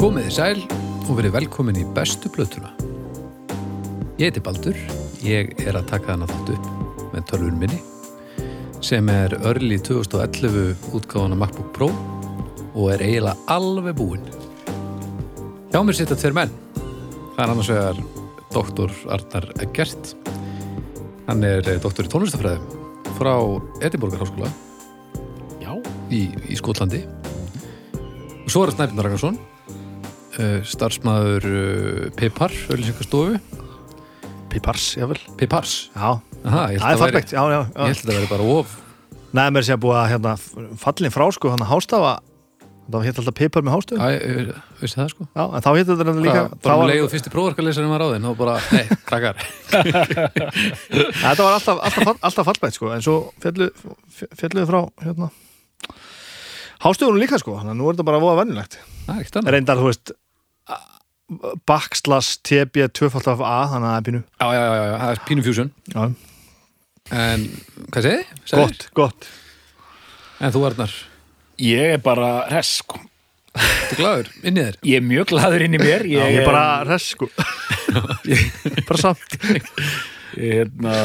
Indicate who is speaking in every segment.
Speaker 1: Komið sæl og verið velkomin í bestu blötuna. Ég heiti Baldur, ég er að taka hana þátt upp með tölvun minni sem er örli 2011 útgáðan af MacBook Pro og er eiginlega alveg búinn. Hjá mér sitja tveir menn. Það er annars vegar doktor Arnar Eggert. Hann er eh, doktor í tónlistafræðum frá Edinborgar háskóla
Speaker 2: Já,
Speaker 1: í, í Skotlandi. Og svo er það Snæfnir Ragnarsson, uh, starfsmæður uh, Pipar, öllisengastofu.
Speaker 2: pipars, jável
Speaker 1: Pipars,
Speaker 2: Já,
Speaker 1: aha, ég held
Speaker 2: það er
Speaker 1: að væri,
Speaker 2: fallegt, já, já,
Speaker 1: ég
Speaker 2: já.
Speaker 1: held að þetta væri bara of.
Speaker 2: Nei, mér sé að búa hérna, fallin frá sko, hann að hástafa Það var hétt alltaf pipar með hástöfum
Speaker 1: Æ, eh, veistu það sko?
Speaker 2: Já, en þá hétt þetta nefnilega líka
Speaker 1: Bara-
Speaker 2: þá
Speaker 1: bara um
Speaker 2: var-
Speaker 1: leið og fyrsti prófarkalesarinn var á þeim, þá bara, nei, krakkar.
Speaker 2: Þetta var alltaf, alltaf, fall- alltaf fallegt sko, en svo fjallu, fjalluðu frá hérna Hástöfunum líka sko, þannig að nú er þetta bara voða vennilegt
Speaker 1: Það er ekkert annað.
Speaker 2: Reyndar, þú veist Backslas TB 2.a þannig að það er pínu
Speaker 1: Já, já, já, já, já, það er pínu fusion.
Speaker 2: já,
Speaker 1: En, hvað segið þið? Segðu.
Speaker 2: Gott, gott
Speaker 1: En þú, Arnar,
Speaker 3: Ég er bara hress, sko.
Speaker 1: þú glæður, inn í þér.
Speaker 3: Ég er mjög gladur inn í mér. Ég,
Speaker 2: Ég er bara res sko Bara samt
Speaker 3: Ég, hérna,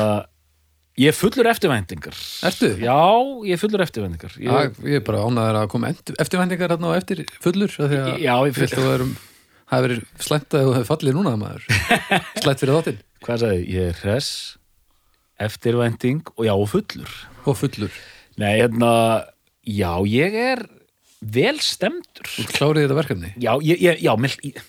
Speaker 3: ég er fullur eftirvæntingar.
Speaker 1: Ertu? Ah.
Speaker 3: Já, ég er fullur eftirvæntingar. Ég,
Speaker 1: Já, ég er bara ánæður að koma eftirvendingar hérna og eftir fullur af því að
Speaker 3: Já, ég
Speaker 1: ég held að þú erum það hefur verið slæmt að þú hefur fallið núna maður slæmt fyrir þáttinn
Speaker 3: Hvað sagði? ég? Ég er hress, eftirvænting og já, og fullur.
Speaker 1: og fullur
Speaker 3: Nei, hérna, já, ég er vel stemdur.
Speaker 1: og klárið þetta verkefni
Speaker 3: Já, ég, ég, já, mér, ég,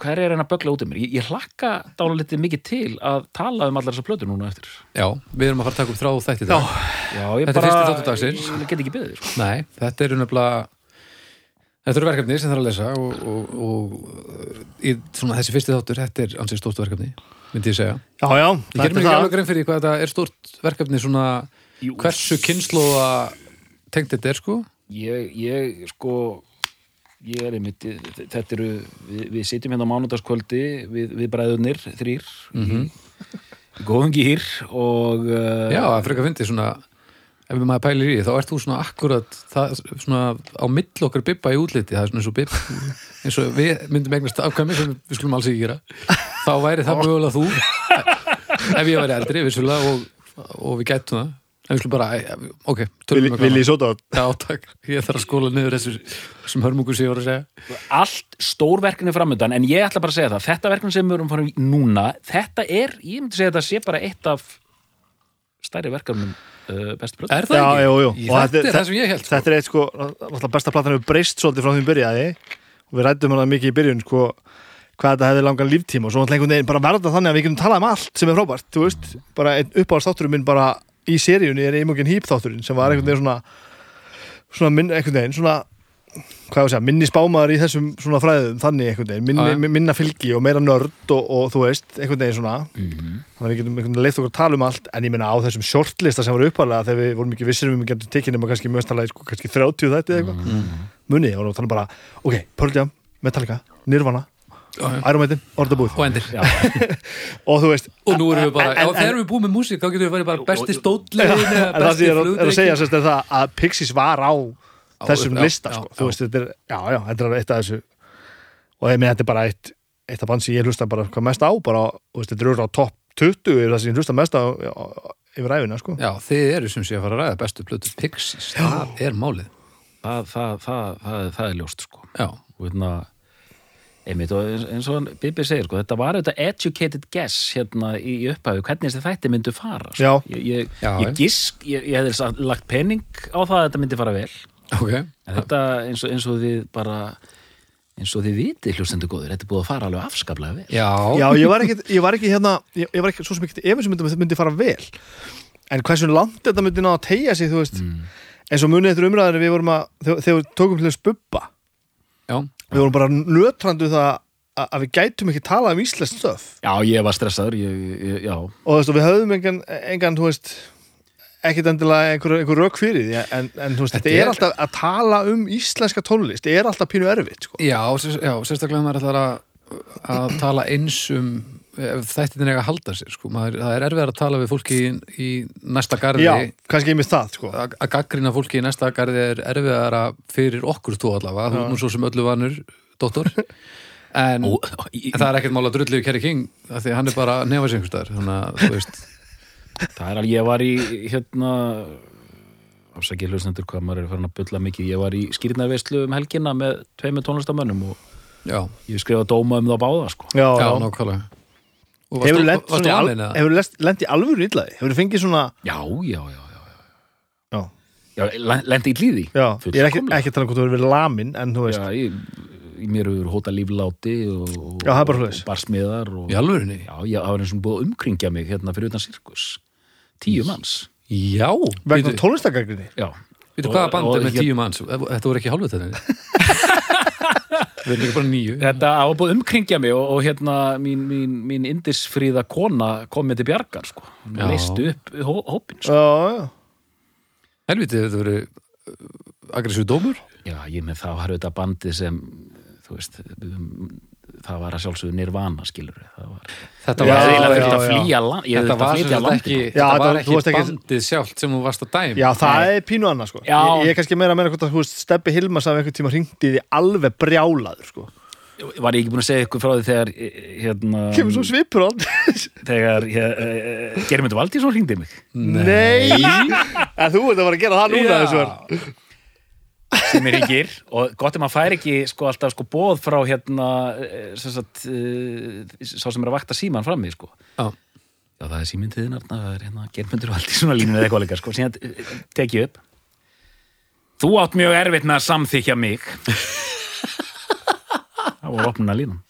Speaker 3: hvað er hann að bögla út um mér? Ég, ég hlakka dána litið mikið til að tala um allar þessar plötur núna eftir.
Speaker 1: Já, við erum að fara að taka upp þrá þætti
Speaker 2: Já,
Speaker 1: þetta
Speaker 3: Já, ég
Speaker 1: Þetta er
Speaker 3: bara...
Speaker 1: fyrsti þáttur dagsins.
Speaker 3: Ég, ég get ekki beðið, sko.
Speaker 1: Nei, þetta eru nefnilega þetta eru verkefni sem þarf að lesa og, og, og í svona þessi fyrsti þáttur þetta er ansið stórt verkefni myndi ég segja
Speaker 2: já, já
Speaker 1: Ég gerum ekki alveg grein fyrir því hvað þetta er stórt verkefni svona
Speaker 3: Jú.
Speaker 1: hversu kynnslóa tengt þetta er sko
Speaker 3: Ég, ég, sko ég er einmitt, þetta eru við, við sitjum hérna á mánudagskvöldi við, við bræðunir, þrýr mm
Speaker 1: Mhm.
Speaker 3: -hmm. góðum gýr og uh,
Speaker 1: Já, að frekar fyndi svona ef maður pælir í því, þá ert þú svona akkurat það, svona á mill okkar bibba í útliti það er svona eins og bibb eins og við myndum eignast afkvæmi sem við skulum alls ekki gera þá væri það mögulega þú ef ég væri eldri, vissulega og, og við gætum það en við skulum bara, æ, ok, tölum um
Speaker 2: Vil ég sota á
Speaker 1: Já, takk, ég þarf að skóla niður þessu sem hörmungur sé ég var að segja
Speaker 3: allt stór verkefni framöndan en ég ætla bara að segja það, þetta verkefni sem við erum farin í núna, þetta er, ég myndi segja þetta sé bara eitt af stærri verkefnum uh, bestu bröð
Speaker 1: Er það
Speaker 2: Já,
Speaker 1: ekki?
Speaker 2: jú, jú.
Speaker 1: Í
Speaker 2: Og
Speaker 1: Þetta
Speaker 2: þetta-
Speaker 1: er það sem ég held sko.
Speaker 2: Þetta er eitt sko, alltaf besta platan hefur breyst svolítið frá því hún byrjaði og við rættum hana mikið í byrjun sko, hvað þetta hefði langan líftíma og svo alltaf einhvern veginn bara verða þannig að við getum talað um allt sem er frábært, þú veist, bara einn uppáðsþátturinn minn bara í seríunni er einmugin hýpþátturinn sem var einhvern veginn svona svona minn, einhvern veginn, svona hvað ég að segja, minni spámaður í þessum svona fræðum þannig einhvern veginn, minni,
Speaker 1: Já, já.
Speaker 2: minna fylgi og meira nörd og, og þú veist, einhvern veginn svona þannig að við getum einhvern veginn leitt okkur að tala um allt en ég meina á þessum shortlista sem var uppalega þegar við vorum ekki vissir um við getum tekið nema kannski mjöstalega sko, kannski 30 þetta eða eitthvað muni, og þannig um bara, ok, Pearl Jam Metallica, Nirvana,
Speaker 1: Já, já.
Speaker 2: Iron Maiden Orðabúð,
Speaker 1: Og endir
Speaker 2: og þú veist
Speaker 1: Og nú erum við bara,
Speaker 2: En- en-
Speaker 1: já, þegar við búum með músík þá getum við farið bara besti stótlegin eða
Speaker 2: en það
Speaker 1: besti
Speaker 2: sem ég er að- er að
Speaker 1: flugdrekin.
Speaker 2: segja sérst, er það að Pixies var á þessum
Speaker 1: já,
Speaker 2: lista
Speaker 1: já,
Speaker 2: sko.
Speaker 1: já.
Speaker 2: þú veist, þetta er, já, já, þetta er eitt af þessu og ég meina þetta er bara eitt eitt af band sem ég hlusta bara hvað mest á bara, þú veist, þetta er örugglega á topp 20 er það sem ég hlusta mest á á- á- yfir æfina, sko
Speaker 1: Já, þið eru sem sé að fara að ræða bestu plötu Pixies, það er málið
Speaker 3: það, það, það, það, það er ljóst sko
Speaker 1: Já,
Speaker 3: og hérna einmitt og eins- eins og hann Bibi segir sko, þetta var auðvitað educated guess hérna í, í upphæðu, hvernig þessi þætti myndu fara
Speaker 2: Já.
Speaker 3: sko. ég, ég,
Speaker 1: Já, já.
Speaker 3: ég gisk, ég, ég hefði sagt- lagt pening á það að þetta myndi fara vel
Speaker 1: ok
Speaker 3: en þetta eins og, eins og þið bara eins og þið viti hljóstendur góður, þetta er búið að fara alveg afskaplega vel
Speaker 1: Já,
Speaker 2: Já, ég var ekki, ég var ekki hérna ég, ég var ekki svo sem ekki efins um þetta myndi fara vel en hversu langt þetta myndi ná að tegja sig, þú veist eins og munið þetta umræður við vorum að þegar þegar við tókum til þess bubba
Speaker 1: já,
Speaker 2: við vorum bara nötrandu það að, að við gætum ekki talað um íslensk stöf
Speaker 3: já, ég var stressaður ég, ég, já,
Speaker 2: og þú veist, og við höfðum engan, engan þú veist ekkit endilega einhver, einhver rök fyrir því en, en þú veist, þetta,
Speaker 1: Þetta er-
Speaker 2: er alltaf að tala um íslenska tónlist, er alltaf pínu erfitt sko.
Speaker 1: já, sér- já sérstaklega ef maður ætlar að, að tala eins um ef þættin er að halda sér sko. maður, það er erfiðar að tala við fólki í, í næsta garði
Speaker 2: já, kannski einmitt það sko.
Speaker 1: að að gaggrina fólki í næsta garði er erfiðara fyrir okkur þú allavega, þú er nú svo sem öllu vanur dóttor en,
Speaker 3: Ó, í-
Speaker 1: en það er ekkert mála drullu í Kerry King af því að hann er bara nefasengustar þannig að þú veist
Speaker 3: Það er alveg, ég var í hérna afsakið hlustendur hvað maður er farin að bulla mikið ég var í skýrnarveislu um helgina með tveimur tónlistamönnum og
Speaker 1: já,
Speaker 3: ég skrifa dóma um þá báða sko.
Speaker 2: já,
Speaker 1: já,
Speaker 2: já.
Speaker 1: nákvæmlega og
Speaker 2: Hefur lent,
Speaker 1: varstu
Speaker 2: svona í al-
Speaker 1: alein eða?
Speaker 2: hefurðu lest- lent í alvöru illaði? Hefur fengið svona
Speaker 3: Já, já, já, já,
Speaker 2: Já,
Speaker 3: já len- Lendi í líði
Speaker 2: já ég er ekki, ekki að tala um hvort þú hefur verið lamin En þú veist,
Speaker 3: Já, ég, í mér hefur hóta lífláti og, og,
Speaker 2: Já, það er bara
Speaker 3: og,
Speaker 2: svoleiðis.
Speaker 3: og barsmiðar og,
Speaker 1: í alvörunni?
Speaker 3: já, já, það var eins og búið að umkringja mig hérna fyrir utan sirkus tíu manns
Speaker 1: Já,
Speaker 2: vegna
Speaker 1: veitu-
Speaker 2: tónlistagagnir
Speaker 3: já,
Speaker 1: Veitu
Speaker 3: Og-
Speaker 1: hvaða band
Speaker 3: og hérna-
Speaker 1: er með
Speaker 3: hér-
Speaker 1: tíu manns? Þetta voru ekki hálfut þetta Við erum ekki bara nýju
Speaker 3: þetta það var búið að umkringja mig og, og hérna mín, mín, mín indisfríða kona kom með til bjargar sko, hún
Speaker 1: Já.
Speaker 3: listu upp hó, hópin sko.
Speaker 2: Já, já,
Speaker 1: Helviti, þetta voru aggressíu dómur
Speaker 3: já, ég með það var auðvitað bandið sem þú veist um, það var að sjálfsögðu nirvana skilur það var,
Speaker 1: Þetta
Speaker 2: Já,
Speaker 3: ég hefði
Speaker 1: var,
Speaker 3: eiginlega
Speaker 2: já,
Speaker 3: þurft að
Speaker 2: já.
Speaker 3: flýja land ég
Speaker 1: þetta
Speaker 3: hefði þurft
Speaker 1: var
Speaker 3: að
Speaker 1: sem
Speaker 3: flýja
Speaker 1: sagt
Speaker 3: landi
Speaker 1: ekki, þetta
Speaker 2: Já,
Speaker 1: var
Speaker 2: þetta- þú
Speaker 1: ekki,
Speaker 2: varst ekki-
Speaker 1: bandið sjálft sem þú varst að dæma
Speaker 2: já það er pínu annað sko
Speaker 3: Já.
Speaker 2: ég, ég er kannski meira að meina hvort að þú veist, Stebbi Hilmas af einhvern tíma hringdi í því alveg brjálaður sko.
Speaker 3: var ég ekki búin að segja ykkur frá því þegar eh, hérna
Speaker 2: Kemur
Speaker 1: Mm.
Speaker 2: svo svipur á hann
Speaker 3: þegar uh, Germundur Valdísson hringdi mig
Speaker 2: Nei En þú ert að fara að gera það núna
Speaker 3: Já.
Speaker 2: þessu var
Speaker 3: sem er yngir og gott ef maður fær ekki sko, alltaf sko, bóð frá hérna eh, sem sagt, uh, sá sem er að vakta síman frammi sko.
Speaker 1: Já,
Speaker 3: já það er síminn til þín Arna, það er hérna Germundur Valdísson að línu eða eitthvað líka sko. síðan eh, tek ég upp þú átt mjög erfitt með að samþykja mig það voru opnuna línum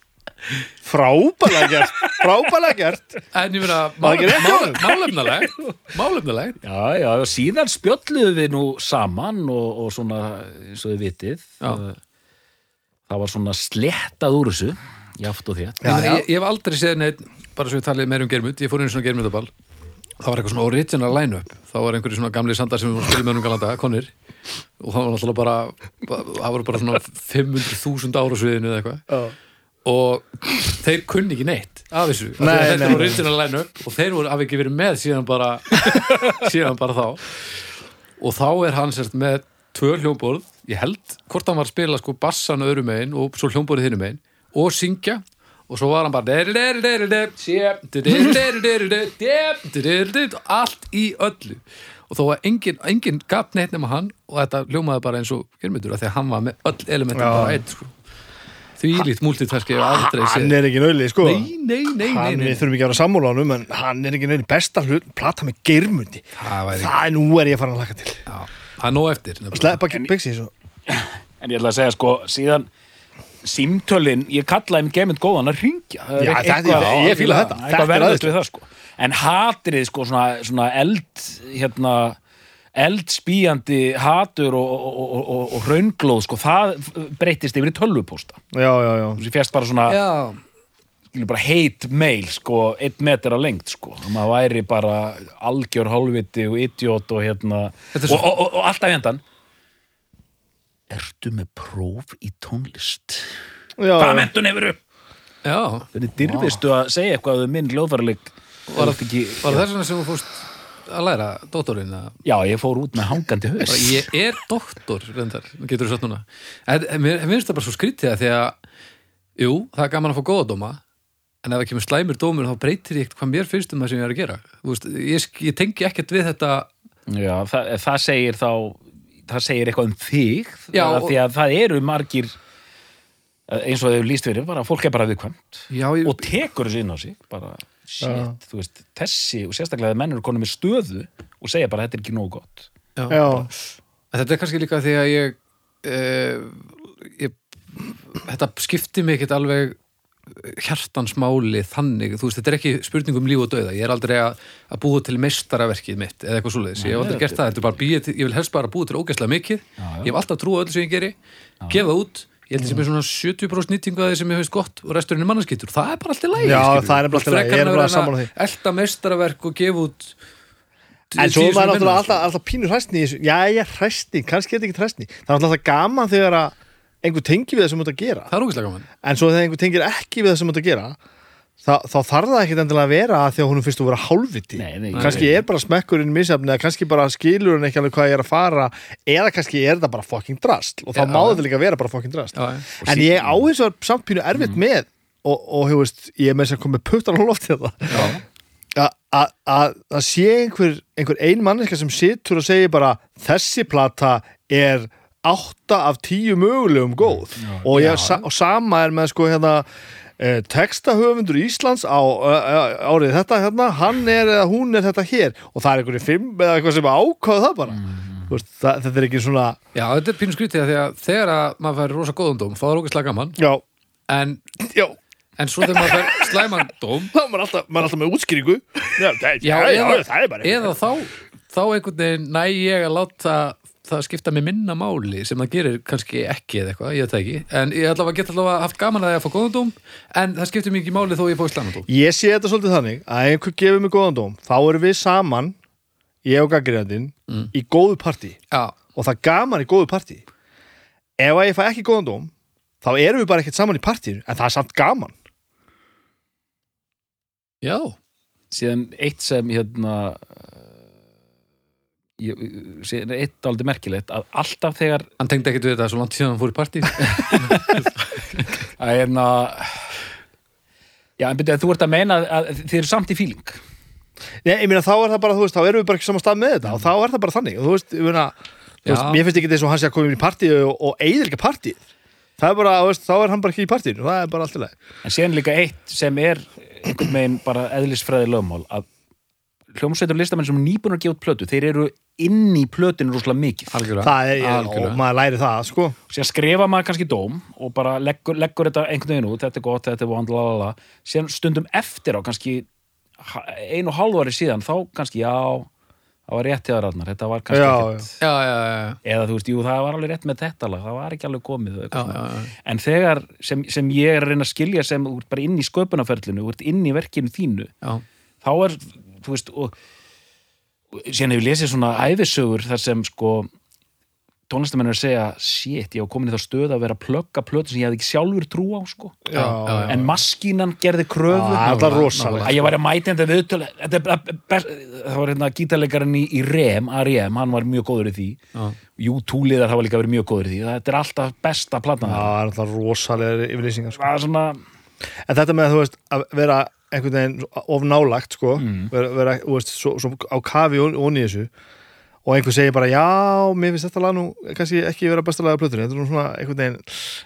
Speaker 2: Frábælega gert Frábælega gert
Speaker 1: en ég meina
Speaker 2: Var ekki rétt hjá honum?
Speaker 1: málefnalegt Málefnalegt
Speaker 3: Já, já, og síðan spjölluðum við nú saman og, og svona, eins og þið vitið
Speaker 1: Já.
Speaker 3: eh, það var svona slettað úr þessu játt og
Speaker 1: Ég,
Speaker 3: þétt
Speaker 1: meina, ég, ég hef aldrei séð neitt, bara svo ég talið meir um germut, ég fór einu svona germutaball það var eitthvað svona original line-up þá var einhverju svona gamli sandar sem við spilum með um galanda, konir og það var náttúrulega bara, það voru bara svona 500.000 ára sviðinu eða eitthvað
Speaker 2: Já.
Speaker 1: og þeir kunni ekki neitt af þessu, Af því
Speaker 2: Nei,
Speaker 1: að þetta
Speaker 2: nei,
Speaker 1: var
Speaker 2: nei.
Speaker 1: original line-up og þeir voru af ekki verið með síðan bara síðan bara þá og þá er hann sérst með tvö hljómborð, ég held hvort hann var að spila sko bassan öðrum megin og svo hljómborðið hinum megin og syngja og svo var hann bara derderderder, sjep, derderderder, dep, derderder, allt í öllu og þó að engin, engin gaf neitt nema hann og þetta hljómaði bara eins og germyndur að því að hann var með öll elementin
Speaker 2: Já.
Speaker 1: bara eitt sko. því lít múltitask ég hef aldrei séð
Speaker 2: Hann er ekki nöðli sko
Speaker 1: nei, nei, nei, nei,
Speaker 2: Hann
Speaker 1: nei.
Speaker 2: við þurfum ekki að vera sammála á hann En hann er ekki nöðli besta hlut Plata með geirmundi
Speaker 1: það væri
Speaker 2: Það er nú er ég að fara að laka til
Speaker 1: já, það er nóg eftir nefnilega.
Speaker 2: Sleppa byggsi þessu
Speaker 3: En ég ætla að segja sko, síðan símtölin, ég kallaði mér geimund góðan að ringja.
Speaker 2: Já, þetta- ég- ég fíla þetta. Þetta er
Speaker 3: Eitthvað verðist
Speaker 2: aðeins.
Speaker 3: við það sko. En hatrið sko, svona, svona eld, hérna, eldspíjandi hatur og, og, og, og- og, og raunglóð sko, það breytist yfir í tölvupósta.
Speaker 2: Já, já, já
Speaker 3: Þú fjast bara svona,
Speaker 1: já,
Speaker 3: skilur bara heit mail sko, einn metra lengt sko. Og Maður væri bara algjör hálfviti og idiot og hérna,
Speaker 1: Þetta er
Speaker 3: og,
Speaker 1: svo-
Speaker 3: og, og, og alltaf hendan. Ertu með próf í tónlist?
Speaker 2: Já,
Speaker 3: Hvaða
Speaker 2: já.
Speaker 3: mentun hefur upp?
Speaker 1: já
Speaker 3: Þannig dyrfistu að segja eitthvað um minn hljóðfæralik
Speaker 1: Var
Speaker 3: Var það ekki
Speaker 1: Var það svona sem þú fórst að læra dóttorinn að
Speaker 3: Já, ég fór út með hangandi haus
Speaker 1: bara, ég er dóttor, reyndar, getur þú satt núna en en mér mér finnst það bara svo skrítið að því að jú, það er gaman að fá góða dóma en ef það kemur slæmur dómur þá breytir ég hvað mér finnst um það sem ég er að gera Þú veist, ég, sk- ég tengi ekkert við þetta
Speaker 3: Já, það, það segir þá það segir eitthvað um þig
Speaker 1: Já,
Speaker 3: það,
Speaker 1: og-
Speaker 3: því að það eru margir eins og þau líst fyrir bara fólk er bara viðkvæmt
Speaker 1: já, ég,
Speaker 3: og tekur þessu inn á sig bara, shit,
Speaker 2: Já.
Speaker 3: þú veist, þessi og sérstaklega að menn eru konum með stöðu og segja bara þetta er ekki nógu gott
Speaker 1: já.
Speaker 2: Já,
Speaker 1: En þetta er kannski líka því að ég, uh, ég þetta skipti mig ekkert alveg hjartansmáli þannig, þú veist, þetta er ekki spurning um líf og dauða, ég er aldrei að, að búa til meistaraverkið mitt eða eitthvað svoleiðis, ég hef aldrei gert það, þetta er bara býið, til- ég vil helst bara búa til ógeðslega mikið, ég hef alltaf trúa öllu sem ég geri, gefa það út, ég held ég sem er svona 70% nýtingu að því sem ég hefist gott og resturinn er mannarskýtur, það er bara alltaf lægi
Speaker 2: Já, það er nefnilega allt í lagi, ég er bara sammála því.
Speaker 1: Elta meistaraverk og gefa út
Speaker 2: En svo
Speaker 1: tíu
Speaker 2: er
Speaker 1: sinnum
Speaker 2: maður
Speaker 1: minna, sko.
Speaker 2: náttúrulega alltaf, alltaf pínur hræstni í þessu Já, ég hræstni, kannski er þetta ekki hræstni Það er náttúrulega gaman þegar að einhver tengi við það sem þú ert að gera
Speaker 1: Það er ógeðslega gaman
Speaker 2: En svo þegar einhver tengir ekki við það sem þú ert að gera Þa, þá þarf það ekkit endilega að vera að því að hún finnst að vera hálfviti
Speaker 3: Nei, nei.
Speaker 2: kannski er bara smekkurinn misjafn eða kannski bara skilur hún ekki alveg hvað ég er að fara eða kannski er það bara fucking drast og þá
Speaker 1: Já,
Speaker 2: má
Speaker 1: já.
Speaker 2: þetta líka vera bara fucking drast
Speaker 1: Já, Mm. já.
Speaker 2: en ég á eins og samt pínu erfitt með og, og hefur veist, ég er með þess að koma með puttan á lofti þetta A- a- að að sé einhver, einhver ein manneska sem situr og segir bara þessi plata er átta af tíu mögulegum góð og, ég, sa og sama er með sko hérna eh, textahöfundur Íslands á eh, eh, árið þetta hérna hann er eða hún er þetta hér og það er einhverju fimm eða eitthvað sem ákvað það bara Þú veist, það, þetta er ekki svona
Speaker 1: Já, þetta er pínu skrítið af því að þegar að maður fær rosa góðan dóm, þá er ógeðslega gaman
Speaker 2: já,
Speaker 1: en,
Speaker 2: já,
Speaker 1: en svo þegar maður fær slæman dóm
Speaker 2: þá er maður alltaf, maður er alltaf með útskýringu já, það, já, já, það er bara
Speaker 1: eða þá, þá einhvern veginn næ ég að láta það skipta mig minna máli sem það gerir kannski ekki eða eitthvað, ég veit það ekki en ég ætla að geta allavega haft gaman að ég að fá góðan dóm en það skiptir mig ekki máli þó ég fá slæmandóm
Speaker 2: Ég sé þetta svolítið þannig að ef einhver gefur mig góðan dóm þá erum við saman, ég og gaggrinandinn
Speaker 1: Mm.
Speaker 2: í góðu partí
Speaker 1: Já,
Speaker 2: og það er gaman í góðu partí ef að ég fæ ekki góðan dóm þá erum við bara ekkert saman í partínu en það er samt gaman
Speaker 1: já,
Speaker 3: síðan eitt sem hérna eh, ég, síðan eitt aldrei merkilegt að alltaf þegar
Speaker 1: hann tengdi ekkit við þetta svo langt síðan hann fór í partí
Speaker 3: að hérna já, en byrja, þú ert að meina að, að þið eru samt í fíling
Speaker 2: Nei, ég meina þá er það bara, þú veist, þá erum við bara ekki saman stað með þetta og þá er það bara þannig og þú veist, ég meina þú veist,
Speaker 1: Já.
Speaker 2: mér finnst ekki þess að hann sé að koma inn í partíu og, og eigðir ekki partí það er bara, þú veist, þá er hann bara ekki í partínu það er bara allt í lagi
Speaker 3: en síðan líka eitt sem er einhvern veginn bara eðlisfræði lögmál að hljómsveitur listamenn sem eru nýbúnir að gefa út plötu þeir eru inn í plötinu rosalega mikið
Speaker 1: Algjörlega,
Speaker 2: það er, ég, og
Speaker 1: algjörlega
Speaker 2: maður læri það, sko
Speaker 3: síðan skrifa maður kannski dóm og bara leggur, leggur þetta einhvern veginn út þetta er gott, þetta er vond, lalala síðan stundum eftir á kannski ha- einu og hálfu ári síðan þá kannski já, það var rétt hjá þarna þetta var kannski
Speaker 2: Já,
Speaker 3: ekkert
Speaker 1: Já, já, já,
Speaker 3: eða þú veist, jú, það var alveg rétt með þetta lag það var ekki alveg komið eða
Speaker 1: já,
Speaker 3: eitthvað
Speaker 1: já,
Speaker 3: svona.
Speaker 1: já.
Speaker 3: en þegar sem, sem ég er að reyna að skilja sem þú ert bara inn í sköpunarferlinu þú ert inn í verkinu þínu
Speaker 1: já.
Speaker 3: þá er, þú veist og, og síðan hefur lesið svona æfisögur þar sem sko tónlistamenn er að segja, shit, ég var komin í þá stöð að vera að plugga plötu sem ég hefði ekki sjálfur trú á sko,
Speaker 1: Já, já, já.
Speaker 3: en maskínan gerði kröfu
Speaker 2: Já, það er rosalegt.
Speaker 3: að ég væri að mæta þetta viðtölu þetta er bara best- það var hérna gítarleikarinn í, E í REM, R.E.M., hann var mjög góður í því
Speaker 1: Já.
Speaker 3: U2-liðar hafa líka verið mjög góður í því þetta er alltaf besta
Speaker 2: Já,
Speaker 3: platan þeirra.
Speaker 2: það er alltaf rosalega yfirlýsingar, sko
Speaker 3: það er svona,
Speaker 2: En þetta með að þú veist að vera einhvern veginn of nálagt sko, vera, vera þú veist, svo, svo á kafi og onni þessu og einhver segir bara já, mér finnst þetta lag nú kannski ekki vera besta lag á plötunni þetta er nú svona einhvern veginn,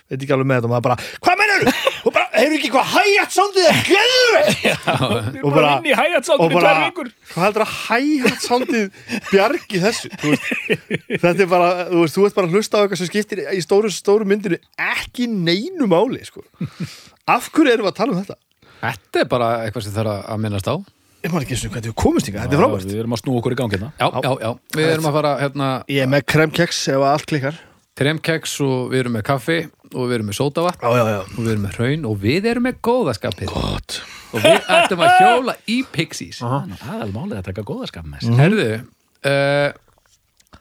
Speaker 2: veit ekki alveg með þetta og maður bara, hvað mennur þú? og bara, heyrðu ekki hvað hægjart sándið er gæður og bara,
Speaker 3: inn í hægjatsáttinu
Speaker 2: og bara
Speaker 3: tvær vikur
Speaker 2: hvað heldur að hægjart sándið bjargi þessu þú veist, þetta er bara, þú veist, þú ert bara að hlusta á eitthvað sem skiptir í stóru, stóru myndinu ekki neinu máli sko. af hverju erum við að tala um þetta?
Speaker 1: Þetta er bara eitthvað sem þarf að- að minnast á
Speaker 2: Ég maður ekki eins og hvernig við komumst ykkar, þetta er frábært
Speaker 3: við erum að snú okkur í gangi hérna
Speaker 1: Já, já, já, við erum að fara hérna
Speaker 2: Ég er með kremkeks ef að allt klikkar
Speaker 1: kremkeks og við erum með kaffi og við erum með sótavatn
Speaker 2: Já, já, já
Speaker 1: og við erum með hraun og við erum með góðaskapið
Speaker 2: Gott
Speaker 1: og við ættum að hjóla í Pixies Mhm.
Speaker 3: aðal málið að taka góðarskap með
Speaker 1: Herðu uh,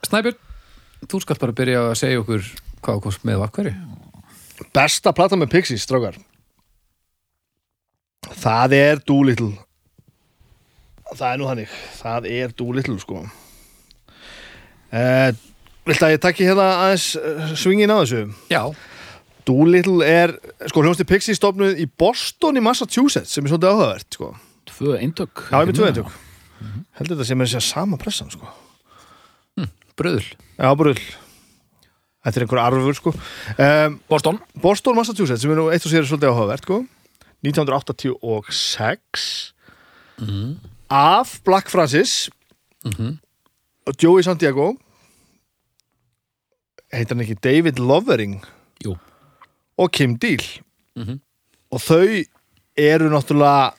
Speaker 1: Snæbjörn, þú skalt bara byrja að segja okkur hvað þú komst með og af hverju
Speaker 2: Besta plata með Pixies, strákar Það er Doolittle Það er nú hannig Það er Doolittle, sko uh, Viltu að ég takki hérna aðeins uh, svingin á þessu?
Speaker 1: Já,
Speaker 2: Doolittle er, sko, hljómsið Pixies stofnuð í Boston í Massachusetts sem er svolítið áhugavert, sko
Speaker 3: tvö eintök
Speaker 2: Já, ég er með tvö eintök Heldur þetta sem er sér sama pressan, sko
Speaker 1: bröðul
Speaker 2: Já, brull Þetta er einhver arfur sko um,
Speaker 3: Boston
Speaker 2: Boston, Massachusetts, sem er nú eitt og sér svolítið áhugavert sko 1986 af Black Francis og Joey Santiago heitir hann ekki David Lovering
Speaker 3: Jú.
Speaker 2: og Kim Deal og þau eru náttúrulega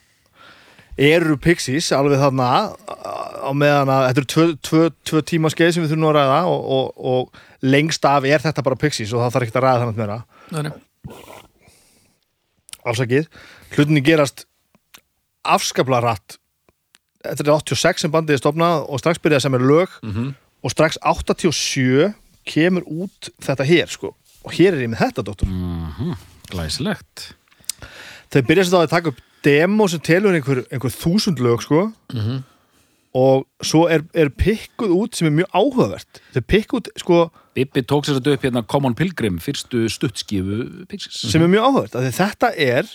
Speaker 2: eru Pixies alveg þarna á meðan að þetta eru tvö, tvö, tvö tíma skeið sem við þurfum nú að ræða og, og, og lengst af er þetta bara Pixies og það þarf ekki að ræða þannig meira
Speaker 1: Nei, nei.
Speaker 2: afsakið, hlutinni gerast afskapla rætt þetta er 86 sem bandið er stofnað og strax byrjað sem er lög og strax 87 kemur út þetta hér sko og hér er ég með þetta dóttur
Speaker 3: Glæsilegt
Speaker 2: þau byrja sem þá að taka upp demo sem telur einhver, einhver þúsund lög sko
Speaker 1: Mhm.
Speaker 2: og svo er, er pikkuð út sem er mjög áhugavert þau pikkuð út sko
Speaker 3: Bibbi tók sér þetta upp hérna Common Pilgrim fyrstu stuttskifu Pixies
Speaker 2: sem er mjög áhugavert af því þetta er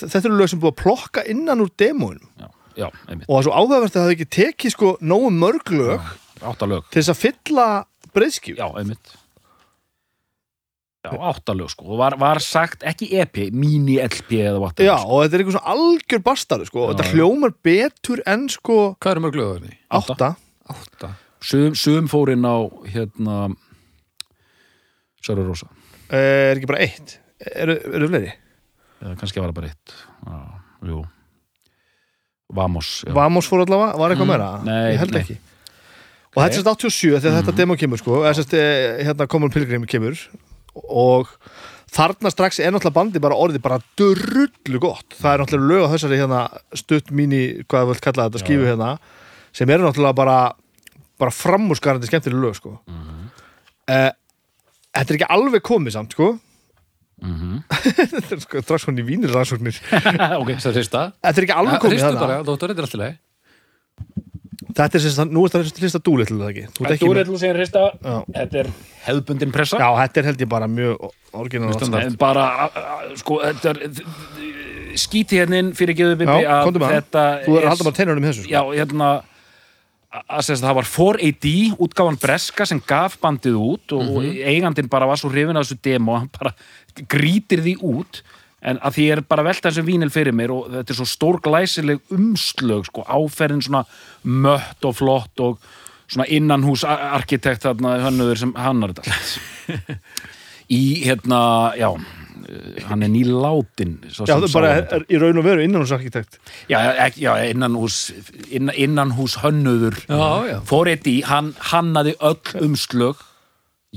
Speaker 2: þetta eru lög sem er búið að plokka innan úr demóinum
Speaker 3: Já, já, einmitt,
Speaker 2: og það er svo áhugavert að það hefði ekki tekið sko nógu mörg lög
Speaker 3: áttalög
Speaker 2: til þess að fylla breyðskjú
Speaker 3: Já, einmitt Já, áttalög sko og var, var sagt ekki E EP, mini-LP eða whatever
Speaker 2: Já, og þetta er einhver svona algjör bastarðu sko, og
Speaker 3: Já,
Speaker 2: þetta
Speaker 3: sko. já.
Speaker 2: hljómar betur en sko
Speaker 1: Hvað eru mörg lögurni?
Speaker 3: Átta.
Speaker 2: átta
Speaker 1: Átta.
Speaker 3: Sum, sum fórin á hérna Sörur Rósa
Speaker 2: Eh, er ekki bara eitt eru er fleiri?
Speaker 3: eða kannski var það bara eitt já, jú Vamos, já,
Speaker 2: Vamos fór allavega, var
Speaker 1: Mm,
Speaker 2: eitthvað meira?
Speaker 3: nei,
Speaker 2: ég held
Speaker 3: nei.
Speaker 2: ekki og þetta er sérst 87 þegar
Speaker 1: Mhm.
Speaker 2: þetta demo kemur sko, eða sérst hérna Common Pilgrim kemur og þarna strax er náttúrulega bandi bara orðið bara drullu gott það er náttúrulega lög á þessari hérna stutt mini, hvað við vilt kalla þetta, skífu hérna sem eru náttúrulega bara bara framúrskarandi skemmtileg lög sko mm
Speaker 1: Mhm.
Speaker 2: þetta er ekki alveg komið samt sko
Speaker 1: Mhm.
Speaker 2: þetta er sko strax hún í vínir rannsóknir
Speaker 3: ok,
Speaker 1: Það er fyrsta.
Speaker 2: þetta er ekki alveg komið
Speaker 1: Ristu
Speaker 2: þarna.
Speaker 1: bara, þóttur þetta er alltaf leið.
Speaker 2: Þetta er sem sagt, nú er þetta hrista dúlitlu það ekki Þú ert ekki með,
Speaker 3: þú segir hrista
Speaker 2: Já.
Speaker 3: þetta er hefðbundin pressa
Speaker 2: já, þetta er held ég bara mjög orginal
Speaker 3: En bara, a- a- sko, þetta er skíti hérna inn fyrir geðu bimbi
Speaker 2: Já,
Speaker 3: að
Speaker 2: komdu með hann.
Speaker 3: þetta
Speaker 2: Þú er að halda bara teinunum í þessu
Speaker 3: já,
Speaker 2: sko.
Speaker 3: hérna að- að segja að það var 4AD útgáfan Breska sem gaf bandið út og, og
Speaker 2: Mhm.
Speaker 3: eigandinn bara var svo hrifin að þessu demo að hann bara grítir því út en að því ég er bara að velta þessum vínil fyrir mér og þetta er svo stórglæsileg umslög sko, áferðin svona mött og flott og svona innanhús arkitekt þarna hönnuður sem hannar þetta allt. í hérna, já eh, hann er nýlátin
Speaker 2: Já, það er bara er, í raun og veru innan hos arkitekt
Speaker 3: Já, ekki, já innanhús, innan, innanhús hönnuður
Speaker 1: Já, já.
Speaker 3: Fórit í, hann hannaði öll umslög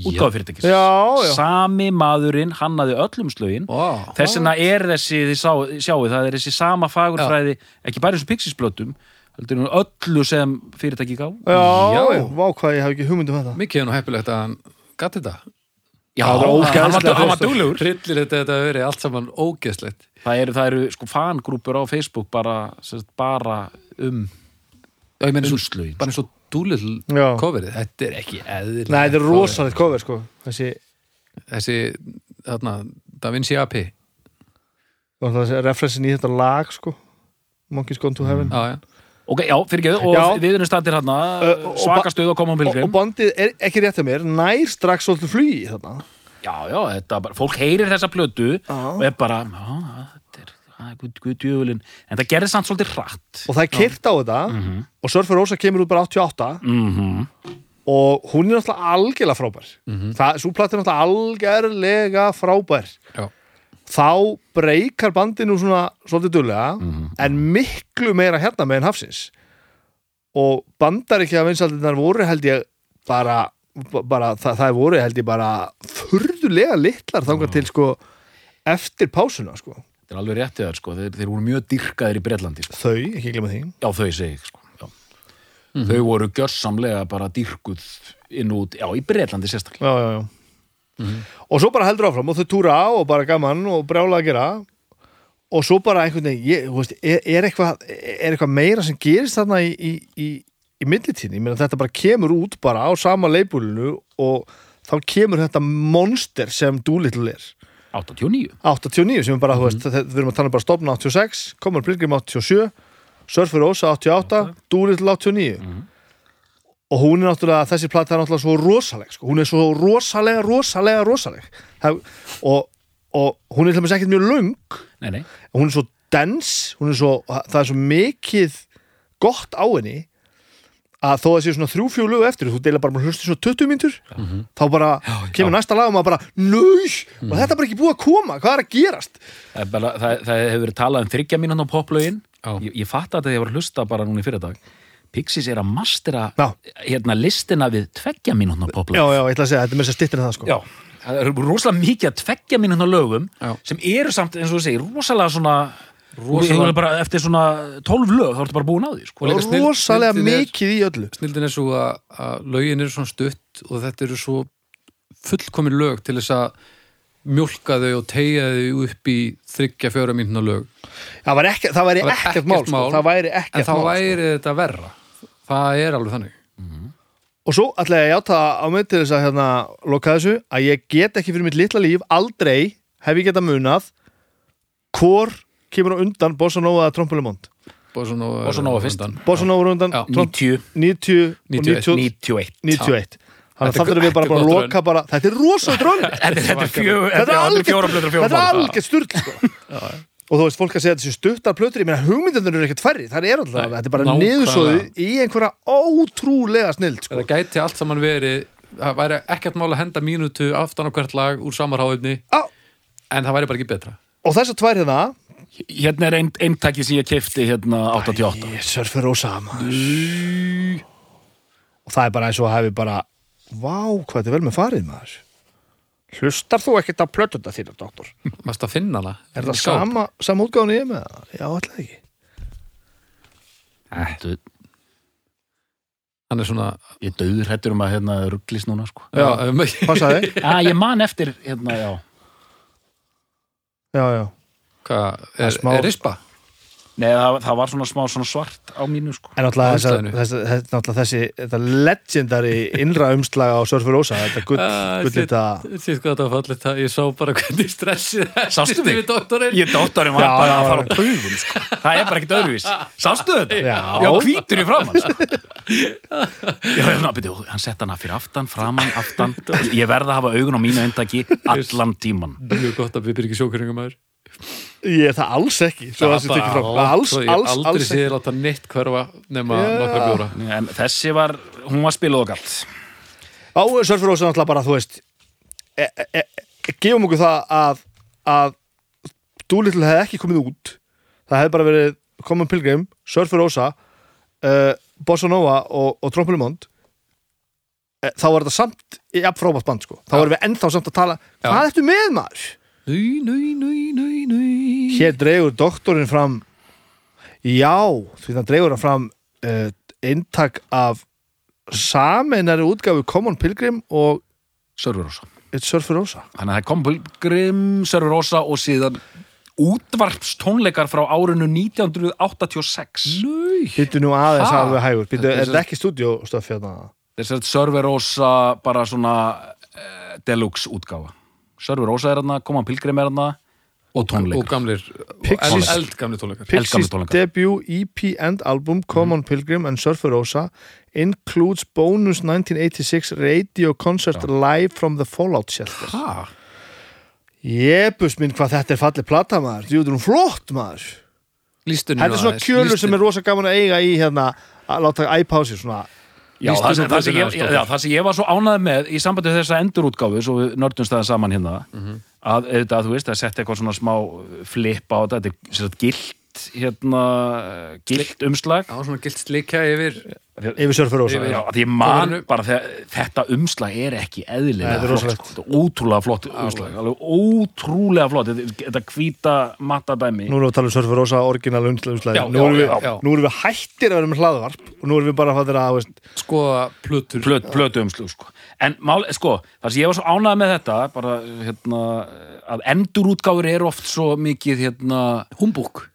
Speaker 3: útgáfufyrirtækis
Speaker 2: Já, já.
Speaker 3: Sami maðurinn hannaði öll umslögin
Speaker 1: Vá.
Speaker 3: Þess vegna er þessi, þið sá, sjáu það er þessi sama fagurfræði ekki bara eins og pixisblötum heldur hún öllu sem fyrirtæki gá
Speaker 2: Já, já,
Speaker 1: Já.
Speaker 2: vá hvað ég haf ekki hugmynd um þetta
Speaker 1: Mikið er nú heppilegt að hann gæti þetta.
Speaker 3: Já,
Speaker 2: það er
Speaker 3: hann- hann
Speaker 2: ógeðslega
Speaker 3: var- hann var
Speaker 2: flott.
Speaker 3: duglegur
Speaker 1: Rillir þetta þetta verið allt saman ógeðslegt.
Speaker 3: Það eru, það eru sko fangrúpur á Facebook bara, sem sagt, bara um
Speaker 1: Já, ég meina eins og,
Speaker 3: umslögin
Speaker 1: bara eins og dúlill
Speaker 2: Já.
Speaker 1: coverið. Þetta er ekki eðlilegt.
Speaker 2: Nei, þetta er
Speaker 1: cover.
Speaker 2: rosalegt cover sko Þessi,
Speaker 1: Þessi, þarna, Da Vinci AP.
Speaker 2: þessi referensin í þetta lag sko Monkeys Gone to Heaven
Speaker 1: Já, já.
Speaker 3: Ok, já, fyrirgeðu, og
Speaker 2: Já.
Speaker 3: við erum standir hérna
Speaker 2: Ö, og-
Speaker 3: svakastuð og koma um
Speaker 2: og,
Speaker 3: pilgrim
Speaker 2: og bandið er ekki rétt að mér Nær strax svolítið flugi þarna
Speaker 3: Já, já, þetta bara, fólk heyrir þessa plötu og er bara, já, þetta er það er guð, guð djöfulinn, en það gerði samt svolítið hratt
Speaker 2: Og það er kyrt á þetta Og Surfer Rosa kemur út bara 88
Speaker 3: mm -hmm.
Speaker 2: og hún er náttúrulega algjörlega frábær það, svo platt er náttúrulega algjörlega frábær
Speaker 1: Já.
Speaker 2: þá breykar bandinu svona svolítið dullega, en miklu meira hérna meðan hafsins og bandar ekki að vinsaldirnar voru held ég bara, ba- bara það, það voru held ég bara furðulega litlar þangar til sko eftir pásuna sko,
Speaker 3: Þetta er alveg réttið þar, sko, þeir, þeir voru mjög dyrkaðir í Bretlandi, sko.
Speaker 2: þau, ekki glemma því
Speaker 3: Já, þau segi, sko, já. Þau voru gjörsamlega bara dyrkuð inn út, já, í Bretlandi sérstaklega.
Speaker 2: já, já, já. og svo bara heldur áfram og þau túra á og bara gaman og brjála að gera og svo bara einhvern veginn ég, þú veist, er, er, eitthvað, er eitthvað meira sem gerist þarna í, í, í, í millitíðni, ég meina þetta bara kemur út bara á sama leibúlinu og þá kemur þetta monster sem Doolittle er
Speaker 3: 89.
Speaker 2: 89 sem er bara, þú veist, þe- við erum að tala um bara stopna 86, Common Pilgrim 87 Surfer Rosa 88, Doolittle 89 og hún er náttúrulega, þessi plata er náttúrulega svo rosaleg, sko, hún er svo rosalega rosalega rosaleg það, og, og hún er til dæmis ekkert mjög lung
Speaker 3: Nei, nei,
Speaker 2: hún er svo dens hún er svo, það er svo mikið gott á henni að þó að sé svona þrjú fjólu eftir þú deila bara með hlustu svona 20 mínútur
Speaker 1: Mhm.
Speaker 2: þá bara kemur næsta lag og maður bara nöy, og þetta er bara ekki búið að koma hvað er að gerast?
Speaker 3: það, er bara, það, það hefur verið talað um þryggja mínúna á poplögin.
Speaker 1: Já.
Speaker 3: Ég, ég fatt að þetta ég var að hlusta bara núna í fyrirdag. Pixies er að mastera
Speaker 2: Já.
Speaker 3: hérna listina við tveggja mínúna poplögin.
Speaker 2: Já, já, ég ætla að segja, þetta er mér sér stittir en það sko
Speaker 3: Já, það eru rosalega mikið að tveggja mínúna lögum
Speaker 1: Já.
Speaker 3: sem eru samt, eins og þú segir, rosalega svona
Speaker 1: Rosalega-
Speaker 3: rosalega... Bara, eftir svona 12 lög þá ertu bara búin á því sko.
Speaker 1: Og líka snill-
Speaker 2: Rosalega
Speaker 1: snilldin er-
Speaker 2: mikið í öllu
Speaker 1: Snildin er svo að, að lögin eru svona stutt og þetta eru svo fullkomin lög til þess að mjólka þau og teyja þau upp í þryggja fjóra mínuna lög
Speaker 2: það væri ekki- það væri
Speaker 1: Það væri
Speaker 2: ekkert mál sko. það væri
Speaker 1: en
Speaker 2: ekkert
Speaker 1: þá
Speaker 2: mál
Speaker 1: væri þetta verra það er alveg þannig
Speaker 2: og svo ætla ég að játa á mig til þess að hérna, loka þessu að ég get ekki fyrir mitt litla líf aldrei hef ég geta munað hvor kemur á undan Bossa Nova eða Trompulumont
Speaker 1: Bossanova
Speaker 3: Bossanova fyrst.
Speaker 2: Bossa Nova er á undan
Speaker 1: Já.
Speaker 2: Tromp-
Speaker 3: 90,
Speaker 2: 90 og 90
Speaker 3: 91
Speaker 2: 91 þannig að
Speaker 1: Þetta er
Speaker 2: það þurfum við
Speaker 1: gott
Speaker 2: bara, bara að
Speaker 1: raun.
Speaker 2: loka bara þetta er rosa drönn
Speaker 3: Þetta er fjö-
Speaker 2: þetta
Speaker 3: já,
Speaker 2: er
Speaker 3: þetta er fjóra
Speaker 2: algjör
Speaker 3: blöður
Speaker 2: þetta er algjör sturl sko. og þú veist, fólk að segja þessi stuttar plötur ég meina hugmyndunir eru ekkert færri, það er alltaf
Speaker 1: Nei,
Speaker 2: þetta er bara
Speaker 1: nákvæmlega.
Speaker 2: niðursóðið í einhverja ótrúlega snild sko.
Speaker 1: þetta gæti allt saman verið það væri ekkert mál að henda mínútu aftan á hvert lag úr samarháðinni
Speaker 2: Á,
Speaker 1: en það væri bara ekki betra
Speaker 2: og þess að tvær hérna
Speaker 3: Hérna er einn eintaki sem ég kefti hérna 88
Speaker 2: ég surfer Osama og það er bara eins og hafi bara vá, hvað þetta er vel með farið maður hlustar þú ekkert að plötur þetta þínu, doktor?
Speaker 1: mæst að finna hana
Speaker 2: Er
Speaker 1: Í
Speaker 2: það
Speaker 1: skáp.
Speaker 2: sama, sama útgáðan ég er með það? Já, alltaf ekki
Speaker 3: Þetta-
Speaker 1: hann er svona
Speaker 3: Ég döður hættur um að hérna rugglis núna sko
Speaker 1: já, um,
Speaker 2: Passaði?
Speaker 3: Já, Ah, ég man eftir hérna, já
Speaker 2: Já, já
Speaker 1: hvað, er,
Speaker 2: smá-
Speaker 1: er rispa?
Speaker 3: Nei, það, það var svona smá svona svart á mínu sko
Speaker 2: En náttúrulega, þessa,
Speaker 1: Ástæðinu.
Speaker 2: þessa, þess, náttúrulega þessi þetta legendary innra umslaga á Surfer Ósa, þetta gull,
Speaker 1: Ah,
Speaker 2: gull
Speaker 1: shit.
Speaker 2: þetta,
Speaker 1: Sýtt hvað það var fallið það, ég sá bara hvernig stressið
Speaker 3: Sástu mig?
Speaker 1: við doktorinn
Speaker 3: Ég dóttarinn var
Speaker 2: Já,
Speaker 3: bara
Speaker 2: já, já.
Speaker 3: að fara á taugum sko. Það er bara ekkert öðruvís Sástu þetta?
Speaker 2: Já.
Speaker 3: já hvítur í framann sko. Já, já, ná, byrju, hann sett hana fyrir aftan, framann, aftan Ég verð að hafa augun á mínu eintaki allan tíman
Speaker 1: mjög gott að við byrjum ekki sjókjöringum
Speaker 2: ég er það alls ekki svo það sem tekið frá, alls,
Speaker 1: Svo ég
Speaker 2: alls,
Speaker 1: aldrei
Speaker 2: alls
Speaker 1: sé
Speaker 2: ekki
Speaker 1: þér láta neitt hverfa nema
Speaker 2: Já.
Speaker 1: nokkra bjóra
Speaker 3: En þessi var, hún var spiluð og galt
Speaker 2: á Surfer Ósa náttúrulega bara, þú veist e, e, e, gefum okkur það að að Doolittle hefði ekki komið út það hefði bara verið Common Pilgrim, Surfer Ósa uh, Bossa Nova og, og Trompulimond E, þá var þetta samt í frábært band sko. þá
Speaker 1: Já.
Speaker 2: varum við ennþá samt að tala
Speaker 1: Já.
Speaker 2: hvað ertu með maður?
Speaker 1: Núi, núi, núi, núi, núi
Speaker 2: hér dreigur doktorinn fram já, því það dreigur hann fram uh, eintak af sameinari útgafu Common Pilgrim og
Speaker 3: Sörfurósa
Speaker 2: It's Surfer Rosa
Speaker 3: Þannig að það kom Pilgrim, Sörfurósa og síðan útvarpstónleikar frá árinu 1986
Speaker 1: Núi
Speaker 2: hittu nú aðeins
Speaker 1: Ha?
Speaker 2: alveg hægur Býtu,
Speaker 1: Þetta er
Speaker 2: er
Speaker 1: svo-
Speaker 2: þetta ekki stúdíóstöf hérna?
Speaker 3: Þess að Sörverósa bara svona uh, deluxe útgáfa Sörverósa er hérna, Koma Pilgrim er hérna
Speaker 1: Og
Speaker 3: og tónleikar
Speaker 1: gamlir,
Speaker 2: Pixies.
Speaker 1: eld, eldgamlir tónleikar Mhm.
Speaker 2: Pixies
Speaker 3: tónleika.
Speaker 2: debut EP and album Common Pilgrim and Surfer Rosa includes bonus 1986 radio concert live from the Fallout shelter
Speaker 1: Hæ?
Speaker 2: jebus minn hvað þetta er fallið plata maður jú, þetta er hún flott maður
Speaker 1: Lístunni
Speaker 2: Þetta er svona kjölur
Speaker 1: um-
Speaker 2: sem er rosa gaman að eiga í hérna að láta æpási svona
Speaker 3: já,
Speaker 1: Lýstu
Speaker 3: það,
Speaker 1: þessu
Speaker 3: sem, það, sem
Speaker 1: aðeins,
Speaker 3: ég,
Speaker 1: Dóttir.
Speaker 3: já, það sem ég var svo ánæð með í sambandi við þessa endurútgáfu svo við nördumst það saman hérna að auðvitað, þú veist, að setja eitthvað svona smá flip á þetta, þetta er sér að gilt hérna, gilt umslag
Speaker 1: Já, svona gilt slikja yfir
Speaker 2: yfir Surfer Rosa
Speaker 1: Yfir-
Speaker 2: já.
Speaker 3: Já, því ég man
Speaker 1: Kofanum.
Speaker 3: bara þegar þetta umslag er ekki
Speaker 2: Nei,
Speaker 3: eðlilega
Speaker 2: þetta er
Speaker 3: flott,
Speaker 2: rosalegt.
Speaker 3: sko. Þetta er ótrúlega flott umslag, alveg ótrúlega flott, þetta, þetta hvíta matadæmi.
Speaker 2: Nú erum við að tala um Surfer Rosa orginal umslæði
Speaker 1: Já,
Speaker 2: nú, erum
Speaker 1: já,
Speaker 2: við-
Speaker 1: já, já.
Speaker 2: nú erum við hættir að vera með hlaðvarp og nú erum við bara að fara að veist,
Speaker 1: skoða plötur
Speaker 3: Plöt, plötu umslag, sko. En mál, sko, þar sem ég var svo ánægð með þetta, bara, hérna, að endurútgáfur eru oft svo mikið, hérna,
Speaker 1: Humbúk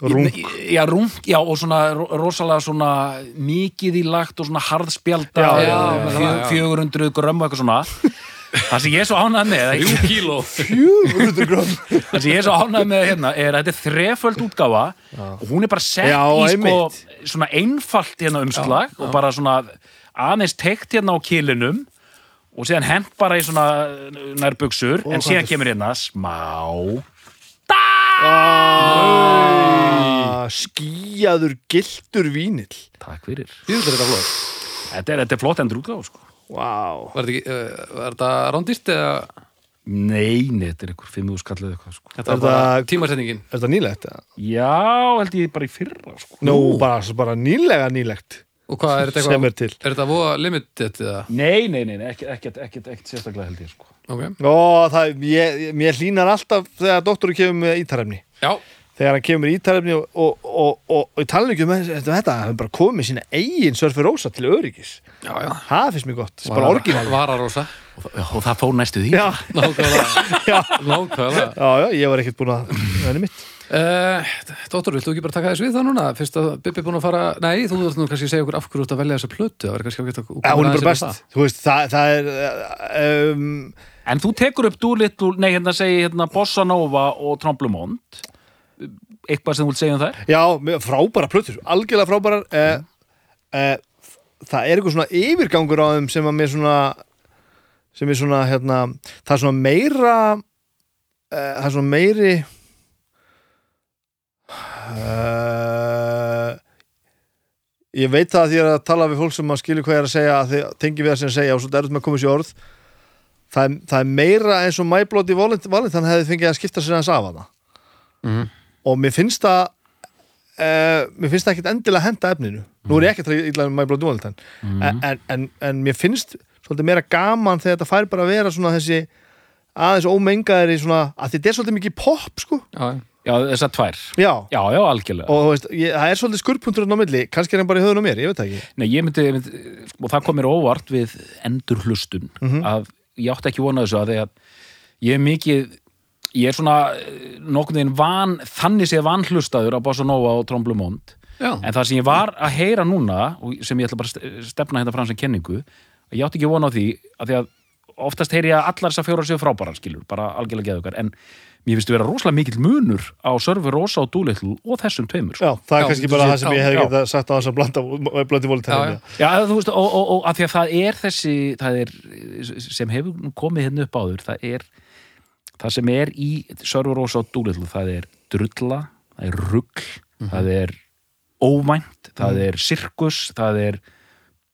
Speaker 2: rung
Speaker 3: Já, rung, já, og svona ro- rosalega svona mikið í lagt og svona harðspjálta
Speaker 2: Já,
Speaker 1: já, já,
Speaker 3: fjö,
Speaker 1: já.
Speaker 3: 400 grömm og eitthvað svona Það sem ég er svo ánægð með að-
Speaker 1: Jú kíló
Speaker 3: það sem ég er svo ánægð með hérna er að þetta er þreföld útgáfa og hún er bara sett
Speaker 2: Já,
Speaker 3: í sko
Speaker 2: einmitt.
Speaker 3: svona einfalt hérna umslag og bara svona aðeins tekt hérna á kilinum og síðan hent bara í svona nærbuksur en síðan kemur hérna smá
Speaker 2: Ah, skýjaður gildur vínill
Speaker 3: takk fyrir
Speaker 1: Jú, þetta er þetta flott
Speaker 3: þetta er, þetta er flott endur útgáfa sko
Speaker 2: wow.
Speaker 1: Var þetta ekki, uh, var þetta rándýrt eða
Speaker 3: nei, nei, þetta er einhver fimmuðu skallið eitthvað sko
Speaker 1: Þetta
Speaker 2: Er
Speaker 1: var bara
Speaker 2: það-
Speaker 1: tímasetningin
Speaker 2: er þetta nýlegt? eða?
Speaker 3: já, held ég bara í fyrra sko
Speaker 2: Nú, bara, bara nýlega nýlegt
Speaker 1: Og hvað er þetta
Speaker 2: sem er
Speaker 1: eitthvað
Speaker 2: til
Speaker 1: Er þetta voða limited eða
Speaker 3: nei, nei, nei, nei ekkert, ekkert, ekkert, ekkert sérstaklega held ég sko
Speaker 1: Ok
Speaker 2: Ó, það, ég, ég- mér hlínar alltaf þegar doktoru kemur með ítarefni
Speaker 1: Já,
Speaker 2: þegar hann kemur í ítalefni og, og, og, og, og í talningu um þetta, þetta hann hefur bara komið sína eigin Surfer Rosa til öryggis
Speaker 1: já, já.
Speaker 2: það finnst mér gott, bara orginal
Speaker 1: Vararosa
Speaker 4: og, þa- og það fór næstu því
Speaker 2: já,
Speaker 1: Nákvæmlega,
Speaker 2: já,
Speaker 1: nákvæmlega.
Speaker 2: já, já, ég var ekkert búin að það er mitt
Speaker 1: Uh, Dóttor, viltu ekki bara taka þessu við það núna? Fyrst að Bibi er búin að fara Nei, þú þurft nú kannski að segja okkur af hverju þú ert að velja þessa plötu Það verður kannski ágætt að
Speaker 2: Já, hún er
Speaker 1: aðeins
Speaker 2: bara
Speaker 1: yfir
Speaker 2: best, þú veist, það, það er um,
Speaker 3: En þú tekur upp Doolittle, nei hérna segi hérna Bossa Nova og Tromblumont eitthvað sem þú vilt segja um þær
Speaker 2: Já, mjög frábæra plötur, algjörlega frábærar mm. Það er eitthvað svona yfirgangur á þeim sem að mér svona sem er svona, hérna það er svona meira uh, það er svona meiri uh, Ég veit það að því ég er að tala við fólk sem að skilja hvað ég er að segja að þið tengi við það sem ég segja og svo derut með að koma sér orð það er, það er meira eins og My Bloody Valent- Valentine hefði fengið að skipta sér hans af hana
Speaker 1: Mhm.
Speaker 2: og mér finnst það uh, mér finnst það ekkit endilega að henda efninu nú er ég ekkert að ítlaði með My Bloody Valentine en, en, en, en mér finnst svolítið meira gaman þegar þetta fær bara að vera svona þessi aðeins ómengaðir í svona að þetta er svolítið mikið pop sko
Speaker 1: það. Já,
Speaker 3: Já, þessar tvær
Speaker 2: já,
Speaker 3: Já, já, algjörlega
Speaker 2: og þú veist, ég, það er svolítið skurrpunturinn á milli kannski er hann bara í höfðun á mér, ég veit það ekki
Speaker 3: Nei, ég myndi, ég myndi, og það kom mér óvart við endur hlustun að ég átti ekki vona þessu að því að ég er mikið, ég er svona eh, nokkurn veginn van, þannig séð vanhlustaður á Bossa Nova og Tromblumont
Speaker 1: já.
Speaker 3: en það sem ég var að heyra núna og sem ég ætla bara að ste- stefna hérna fram sem kenningu að ég átti ekki vona á því að því að oftast heyri ég að allar þessar fjórar séu frábærar skilur, bara algjörlega geðugar en mér finnst vera rosalega mikill munur á Sörfi Rósa og Dúleitl og þessum tveimur sko.
Speaker 2: já, það er
Speaker 1: Já,
Speaker 2: kannski
Speaker 1: þú
Speaker 2: bara
Speaker 1: sér-
Speaker 2: það sem ég
Speaker 1: já,
Speaker 2: hefði
Speaker 3: já.
Speaker 2: getað sagt á þess að blanda My Bloody
Speaker 1: Já,
Speaker 2: Valentine
Speaker 1: já.
Speaker 3: Já, þú veist, og, og, og að því að það er þessi, það er, sem hefur nú komið hérna upp áður, það er, það sem er í Sörfur Ósa og Dúlitlu, það er drulla, það er rugl, það er óvænt, það er sirkus, það er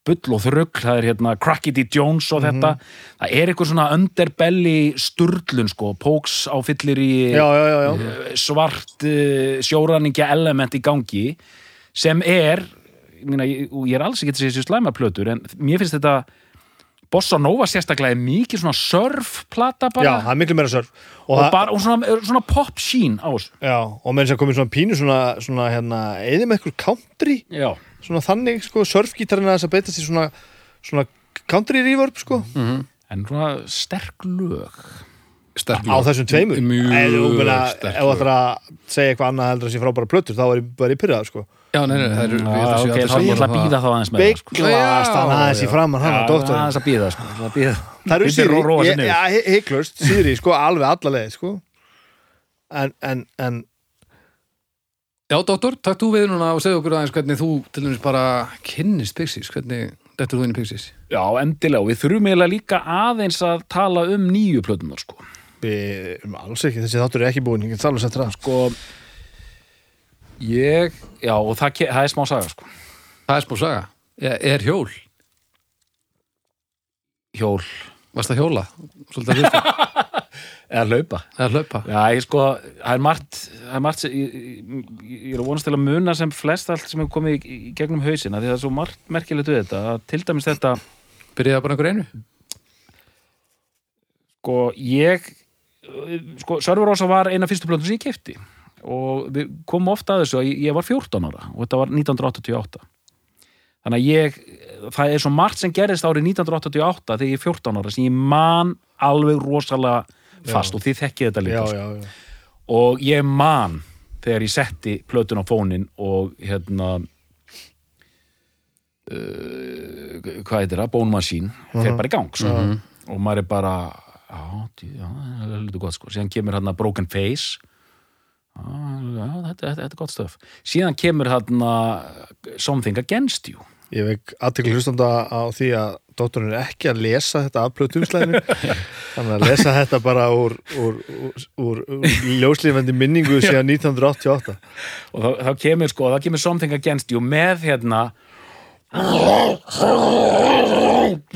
Speaker 3: bull og þrugl, það er hérna Crackity Jones og þetta, það er eitthvað svona underbelly sturlun sko, póks á fyllir í
Speaker 2: já, já, já, já.
Speaker 3: eh, svart uh, sjóræningja element í gangi sem er ég, meina, ég, og ég er alls ekki að segja þessi slæma plötur en mér finnst þetta Bossa Nova sérstaklega er mikið svona surfplata
Speaker 2: já,
Speaker 3: bara
Speaker 2: það er miklu meira sörf
Speaker 3: og,
Speaker 2: það-
Speaker 3: bara, og svona, svona pop sheen á þessu
Speaker 2: Já, og með þess að komið svona pínu svona, svona hérna, eða með eitthvað country
Speaker 3: Já,
Speaker 2: svona þannig, sko, surfgítarinn aðeins að beita sér svona, svona country reverb, sko,
Speaker 3: Mhm. en svona sterk lög
Speaker 1: Sterk
Speaker 2: á
Speaker 1: lög.
Speaker 2: þessum tveimur
Speaker 1: Mjög
Speaker 2: Ef þú meina,
Speaker 1: sterk
Speaker 2: ef þú
Speaker 1: lög.
Speaker 2: ætlar að segja eitthvað annað heldur að sé frábæra plötur, þá er ég bara í pyrrað, sko
Speaker 1: Já, nei, nei, það er
Speaker 3: Já, ok, þá ég
Speaker 1: um
Speaker 3: ætla að býða þá aðeins með um það, sko.
Speaker 2: Beiglast hann aðeins í framann hann
Speaker 3: Já,
Speaker 2: og
Speaker 3: það
Speaker 2: doktorinn
Speaker 3: er að býða, sko, það er að býða
Speaker 2: Það eru
Speaker 3: Bíddu, ró- róa sig
Speaker 2: síðri,
Speaker 3: niður.
Speaker 2: ja, heiklust, síðri, sko, alveg allalegið, sko En, en, en,
Speaker 1: Já, dóttor, takk þú við núna og segja okkur aðeins hvernig þú til dæmis bara kynnist Pixies, hvernig dettur þú inn í Pixies?
Speaker 3: Já, endilega, og við þurfum eiginlega líka aðeins að tala um nýju plötunar, sko
Speaker 2: við erum alls ekki, þessi þáttur er ekki búin, ég get alveg sett það, sko
Speaker 3: Sko, ég, já, og það, ke- það er smá saga, sko
Speaker 1: Það er smá saga. Er, er hjól?
Speaker 3: hjól
Speaker 1: Varst það hjóla? Svolítið að hlusta?
Speaker 3: eða laupa
Speaker 1: Eða hlaupa?
Speaker 3: Já, ég sko, það er margt, það er margt sem, ég, ég, ég er að vonast til að muna sem flest allt sem hefur komið í, í gegnum hausina því það er svo margt merkilegt við þetta að til dæmis þetta,
Speaker 1: Byrjaði bara einhver einu?
Speaker 3: sko, ég sko, Sörfurósa var eina fyrstu plöndum sem ég kefti og við komum ofta að þessu að ég, ég var 14 ára og þetta var 1988 þannig að ég, það er svo margt sem gerist árið 1988 þegar ég er 14 ára sem ég man alveg rosalega fast og þið þekkið þetta líka
Speaker 2: Já,
Speaker 3: sko.
Speaker 2: já, já
Speaker 3: og ég man þegar ég setti plötun á fónin og hérna uh, hvað heitir það, Bone Machine fer bara í gang svo. og maður er bara já, djú, já, það er lítið gott sko síðan kemur hérna Broken Face já, já, þetta, þetta, þetta er gott stöf síðan kemur hérna Something Against You
Speaker 2: Ég veik aðtekli hlustanda á því að dótturinn er ekki að lesa þetta af plötumslæðinu þannig að lesa þetta bara úr, úr, úr, úr, úr ljóslífandi minningu síðan 1988
Speaker 3: og þá, þá kemur sko, þá kemur Something Against You með hérna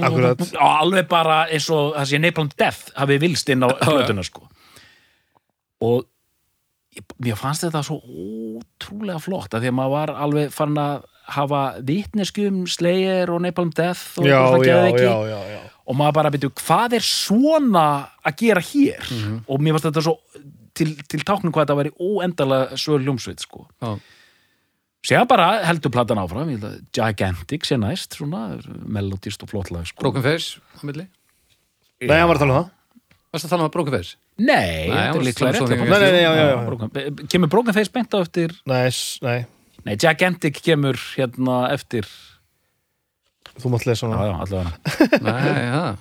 Speaker 2: Akkurat,
Speaker 3: og alveg bara eins og það sé Napalm Death hafi vilst inn á plötuna sko og ég, mér fannst þetta svo ótrúlega flott að því að maður var alveg farin að hafa vitneskjum, Slayer og Napalm Death og
Speaker 2: já,
Speaker 3: eitthvað svona
Speaker 2: já,
Speaker 3: geðveiki.
Speaker 2: já, já, já Mhm.
Speaker 3: og maður bara byrju, hvað er svona að gera hér og mér fannst þetta svo til, til táknum hvað þetta væri óendalega svör ljómsveit sko.
Speaker 1: Já.
Speaker 3: Sér bara heldur platan áfram, ég held að Gigantic sé næst, svona, melodist og flottlega sko.
Speaker 1: Broken Face á milli
Speaker 2: Nei, hann var að tala um það
Speaker 1: Varst að tala um að Broken Face?
Speaker 3: Nei,
Speaker 1: Nei,
Speaker 3: þetta
Speaker 1: hún
Speaker 3: er líklega
Speaker 1: sló- sló-
Speaker 3: rétt
Speaker 1: sló-
Speaker 2: Nei, nei, nei, já, já, já.
Speaker 3: Broken- be- Kemur Broken Face beint á eftir
Speaker 2: Nei, s- nei,
Speaker 3: Nei, Gigantic kemur hérna eftir
Speaker 2: þú mátt lesa
Speaker 3: Já,
Speaker 2: hana
Speaker 3: já, allavega
Speaker 1: Nei, það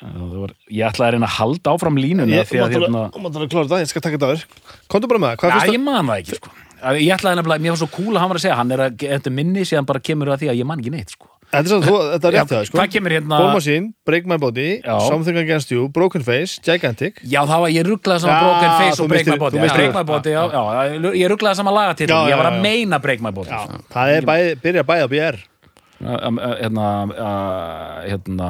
Speaker 3: Já, það var- Ég ætlaði að reyna að halda áfram línuna
Speaker 2: Ég- Þú
Speaker 3: því að
Speaker 2: mátt
Speaker 3: hérna
Speaker 2: alveg- þú mátt alveg klára þetta, ég skal taka þetta aður Komdu bara með það, hvað
Speaker 3: Já,
Speaker 2: finnst
Speaker 3: ég man það ekki, sko Að Ég ætlaði nefnilega, mér var svo cool að hann var að segja Hann er að, þetta minni, síðan bara kemur það því að ég man ekki neitt, sko
Speaker 2: það? Þetta er svo- þú- þetta er rétt það, sko
Speaker 3: Hvað kemur hérna
Speaker 2: Ball Machine, Break My Body,
Speaker 3: Já.
Speaker 2: Something Against You, Broken Face, Gigantic
Speaker 3: Já, það var ég rugglaði saman
Speaker 2: Já,
Speaker 3: Broken Face
Speaker 2: þú
Speaker 3: og Break My
Speaker 2: misstir-
Speaker 3: Body
Speaker 2: þú
Speaker 3: Já,
Speaker 2: misstir
Speaker 3: Break
Speaker 2: það.
Speaker 3: My Body, já, já, ég rugglaði saman lagatil
Speaker 2: Já, já,
Speaker 3: Ég var að
Speaker 2: já, já.
Speaker 3: meina Break My Body sko.
Speaker 2: Það er bæði, byrja bæði á BR
Speaker 3: Að- að- að- Hérna, að- hérna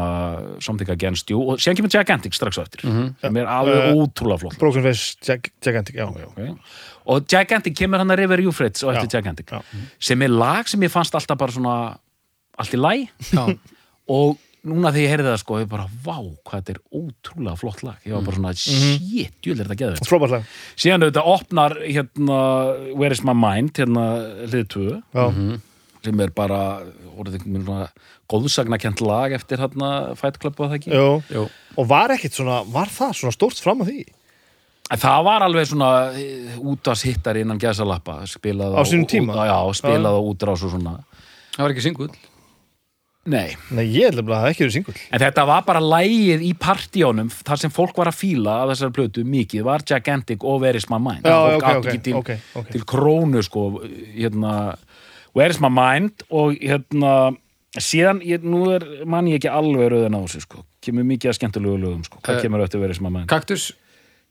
Speaker 3: Something Against You og síðan kemur Gigantic strax á eftir sem
Speaker 2: Eh,
Speaker 3: er alveg ótrúlega flott
Speaker 2: Broken Face, Gig- Gigantic, já, já
Speaker 3: okay. og Gigantic kemur hann að River Euphrates og eftir
Speaker 2: Já,
Speaker 3: Gigantic
Speaker 2: já.
Speaker 3: sem er lag sem ég fannst alltaf bara svona allt í læ og núna þegar ég heyrði það sko ég bara vá hvað þetta er ótrúlega flott lag ég var bara
Speaker 2: Mhm.
Speaker 3: svona shit, jú er þetta geður
Speaker 2: Frábært lag
Speaker 3: síðan auðvitað opnar hérna Where is my mind hérna hlið 2
Speaker 2: Já,
Speaker 3: sem er bara orðið einhvern veginn svona góðsagnakent lag eftir hérna Fight Club og það ekki
Speaker 2: jú
Speaker 1: Jú.
Speaker 2: Og var ekkit svona, var það svona stórt fram á því?
Speaker 3: En Það var alveg svona eh, útvarshittar innan gæðsalappa spilað
Speaker 2: Á sínum tíma?
Speaker 3: Já, spilað á útrás og svona
Speaker 1: Það var ekki singull
Speaker 3: Nei,
Speaker 2: Nei, ég held nefnilega að það ekki verið singull
Speaker 3: en þetta var bara lægið í partíónum þar sem fólk var að fíla af þessari plötu mikið var Gigantic og Where is my mind
Speaker 2: Já,
Speaker 3: fólk
Speaker 2: ok,
Speaker 3: átti
Speaker 2: ok,
Speaker 3: ekki til,
Speaker 2: ok, ok.
Speaker 3: til krónu sko, hérna Where is my mind og hérna síðan, ég, nú er mann ég ekki alveg rauðin á þessu sko, kemur mikið að skemmtilegu lögum sko,
Speaker 1: Eh,
Speaker 3: hvað kemur eftir Where is my mind
Speaker 1: Kaktus,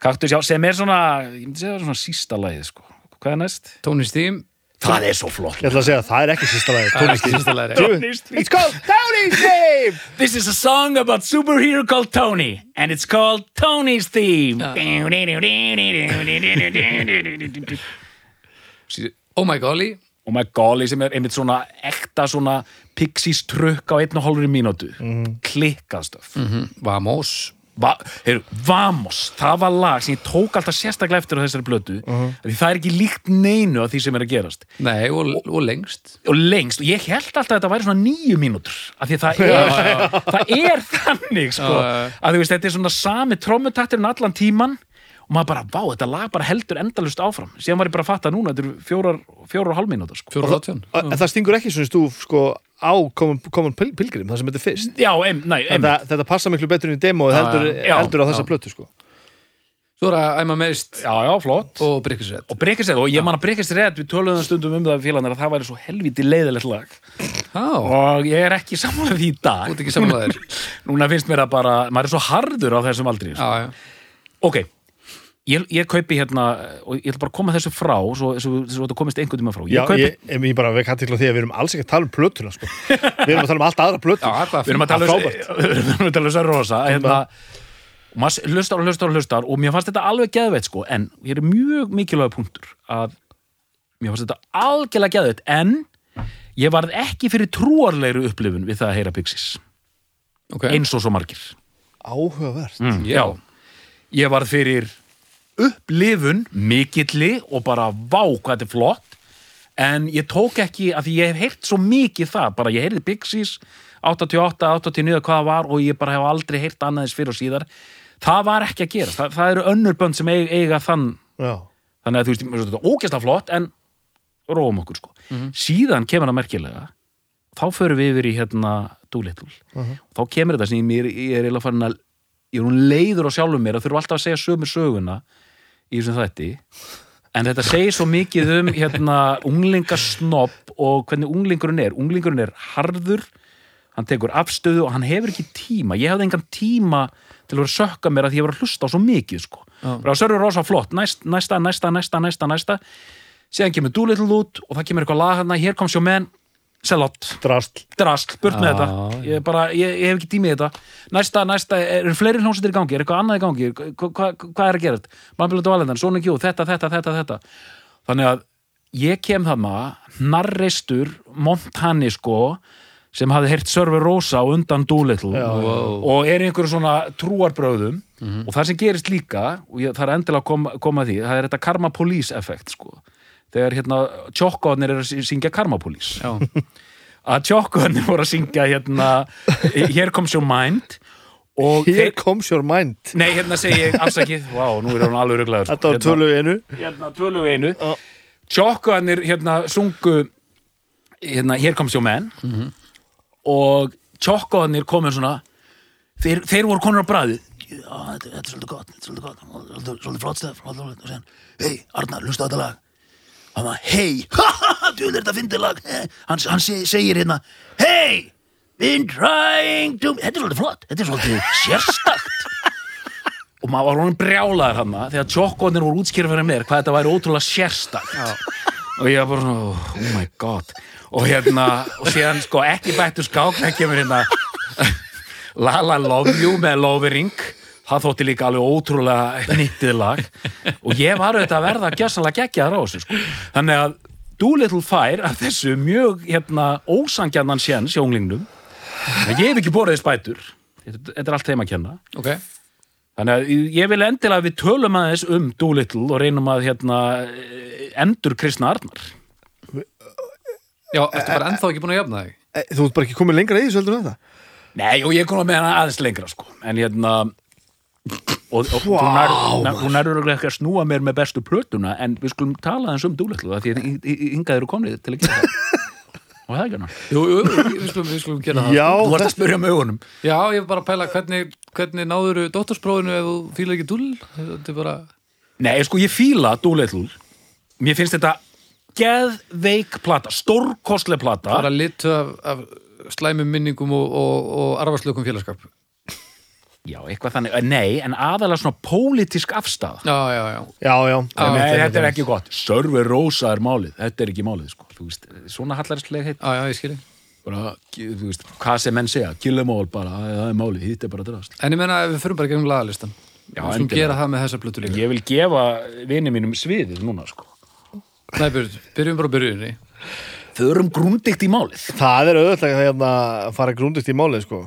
Speaker 3: Kaktus, já, sem er svona ég myndi segja það er svona sísta lægið sko hvað er næst?
Speaker 1: Tony Steam
Speaker 3: Það er svo flott
Speaker 2: Ég ætla að segja að það er ekki sísta lagi
Speaker 1: Tónlisti Þetta
Speaker 2: It's called Tony's Name
Speaker 3: This is a song about superhero called Tony and it's called Tony's Theme
Speaker 1: Oh my golly
Speaker 3: og maður góli sem er einmitt svona ekta svona pixies trukk á einn og hálfri mínútu klikkað stöf
Speaker 1: Mhm. Vamos
Speaker 3: Va heyrðu, Vamos, það var lag sem ég tók alltaf sérstaklega eftir á þessari blötu því það er ekki líkt neinu af því sem er að gerast
Speaker 1: Nei, og, og lengst
Speaker 3: og lengst, og ég held alltaf að þetta væri svona nýju mínútur af því að það er, það er þannig sko,
Speaker 1: Já, já, já.
Speaker 3: að þú veist, þetta er svona sami trommutakturinn allan tíman og maður bara, vá, þetta lag bara heldur endalust áfram síðan var ég bara að fatta að núna, þetta eru fjórar, fjórar og hálf mínútur sko.
Speaker 1: Fjóra hlutjón
Speaker 2: En það stingur ekki svona stúf sko á Common, common Pil- Pilgrim, það sem þetta er fyrst
Speaker 3: já, em, nei, em,
Speaker 2: þetta, þetta passa miklu betur inn í demóið heldur,
Speaker 3: já,
Speaker 2: heldur á þessa
Speaker 1: já.
Speaker 2: plötu sko
Speaker 1: Svo er að æma meðist
Speaker 3: já, já, flott
Speaker 1: og Brickisett
Speaker 3: og brekkist og ég man að brekkist rétt við töluðum stundum um það við félagarnir að það væri svo helviti leiðilegt lag
Speaker 1: Já,
Speaker 3: og ég er ekki sammála því í
Speaker 1: þú ert
Speaker 3: dag
Speaker 1: ekki saman að þér
Speaker 3: núna finnst mér að bara, maður er svo harður á þessum aldri sko.
Speaker 1: Já, já
Speaker 3: ok, ég, ég kaupi hérna og ég ætla bara að koma þessu frá svo, svo, svo þetta komist einhvern tíma frá ég
Speaker 2: Já,
Speaker 3: kaupi,
Speaker 2: ég, ég, ég bara vek hattikla því að við erum alls ekki að tala um plötuna sko. Við erum að tala um allt aðra plötu
Speaker 1: Já, hvað
Speaker 3: við erum að
Speaker 2: Það
Speaker 3: tala
Speaker 2: er
Speaker 3: um- við erum að tala um þess að rosa hérna, og maður hlustar og hlustar og hlustar og mér fannst þetta alveg geðveitt sko en hér er mjög mikilvæg punktur að mér fannst þetta algjörlega geðveitt en ég varð ekki fyrir trúarlegri upplifun við það að heyra Pixies
Speaker 1: Ok,
Speaker 3: eins og svo margir
Speaker 2: Áhugavert
Speaker 1: já
Speaker 3: Mm. ég varð fyrir upplifun mikilli og bara vá hvað þetta er flott en ég tók ekki, af því ég hef heyrt svo mikið það, bara ég heyrði Pixies 88, 89, hvað það var og ég bara hef aldrei heyrt annaðins fyrir og síðar það var ekki að gerast, Þa, það eru önnur bönd sem eiga, eiga þann,
Speaker 2: Já,
Speaker 3: þannig að þú veist mér finnst þetta ógeðslega flott en róum okkur sko, síðan kemur það merkilega þá förum við yfir í hérna Doolittle, þá kemur þetta sem ég, mér, ég er eiginlega farin að ég er hún leiður á sjálfum mér að þurfa alltaf að segja sömu söguna í þessum þætti en þetta segir svo mikið um hérna unglingasnopp og hvernig unglingurinn er, unglingurinn er harður hann tekur afstöðu og hann hefur ekki tíma, ég hafði engan tíma til að vera að sökka mér að því ég var að hlusta á svo mikið sko, bara sörur rosa flott næst, næsta, næsta, næsta, næsta, næsta síðan kemur Doolittle út og það kemur eitthvað lag hérna, hér kom sjó menn Selott,
Speaker 2: drasl
Speaker 3: drasl, burt með þetta ég, er bara, ég, ég hef ekki tími í þetta næsta, næsta, eru fleiri hljómsveitir í gangi er eitthvað annað í gangi, Hva- hva- hvað er að gera Bambilot og Valendan, Sonic Youth, þetta, þetta, þetta, þetta þannig að ég kem þarna narreistur, montani sko sem hafði heyrt Sörfi Rósa og undan Doolittle
Speaker 2: Já. Mhm.
Speaker 1: Wow.
Speaker 3: og er í einhverjum svona trúarbröðum og það sem gerist líka og ég, það er endilega að koma, koma að því það er þetta karma police effekt sko. þegar hérna tjokkóðnir eru að sy- syngja karma police
Speaker 1: Já,
Speaker 3: að tjokkóðnir voru að syngja hérna Here Comes Your Mind og
Speaker 2: Here
Speaker 3: þeir,
Speaker 2: comes your mind
Speaker 3: nei hérna segi ég afsakið, vá nú er hún alveg ruglaður sko.
Speaker 2: Þetta var
Speaker 3: Hérna-
Speaker 2: tölu einu
Speaker 3: hérna tvölu einu
Speaker 2: Já.
Speaker 3: tjokkaðanir hérna sungu hérna Here Comes Your Man og tjokkaðanir komið svona þeir, þeir voru konur á bræði
Speaker 4: þetta þetta er svolítið gott, þetta er svolítið gott, svolítið, svolítið flott stöð, svolítið flott stöð. Hei, Arnar, hlusta á þetta lag. Hann var, hei, ha, ha, ha, djúl er þetta fyndið lag. Eh, Hann, hann se- segir hérna, hei, been trying to, þetta er svolítið flott, þetta er svolítið sérstakt.
Speaker 3: og maður var honum brjálaður hann þegar tjokkaðanir voru útskýra fyrir mér hvað þetta væri ótrúlega sérstakt og ég var bara svona, oh my god og hérna, og síðan sko ekki bættur skák, það kemur hérna La La Love You með Lovering það þótti líka alveg ótrúlega nýttið lag og ég var auðvitað að verða gjössalega geggjaður á þessu sko. þannig að Doolittle fær af þessu mjög hérna, ósangjarnan séns í unglingnum en ég hef ekki borðið spætur þetta þetta er allt þeim að kenna
Speaker 1: ok
Speaker 3: þannig að ég vil endilega að við tölum aðeins um Doolittle og reynum að hérna, eh, endur Kristna Arnar
Speaker 1: Já, ertu bara ennþá ekki búin að jafna þig?
Speaker 2: E, Þú ert bara ekki komin lengra í þessu heldur en þetta
Speaker 3: Nei, og ég kom með hana aðeins lengra sko. en hérna og, og wow. hún, er, na- hún er örugglega ekki að snúa mér með bestu plötuna en við skulum tala aðeins um dúletlu því að yngað eru komnið til að gera það og það er ekki hann
Speaker 1: Jú, jú, við skulum, við skulum gera það
Speaker 2: Já,
Speaker 3: Þú ert að
Speaker 2: þetta
Speaker 3: spyrja með augunum
Speaker 1: Já, ég var bara að pæla hvernig, hvernig náður dóttorsprófinu ef þú fýlar ekki dúll Þetta er bara,
Speaker 3: Nei, sko, ég fíla dúletlu Mér finnst þetta geðveik plata, stórkostleg plata
Speaker 1: bara litu af, af slæmum minningum og, og, og arfarslökum félagskap
Speaker 3: Já, eitthvað þannig, nei, en aðalega svona pólitísk afstæða
Speaker 1: Já, já, já
Speaker 2: Já, já
Speaker 1: Já,
Speaker 3: Nei,
Speaker 2: Einmitt,
Speaker 3: þetta er
Speaker 2: einmitt.
Speaker 3: ekki gott Sörfi Rósa er málið, þetta er ekki málið sko. Þú veist, svona hallarslega heitt
Speaker 1: Já, já, ég skilji
Speaker 3: bara, þú veist, hvað sem menn segja killemál bara, það er málið, hitt er bara drast
Speaker 1: En ég menna, við förum bara gegnum lagalistan Við
Speaker 3: Já,
Speaker 1: skulum
Speaker 3: endilega.
Speaker 1: gera það með þessa plötu líka
Speaker 3: ég vil gefa vini mínum sviðið núna sko.
Speaker 1: Nei, byrjum, byrjum bara á byrjunni
Speaker 3: þau eru um grúndikt í málið
Speaker 2: Það er auðvitað að hérna, fara grúndist í málið sko.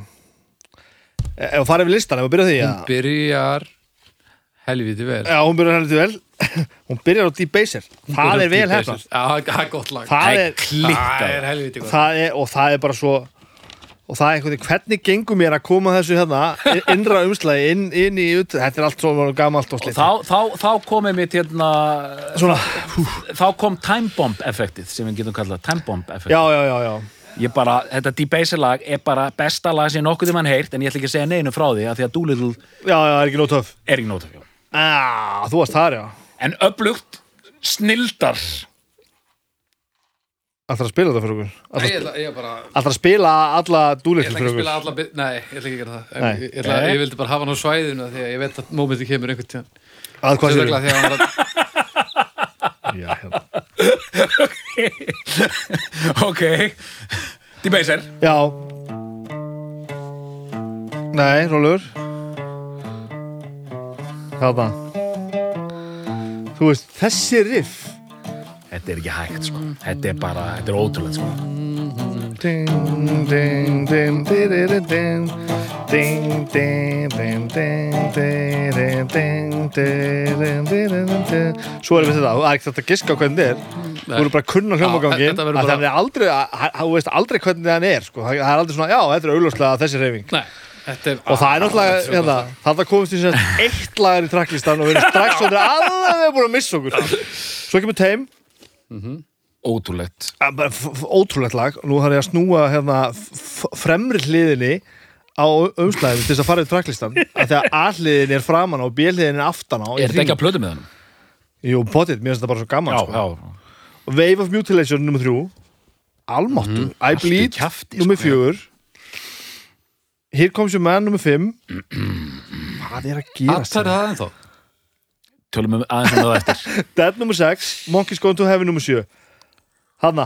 Speaker 2: E- Ef að fara yfir listan, ef að byrja á því
Speaker 1: Hún
Speaker 2: að-
Speaker 1: byrjar helviti vel
Speaker 2: Já, hún byrjar heldur vel Hún byrjar á Deep Baser Það er vel hérna
Speaker 1: Já, það er gott lag
Speaker 2: Það er-
Speaker 3: Það er klikkað.
Speaker 1: Það er helviti gott
Speaker 2: það er, og það er bara svo og það er einhvern veginn, hvernig gengur mér að koma þessu hérna, innra umslagi inn, inn í, ut- þetta er allt svona gamalt og
Speaker 3: og
Speaker 2: slitt
Speaker 3: þá, þá, þá komið mitt hérna
Speaker 2: svona,
Speaker 3: þá kom timebomb effektið sem við getum kallað timebomb
Speaker 2: já,
Speaker 3: effektið
Speaker 2: já, já, já
Speaker 3: ég bara, þetta Debaser lag er bara besta lag sem nokkuð um hann heyrt en ég ætla ekki að segja neinu frá því að því að Doolittle
Speaker 2: já, já, það er ekki nóg töf
Speaker 3: er ekki nótafjó
Speaker 2: ah, þú varst þar, já,
Speaker 3: en öflugt snildar
Speaker 2: alltaf að spila þetta fyrir okkur
Speaker 1: Nei,
Speaker 2: alltaf,
Speaker 1: ég ætla, ég bara
Speaker 2: alltaf að spila alla
Speaker 1: Ég
Speaker 2: dúlitlu
Speaker 1: ætla ekki
Speaker 2: fyrir
Speaker 1: að
Speaker 2: okkur
Speaker 1: spila alla bit, nei, ég ætla ekki að gera það
Speaker 2: Nei.
Speaker 1: ég, ég, ætla,
Speaker 3: Nei.
Speaker 1: ég vildi bara hafa hann á svæðinu því að ég veit að mómenti kemur einhvern tíðan
Speaker 2: að hvað sér
Speaker 1: Sérstaklega þegar hann var að,
Speaker 2: já, hérna.
Speaker 3: ok Debaser
Speaker 2: já nei, rólur þarna þú veist, þessi riff
Speaker 3: Þetta er ekki hægt, sko. Þetta er bara, þetta er ótrúlega, sko.
Speaker 2: Ding, ding, ding, di-di-di-ding. Ding, ding, ding, ding, di-di-ding, di-di-ding, di-di-ding. Svo erum við þetta, það er ekki þetta að giska á hvernig þetta er Þú eru bara að kunna
Speaker 1: Já,
Speaker 2: hljómagangin
Speaker 1: þetta verður
Speaker 2: að
Speaker 1: bara-
Speaker 2: Það er aldrei, að- að- þú veist aldrei hvernig hann er sko. Það það er aldrei svona, já, þetta er augljóslega þessi reyfing
Speaker 1: nei, þetta er
Speaker 2: Og það er náttúrulega,
Speaker 1: þetta
Speaker 2: hérna, þetta komist í sem sagt eitt lagar í tracklistan og við erum strax og alveg búin að missa okkur Svo kemur Tame,
Speaker 3: Ótrúlegt.
Speaker 2: Ja, Ah, bara f- f- ótrúlegt lag nú þarf ég að snúa hérna, f- f- fremri hliðinni á umslæðinu til þess að fara við tracklistan af því að A-hliðin er framan á og B-hliðin er aftan á í
Speaker 3: Er þetta
Speaker 2: hring.
Speaker 3: ekki að plötu með hann?
Speaker 2: Jú, potið, mér finnst þetta bara svo gaman sko.
Speaker 3: já.
Speaker 2: Wave of Mutilation nr. 3 Almáttu, I Bleed
Speaker 3: Mhm. kjafti, sko,
Speaker 2: nr. 4 Here Comes Your Man nr. 5 Hvað er að gera
Speaker 1: Allt er það ennþá
Speaker 3: Tölum við aðeins um það eftir.
Speaker 2: Dead nr. 6, Monkey's Going to Heaven nr. 7 Hanna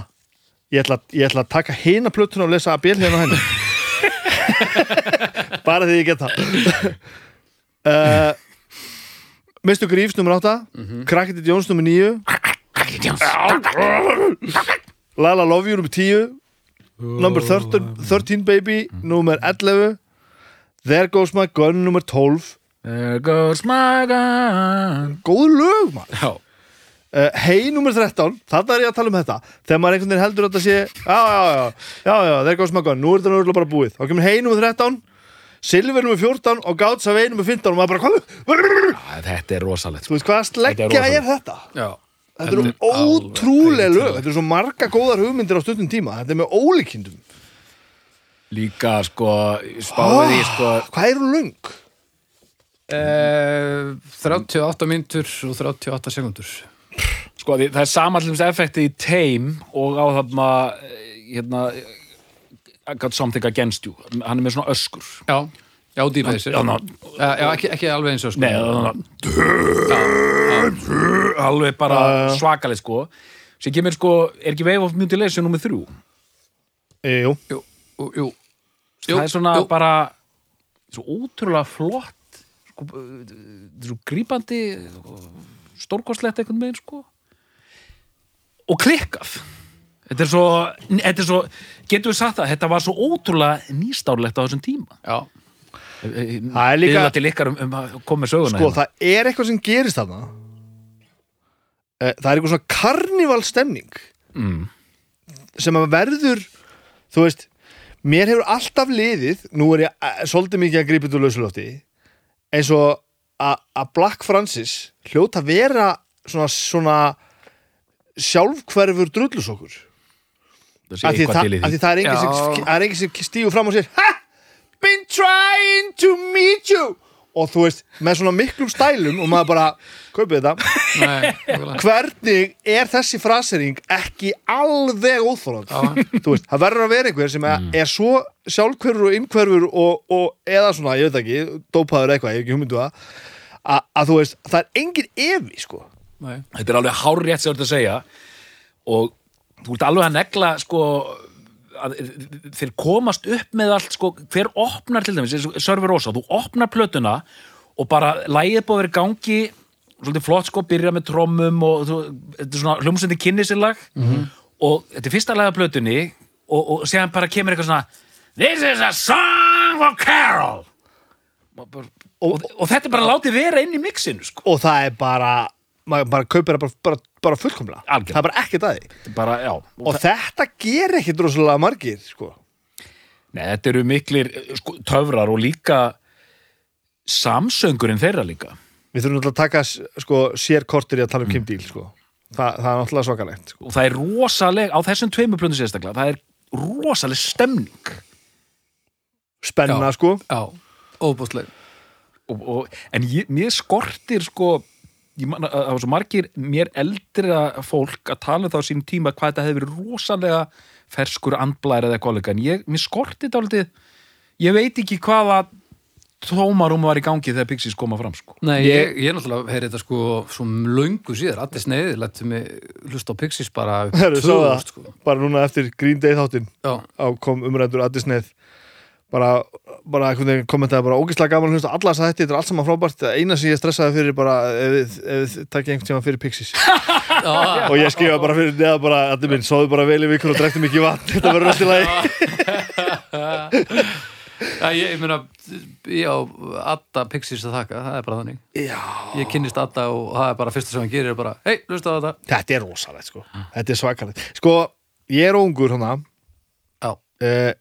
Speaker 2: ég ætla, ég ætla að taka hina plötuna og lesa að bjöldin hérna á henni bara því ég get það uh, Mr. Greaves nr. 8 mm -hmm. Cracket Jones nr. 9
Speaker 3: Já.
Speaker 2: Lala Love You nr. 10 number 13, 13 baby nummer 11 There goes my gun nummer 12
Speaker 3: There goes my gun
Speaker 2: góð lög maður
Speaker 3: Já,
Speaker 2: uh, Hey nummer 13, þarna er ég að tala um þetta þegar maður einhvern veginn heldur að þetta sé já já já, já já, there goes my gun nú er þetta náttúrulega bara búið, þá kemur hey nummer 13 Silver nummer 14 og Gáts af 1 nummer 15 og maður bara hvað
Speaker 3: Æ, þetta er rosalegt sko.
Speaker 2: þú veist hvað sleggja
Speaker 3: Þetta er
Speaker 2: er,
Speaker 3: rosalegt.
Speaker 2: þetta
Speaker 1: Já.
Speaker 2: þetta eru
Speaker 1: er alveg
Speaker 2: ótrúlega
Speaker 1: heiltala.
Speaker 2: lög þetta eru svo marga góðar hugmyndir á stundum tíma þetta er með ólíkindum
Speaker 3: Líka sko, spáði því sko
Speaker 2: Ah, hvað eru löng?
Speaker 1: Eh, 38 myndur og 38 sekundur
Speaker 3: Sko, því, það er sama allins effektið í Tame og á þarna eh, hérna I got something against you hann er með svona öskur
Speaker 1: Já, já, dýpa þessi
Speaker 3: Já,
Speaker 1: Já,
Speaker 3: ná.
Speaker 1: ekki, ekki alveg eins og sko
Speaker 3: Nei, þarna, alveg bara svakaleg sko sem kemur sko, er ekki Wave of Mutilation nummið þrjú
Speaker 2: E, jú,
Speaker 1: Jú, jú, jú
Speaker 3: það er svona
Speaker 1: jú.
Speaker 3: bara svo ótrúlega flott sko, eh, svo grípandi stórkostlegt einhvern veginn sko og klikkað þetta er svo, þetta er svo getur við sagt það, þetta var svo ótrúlega nýstárlegt á þessum tíma
Speaker 1: Já,
Speaker 2: það er líka
Speaker 3: Líka, til ykkar um, um að koma með söguna
Speaker 2: sko
Speaker 3: hérna.
Speaker 2: það er eitthvað sem gerist þarna Eh, það er eitthvað svona karnival stemning mm. sem að verður þú veist, mér hefur alltaf liðið, nú er ég eh, svolítið mikið að grípa út úr lausulótti eins og að að Black Francis hljóta að vera svona, svona sjálfhverfur drullusokkur
Speaker 3: það sé
Speaker 2: af því,
Speaker 3: eitthvað
Speaker 2: það,
Speaker 3: til í
Speaker 2: af
Speaker 3: því
Speaker 2: því það er engin sem,
Speaker 1: Já.
Speaker 2: það er engin sem stígur fram og sér Ha! Been trying to meet you Og þú veist, með svona miklum stælum Og maður bara, kaupið þetta
Speaker 1: nei, nákvæmlega.
Speaker 2: Hvernig er þessi frasering ekki alveg óþólandi? Þú veist, það verður að vera einhver sem
Speaker 3: Mm.
Speaker 2: er svo sjálfhverfur og innhverfur og, og eða svona, ég veit ekki, dópaður eitthvað, ég hef ekki hugmyndu að að að þú veist, það er engin evi, sko
Speaker 1: nei
Speaker 3: þetta er alveg hárrétt sem þú ert að segja og þú ert alveg að negla sko að, þeir komast upp með allt sko, hver opnar til dæmis, eins og Sörfi Rósa, þú opnar plötuna og bara lægið búið að vera í gangi svolítið flott sko, byrja með trommum og þú, þetta er svona hljómsveiti kynni sér lag og þetta er fyrsta lagið af plötunni og, og séðan bara kemur eitthvað svona This is a song of Carol og, bara- og, og þetta er bara látið vera inn í mixinu sko
Speaker 2: Og það er bara, maður bara kaupir það bara, bara, bara fullkomlega
Speaker 3: Algjörlega.
Speaker 2: Það er bara ekkert að því
Speaker 3: bara, já, og
Speaker 2: og þetta ger ekki drosalega margir sko.
Speaker 3: Nei, þetta eru miklir eh, sko, töfrar og líka samsöngurinn þeirra líka.
Speaker 2: við þurfum náttúrulega að taka s- sko, sér kortir í að tala um Kim Deal sko. Þa, það er náttúrulega svakalegt sko.
Speaker 3: Og það er rosaleg, á þessum tveimur plöndum sérstaklega, það er rosaleg stemning.
Speaker 2: spenna sko
Speaker 1: Já, óbústleg
Speaker 3: Og, og, en ég, mér skortir sko, ég man að að það var svo margir mér eldra fólk að tala um það á sínum tíma hvað þetta hefði verið rosalega ferskur andblær eða kollega. En ég, mér skortir dálítið, ég veit ekki hvaða tómarum var í gangi þegar Pixies koma fram sko.
Speaker 1: Nei, ég, ég náttúrulega heyri þetta sko svo löngu síðar, allir sneiðið lættu mig hlusta á Pixies bara upp
Speaker 2: Heru, svo
Speaker 1: 2000,
Speaker 2: það, bara núna eftir Green Day þáttin
Speaker 1: Já,
Speaker 2: á kom umrættur aðdisneið bara, bara einhvern veginn kommentaði bara ógislega gaman hlust alla þess að þetta, þetta er allt saman frábært Það eina sem ég stressaði fyrir bara ef þið- ef þið takkja einhvern tíma fyrir Pixies og ég skrifa bara fyrir neða bara allir minn, sóðu bara vel í vikur og drektum ekki vatn þetta verður allt í lagi
Speaker 1: já ég, ég meina ég á Adda Pixies að þakka, það er bara þannig
Speaker 2: Já.
Speaker 1: Ég kynnist Adda og það er bara fyrsta sem hann gerir er bara, hei, hlusta á þetta
Speaker 2: þetta er rosalegt sko þetta er svakalegt sko, ég er óungur hana
Speaker 1: Já,
Speaker 2: uh,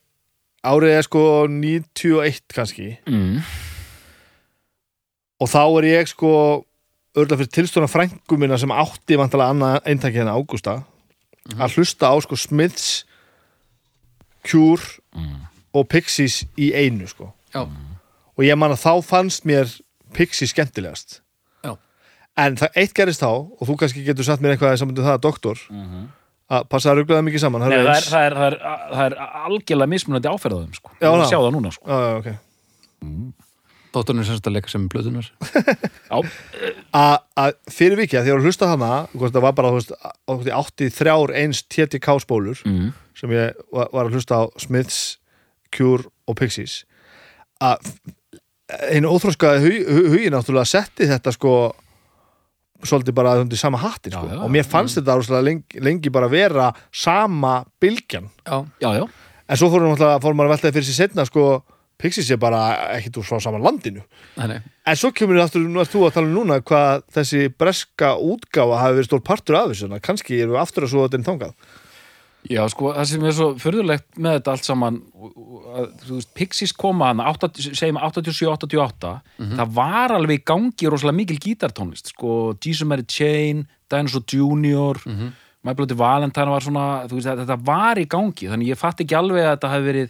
Speaker 2: árið er sko 91 kannski
Speaker 3: Mm.
Speaker 2: og þá er ég sko örgulega fyrir tilstóna frængu minna sem átti vantalega annað eintakið hennar Ágústa að hlusta á sko Smiths Cure og Pixies í einu sko
Speaker 1: já,
Speaker 2: og ég man að þá fannst mér Pixies skemmtilegast
Speaker 1: já
Speaker 2: en það eitt gerist þá og þú kannski getur sagt mér eitthvað í sambandi við það að doktor að passa að rugglaða mikið saman
Speaker 3: Mhm. Nei,
Speaker 2: eru
Speaker 3: það, er,
Speaker 2: eins.
Speaker 3: það, er, það, er, það er algjörlega mismunandi áferðaðum sko.
Speaker 2: Já,
Speaker 3: Ég
Speaker 2: já.
Speaker 3: sjá það núna sko.
Speaker 2: Já, já, ok.
Speaker 1: Dótturinn er semst að leika sem blöðunar
Speaker 3: já,
Speaker 2: að að fyrir vikið, þegar ég var að hlusta hana hvort það var bara, þú veist, á- hvort ég átti þrjár eins TTK spólur mm. sem ég var, var að hlusta á Smiths Cure og Pixies að einu óþróskaði hugi, hugi náttúrulega setti þetta sko svolítið bara undir sama hattin sko.
Speaker 3: Já, já,
Speaker 2: og mér fannst þetta árslega lengi, lengi bara vera sama bylgjan
Speaker 1: Já,
Speaker 3: já, já.
Speaker 2: en svo fórum náttúrulega fórum maður að veltaði fyrir sér setna sko, Pixies er bara ekkit úr frá saman landinu
Speaker 1: Nei, nei.
Speaker 2: en svo kemur við aftur, nú ert þú að tala um núna hvað þessi breska útgáfa hafi verið stór partur af þessu, þannig að kannski erum við aftur að svo þetta en þangað
Speaker 3: Já, sko, það sem er svo furðulegt með þetta allt saman að, þú veist, Pixies koma hana 80 segjum 87-88 það var alveg í gangi rosalega mikil gítartónlist sko, Jesus Mary Chain Dinosaur Junior mm -hmm. My Bloody Valentine var svona, þú veist, þetta- þetta var í gangi þannig ég fatt ekki alveg að þetta hafi verið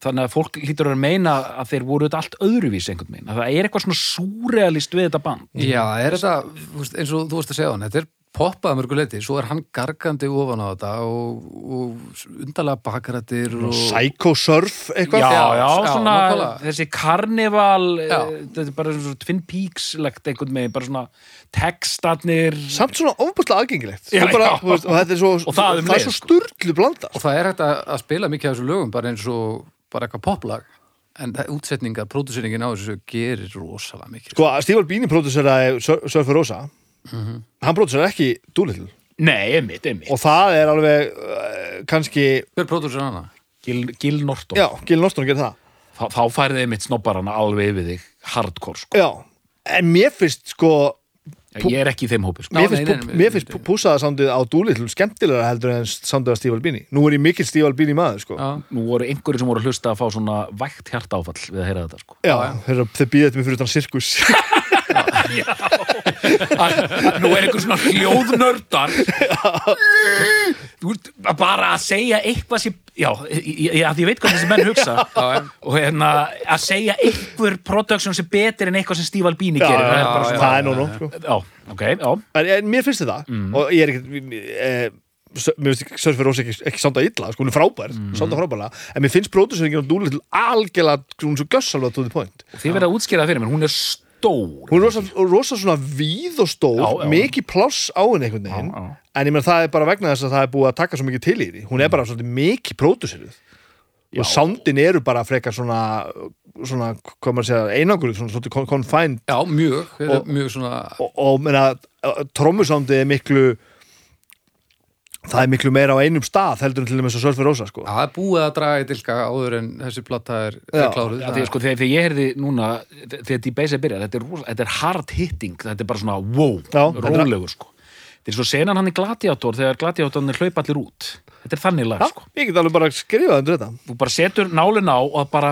Speaker 3: þannig að fólk hlýtur að meina að þeir voru þetta allt öðruvís einhvern veginn að það er eitthvað svona súrealist við þetta band
Speaker 1: Já, er þetta, þú veist, eins og þú veist að segja hann, þetta er poppað að mörgu leiti, svo er hann gargandi ofan á þetta og, og undarlega bakarættir og...
Speaker 2: Psychosurf eitthvað
Speaker 3: já, já,
Speaker 1: Já, já,
Speaker 3: svona
Speaker 1: nákvæmlega.
Speaker 3: þessi karnival eh,
Speaker 1: Já.
Speaker 3: þetta er bara svona Twin Peaks-legt einhvern veginn, bara svona textarnir
Speaker 2: samt svona ofbúslega aðgengilegt
Speaker 3: Já,
Speaker 2: Svo bara,
Speaker 3: já.
Speaker 2: þú Veist, og þetta er svo,
Speaker 3: Og það um
Speaker 2: það
Speaker 3: leið,
Speaker 2: er svo sturglu blanda
Speaker 1: Og það er hægt að, að spila mikið af þessu lögum, bara eins og bara eitthvað poplag, en það, útsetninga, pródusýringin á þessu gerir rosalega mikið.
Speaker 2: sko, Steve Albini próduseraði Sur- Surfer Rosa hann próduseraði ekki Doolittle
Speaker 3: nei, einmitt, einmitt
Speaker 2: og það er alveg uh, kannski,
Speaker 1: Hver pródusýr hana?
Speaker 3: Gil, Gil Norton,
Speaker 2: já, Gil Norton gerir það
Speaker 3: þá, þá færði einmitt snobbarana alveg yfir þig, hardcore sko.
Speaker 2: já, en mér finnst sko
Speaker 3: ég er ekki í þeim hópi sko.
Speaker 1: Já,
Speaker 2: mér
Speaker 1: nei, nei,
Speaker 2: finnst,
Speaker 1: nei,
Speaker 2: pú-
Speaker 1: nei,
Speaker 2: mér finnst
Speaker 1: nei, nei.
Speaker 2: púsaða sándið á Doolittle skemmtilega heldur en sándið á Steve Albini nú er ég mikill Steve Albini maður sko já,
Speaker 1: Já.
Speaker 3: nú voru einhverjir sem voru að hlusta að fá svona vægt hjarta áfall við að heyra þetta sko.
Speaker 2: þeir, þeir býða þetta mér fyrir utan sirkus
Speaker 3: nú er einhver svona hljóðnördar Þú ert bara að segja eitthvað sem já, ég, ég, að ég veit hvað þessi menn hugsa
Speaker 1: já.
Speaker 3: og hérna að segja einhver production sem betur en eitthvað sem Steve Albini
Speaker 2: já,
Speaker 3: gerir
Speaker 2: já,
Speaker 3: það er bara
Speaker 1: já,
Speaker 3: svona
Speaker 2: það er nú nú sko.
Speaker 3: Já, ok, já,
Speaker 2: en, en mér finnst þetta
Speaker 3: Mhm.
Speaker 2: og ég er ekkert eh, s- mér finnst Surfer Rose ekki, ekki sonda illa sko, hún er frábær,
Speaker 3: Mhm.
Speaker 2: mm. sonda frábærlega en mér finnst pródusöringin á Doolittle algjörlega hún er svo gössalvað to the point
Speaker 3: þið verða að útskýra það fyrir mér, hún er stór
Speaker 2: hún er rosa, rosa svona víð og stór
Speaker 3: Já, já.
Speaker 2: mikið pláss á henni einhvern veginn
Speaker 3: Já, Mhm. já.
Speaker 2: en ég menn það er bara vegna þess að það er búið að taka svo mikið til í því hún er bara svolítið mikið pródusöruð og soundin eru bara frekar svona svona, hvað maður segja, einangur svona svolítið con- confined
Speaker 1: Já, mjög, þetta er
Speaker 2: Og-
Speaker 1: mjög svona...
Speaker 2: og, og meina, trommusándið er miklu það er miklu meira á einum stað heldur en til þess að Surfer Rosa sko.
Speaker 1: Já, Það er búið að draga í dilka áður en þessi platta er, er
Speaker 2: Já.
Speaker 1: kláruð.
Speaker 3: Þegar, sko, þegar, þegar ég heyrði núna þegar D-Base er byrjað, þetta er, rosa- þetta er hard hitting þetta er bara svona wow,
Speaker 2: Já.
Speaker 3: rólegur sko. þetta er svo senan hann í Gladiator þegar Gladiatornir hlaupa allir út þetta er þannig lag,
Speaker 2: Já,
Speaker 3: sko
Speaker 2: ég get alveg bara skrifað undir þetta
Speaker 3: þú bara setur nálin á og það bara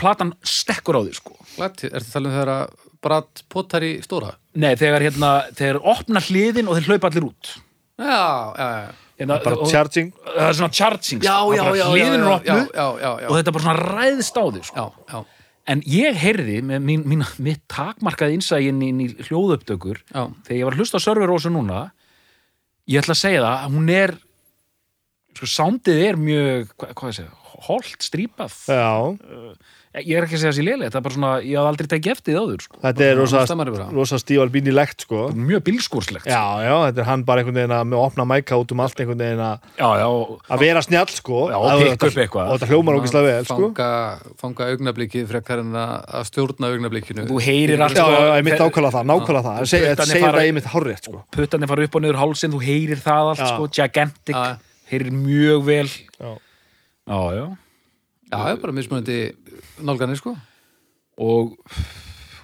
Speaker 3: platan stekkur á því, sko
Speaker 1: Glætt, ertu að tala um þegar að Brad Potter í stóra?
Speaker 3: Nei, þegar hérna, þegar opna hliðin og þeir hlaupa allir út
Speaker 1: Já, já, já.
Speaker 3: hérna,
Speaker 2: bara
Speaker 3: og-
Speaker 2: charging
Speaker 3: Það er svona charging
Speaker 1: Já,
Speaker 3: sko.
Speaker 1: já,
Speaker 3: Bara
Speaker 1: já, já,
Speaker 3: Hliðin er
Speaker 1: já,
Speaker 3: opnuð
Speaker 1: já, já, já.
Speaker 3: og þetta er bara svona ræðst á því sko.
Speaker 1: Já, já,
Speaker 3: En ég heyrði, með mín, mín, mitt takmarkaði innsægin inn í hljóðupptökur
Speaker 1: Já.
Speaker 3: þegar ég var að hlusta á Sörver Rósu núna ég ætla að segja það, að hún er sko, soundið er mjög hvað, hvað ég segja, holt, strípað
Speaker 2: Já,
Speaker 3: Ég er ekki að segja þessi lélega, það er bara svona ég haf aldrei tekið eftir því áður, sko.
Speaker 2: þetta er rosa,
Speaker 1: hún stammar yfir það.
Speaker 2: rosa Steve Albini legt sko.
Speaker 3: Mjög bílskúrslegt
Speaker 2: Já, já, þetta er hann bara einhvern veginn að með að opna mæka út um allt einhvern veginn að
Speaker 3: já, já, og-
Speaker 2: að vera snjall sko
Speaker 3: Já, og
Speaker 2: Að-
Speaker 3: pikka upp
Speaker 2: þetta-
Speaker 3: eitthvað.
Speaker 2: Og þetta hljómar ógislega vel sko
Speaker 1: Fanga, fanga augnablikið frekar en að að stjórna augnablikinu.
Speaker 3: þú heyrir allt
Speaker 2: Já, já, já, ég
Speaker 3: þeir-
Speaker 2: mitt ákvæða það, nákvæða það Seg-
Speaker 3: Puttarnir
Speaker 2: Þetta segir
Speaker 3: fara-
Speaker 2: það ég mitt hárrétt sko
Speaker 3: puttarnir fara upp og niður hálsinn, þú heyrir það allt,
Speaker 2: Já.
Speaker 3: sko, gigantic,
Speaker 1: Já.
Speaker 3: heyrir mjög vel.
Speaker 2: Já.
Speaker 3: Já, já.
Speaker 1: Já, það er bara mismunandi nálganir, sko.
Speaker 3: Og,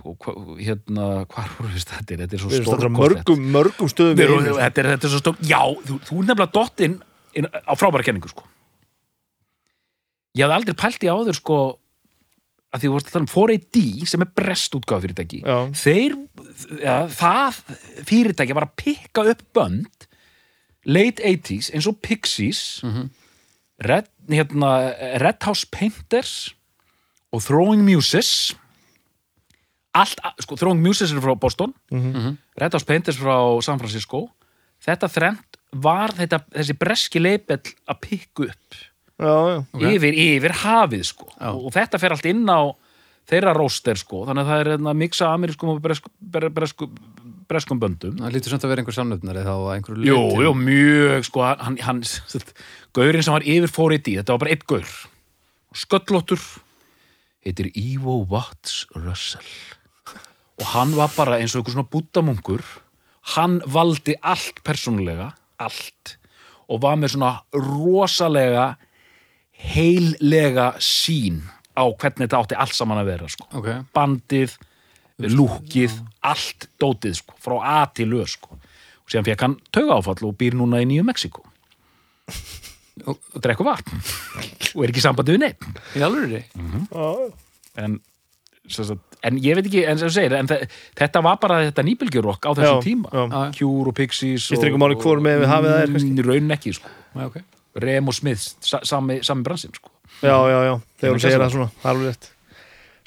Speaker 3: og hva, hérna, hvar voru við stættir? Þetta er svo
Speaker 2: Við erum stættur á
Speaker 3: stórkostlegt.
Speaker 2: mörgum, mörgum stöðum í
Speaker 3: Við erum-
Speaker 2: einu, sko.
Speaker 3: Þetta er, þetta er svo stór, já, þú, þú er nefnilega dottinn inn á frábæra kenningu, sko. Ég hafði aldrei pælt í áður, sko, að því þú vorst að tala um 4AD sem er brest útgáð fyrirtæki.
Speaker 2: Já.
Speaker 3: Þeir, ja, það fyrirtæki var að pikka upp bönd late 80s eins og Pixies Red, hérna, Red House Painters og Throwing Muses allt, sko, Throwing Muses er frá Boston Red House Painters frá San Francisco þetta þrennt var þetta, þessi breski leipell að pikka upp
Speaker 2: Já, já
Speaker 3: yfir, yfir hafið sko.
Speaker 1: Já.
Speaker 3: og þetta fer allt inn á þeirra róster sko. þannig að það er hérna, miksa amerískum og bresk, bre, bresku, breskum böndum
Speaker 1: Það lítur samt að vera einhver samnöfnari þá að einhverju
Speaker 3: Jú,
Speaker 1: leyti.
Speaker 3: jú, mjög sko, hann, hann gaurinn sem var yfir fórið í, þetta var bara einn gaur sköllóttur heitir Ivo Watts Russell og hann var bara eins og einhver svona búttamungur hann valdi allt persónulega allt og var með svona rosalega heillega sín á hvernig þetta átti allt saman að vera sko.
Speaker 1: Ok.
Speaker 3: bandið, lúkið allt dótið sko, frá A til Ö sko. og síðan fekk hann tauga áfall og býr núna í Nýju Mexiko og, og drekku vatn og er ekki í sambandi við neitt
Speaker 1: Í alvöru?
Speaker 3: en, sem sagt, en ég veit ekki, en sem þú segir en þe- þetta var bara þetta nýbylgjurokk á þessum
Speaker 2: Já,
Speaker 3: tíma
Speaker 2: já.
Speaker 1: Já, já.
Speaker 3: Cure og Pixies
Speaker 2: Skiptir engu máli hvor megin við hafið það er, kannski?
Speaker 3: Raun ekki, sko
Speaker 1: Já, ok.
Speaker 3: Rem og Smith, sa- sami, sami bransinn sko.
Speaker 2: já, já, já, þegar hún segir það svona það er alveg rétt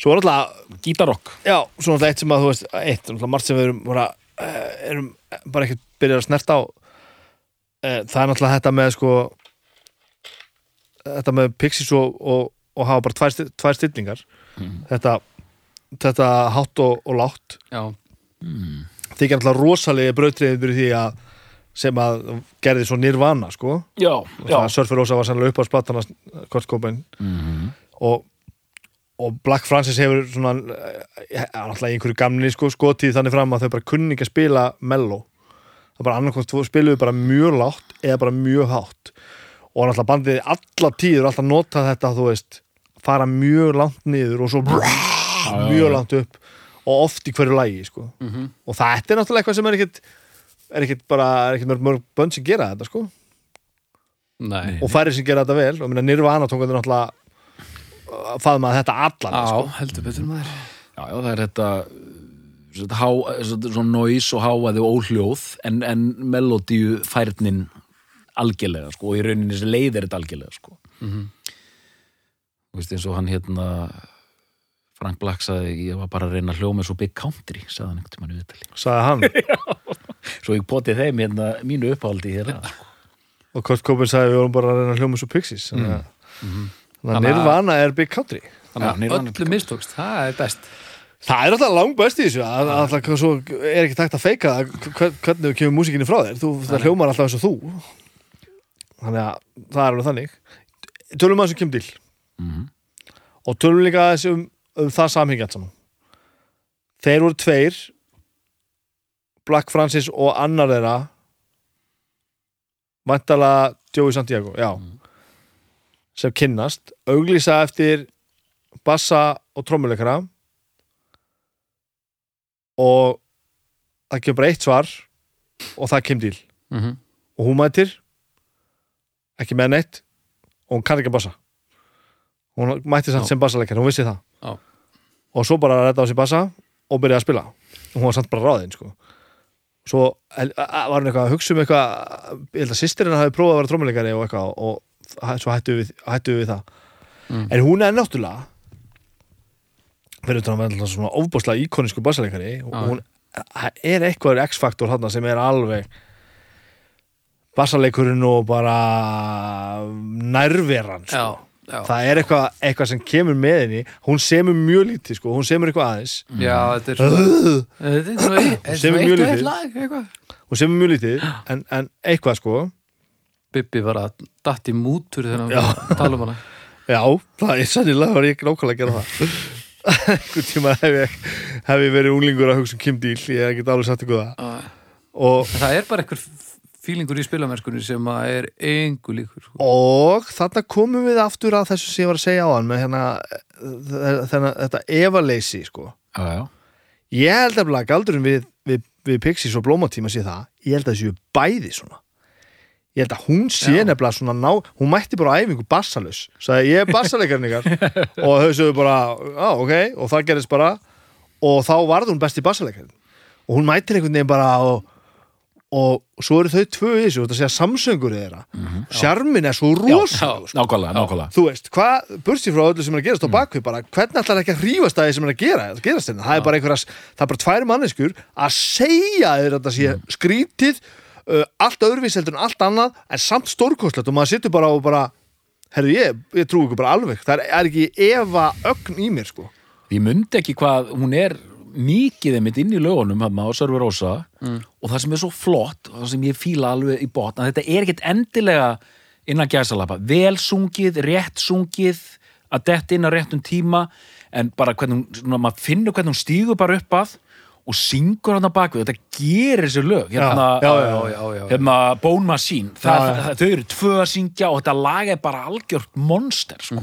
Speaker 2: svo er alltaf,
Speaker 3: Gítarokk
Speaker 2: já, svona alltaf eitt sem að þú veist eitt, alltaf margt sem við erum bara, eh, erum bara ekkert byrjað að snerta á Eh, það er náttúrulega þetta með sko þetta með Pixies og, og, og hafa bara tvær, sti- tvær stillingar þetta, þetta hátt og, og látt
Speaker 1: Já,
Speaker 2: þykir alltaf rosalegi brautriðin fyrir því að sem að gerði svo nirvana sko
Speaker 3: Já, já,
Speaker 2: það Surfer Rosa var sannlega upp á splatana Kurt Cobain
Speaker 3: Mhm.
Speaker 2: og, og Black Francis hefur svona eh, alltaf í einhverju gamni sko, skotið þannig fram að þau bara kunni ekki að spila mellow það er bara annarkvæmt spiluðu bara mjög látt eða bara mjög hátt og alltaf bandið alla tíður alltaf notað þetta þú veist fara mjög langt niður og svo mjög langt upp og oft í hverju lagi sko. og þetta er náttúrulega eitthvað sem er ekkit er ekkit bara, er ekkit mörg, mörg bönn sem gera þetta sko
Speaker 1: nei.
Speaker 2: og færri sem gera þetta vel og minna Nirvana tók þetta náttúrulega uh, faðma þetta allan
Speaker 1: Á,
Speaker 2: sko.
Speaker 1: heldur betur maður.
Speaker 3: já, já, það er þetta svona, há, svona, svona noise og háaði og óhljóð en, en melodíu færnin algjörlega sko, og í rauninni þessi leið er þetta algjörlega sko. Þú veist eins og hann hérna Frank Black sagði ég var bara að reyna að hljóma eins og Big Country sagði hann einhvern tímann í viðtali
Speaker 2: sko, sagði hann
Speaker 3: svo ég potið þeim hérna mínu uppáhaldi hérna
Speaker 2: og Kurt Cobain sagði við vorum bara að reyna að hljóma svo Pixies þannig að Þannig að
Speaker 1: Þannig að-
Speaker 2: Nirvana er Big Country
Speaker 1: Þannig
Speaker 3: Nirvana
Speaker 1: að öllu mistókst, það er best.
Speaker 2: Það er alltaf langt best í þessu Það er alltaf hvað svo er ekki takt að feika það, hver- hvernig þú kemur músikinni frá þér þú, það hljómar alltaf eins og þú Þannig að það er alveg þannig Tölum um að þessu kemur til
Speaker 3: Mhm.
Speaker 2: og tölum líka aðeins um, um það samhengjant saman Þeir voru tveir Black Francis og annar þeirra Vantala Joey Santiago já, sem kynnast auglýsa eftir bassa og trommuleikara og það kemur bara eitt svar og það kemur díl
Speaker 1: Mhm.
Speaker 2: og hún mætir ekki með neitt og hún kann ekki að bassa hún mætti samt
Speaker 1: Já.
Speaker 2: sem bassaleikari, hún vissi það
Speaker 1: Já.
Speaker 2: og svo bara að redda á sér bassa og byrja að spila og hún var samt bara ráðin sko. svo hel- a- a- var hún eitthvað að hugsa um eitthvað ég held að sýstirinn hafi prófað að vera trómuleikari og eitthvað og þa- svo hættu við, hættu við það
Speaker 1: Mm.
Speaker 2: en hún er náttúrulega verður þetta að vera náttúrulega svona ofbúslega íkonisku bassaleikari og
Speaker 1: Já.
Speaker 2: hún það er eitthvað x-faktor þarna sem er alveg bassaleikurinn og bara nærveran sko.
Speaker 1: Já, já.
Speaker 2: það er eitthvað, eitthvað sem kemur með henni hún semur mjög lítið sko, hún semur eitthvað aðeins
Speaker 1: Mm-hmm. Já, þetta er svona... Þetta er svona eitt- þetta er
Speaker 2: Semur
Speaker 1: svona
Speaker 2: mjög
Speaker 1: eitt og eitt
Speaker 2: lítið.
Speaker 1: lag, eitthvað.
Speaker 2: hún semur mjög lítið en, en eitthvað sko
Speaker 1: Bibbi var að datt í mútur þegar hann var að tala um hana.
Speaker 2: já, það er sannilega var ég nákvæmlega að gera það einhvern tíma hef ég, hef ég verið unglingur að hugsa um Kim Deal ég er ekki alveg satt ykkur það
Speaker 1: Já.
Speaker 2: og,
Speaker 1: Það er bara einhver fílingur í spilamennskunni sem að er engu líkur. sko.
Speaker 2: og þarna komum við aftur að þessu sem ég var að segja á hann með hérna, þennan, þetta evaleysi sko
Speaker 3: já, já,
Speaker 2: Ég held að blaga galdurinn við, við, við Pixies og Blómatíma sé það Ég held að þessi bæði svona Ég held að hún sé
Speaker 1: Já.
Speaker 2: nefnilega svona ná Hún mætti bara á æfingu bassalus Sæði ég er bassalekarinn ykkar Og þau sögðu bara, á ok Og það gerist bara Og þá varð hún besti bassalekarinn Og hún mættir einhvern veginn bara og, og svo eru þau tvö í þessu og Þetta sé að samsöngur þeirra mm -hmm. Sjarmin er svo sko. rosa
Speaker 3: nákvæmlega, nákvæmlega
Speaker 2: Þú veist, hvað, bursi frá öllu sem er að gerast á bakvið bara, hvernig ætlar ekki að hrífast að því sem er að gera að gerast hérna, það er bara einhverja það er bara tvær manneskur að segja þér að þetta sé skrítið uh, allt öðruvís heldur en allt annað en samt stórkostlegt og maður sittur bara og bara herru ég, ég trú ykkur bara alveg það er, er ekki efa ögn í mér sko
Speaker 3: ég myndi ekki hvað hún er mikið einmitt inn í lögunum hérna á Sörfi Rósa og það sem er svo flott og það sem ég fíla alveg í botn að þetta er ekkert endilega innan gæsalapa vel sungið, rétt sungið að detta inn á réttum tíma en bara hvernig hún, svona, maður finnur hvernig hún stígur bara upp að og syngur hann á bakvið þetta gerir þessu lög hérna,
Speaker 2: Já, já, já.
Speaker 1: já, já, já.
Speaker 3: hérna Bone Machine það,
Speaker 2: Já, já.
Speaker 3: það, þau eru tvö að syngja og þetta lag er bara algjört monster sko.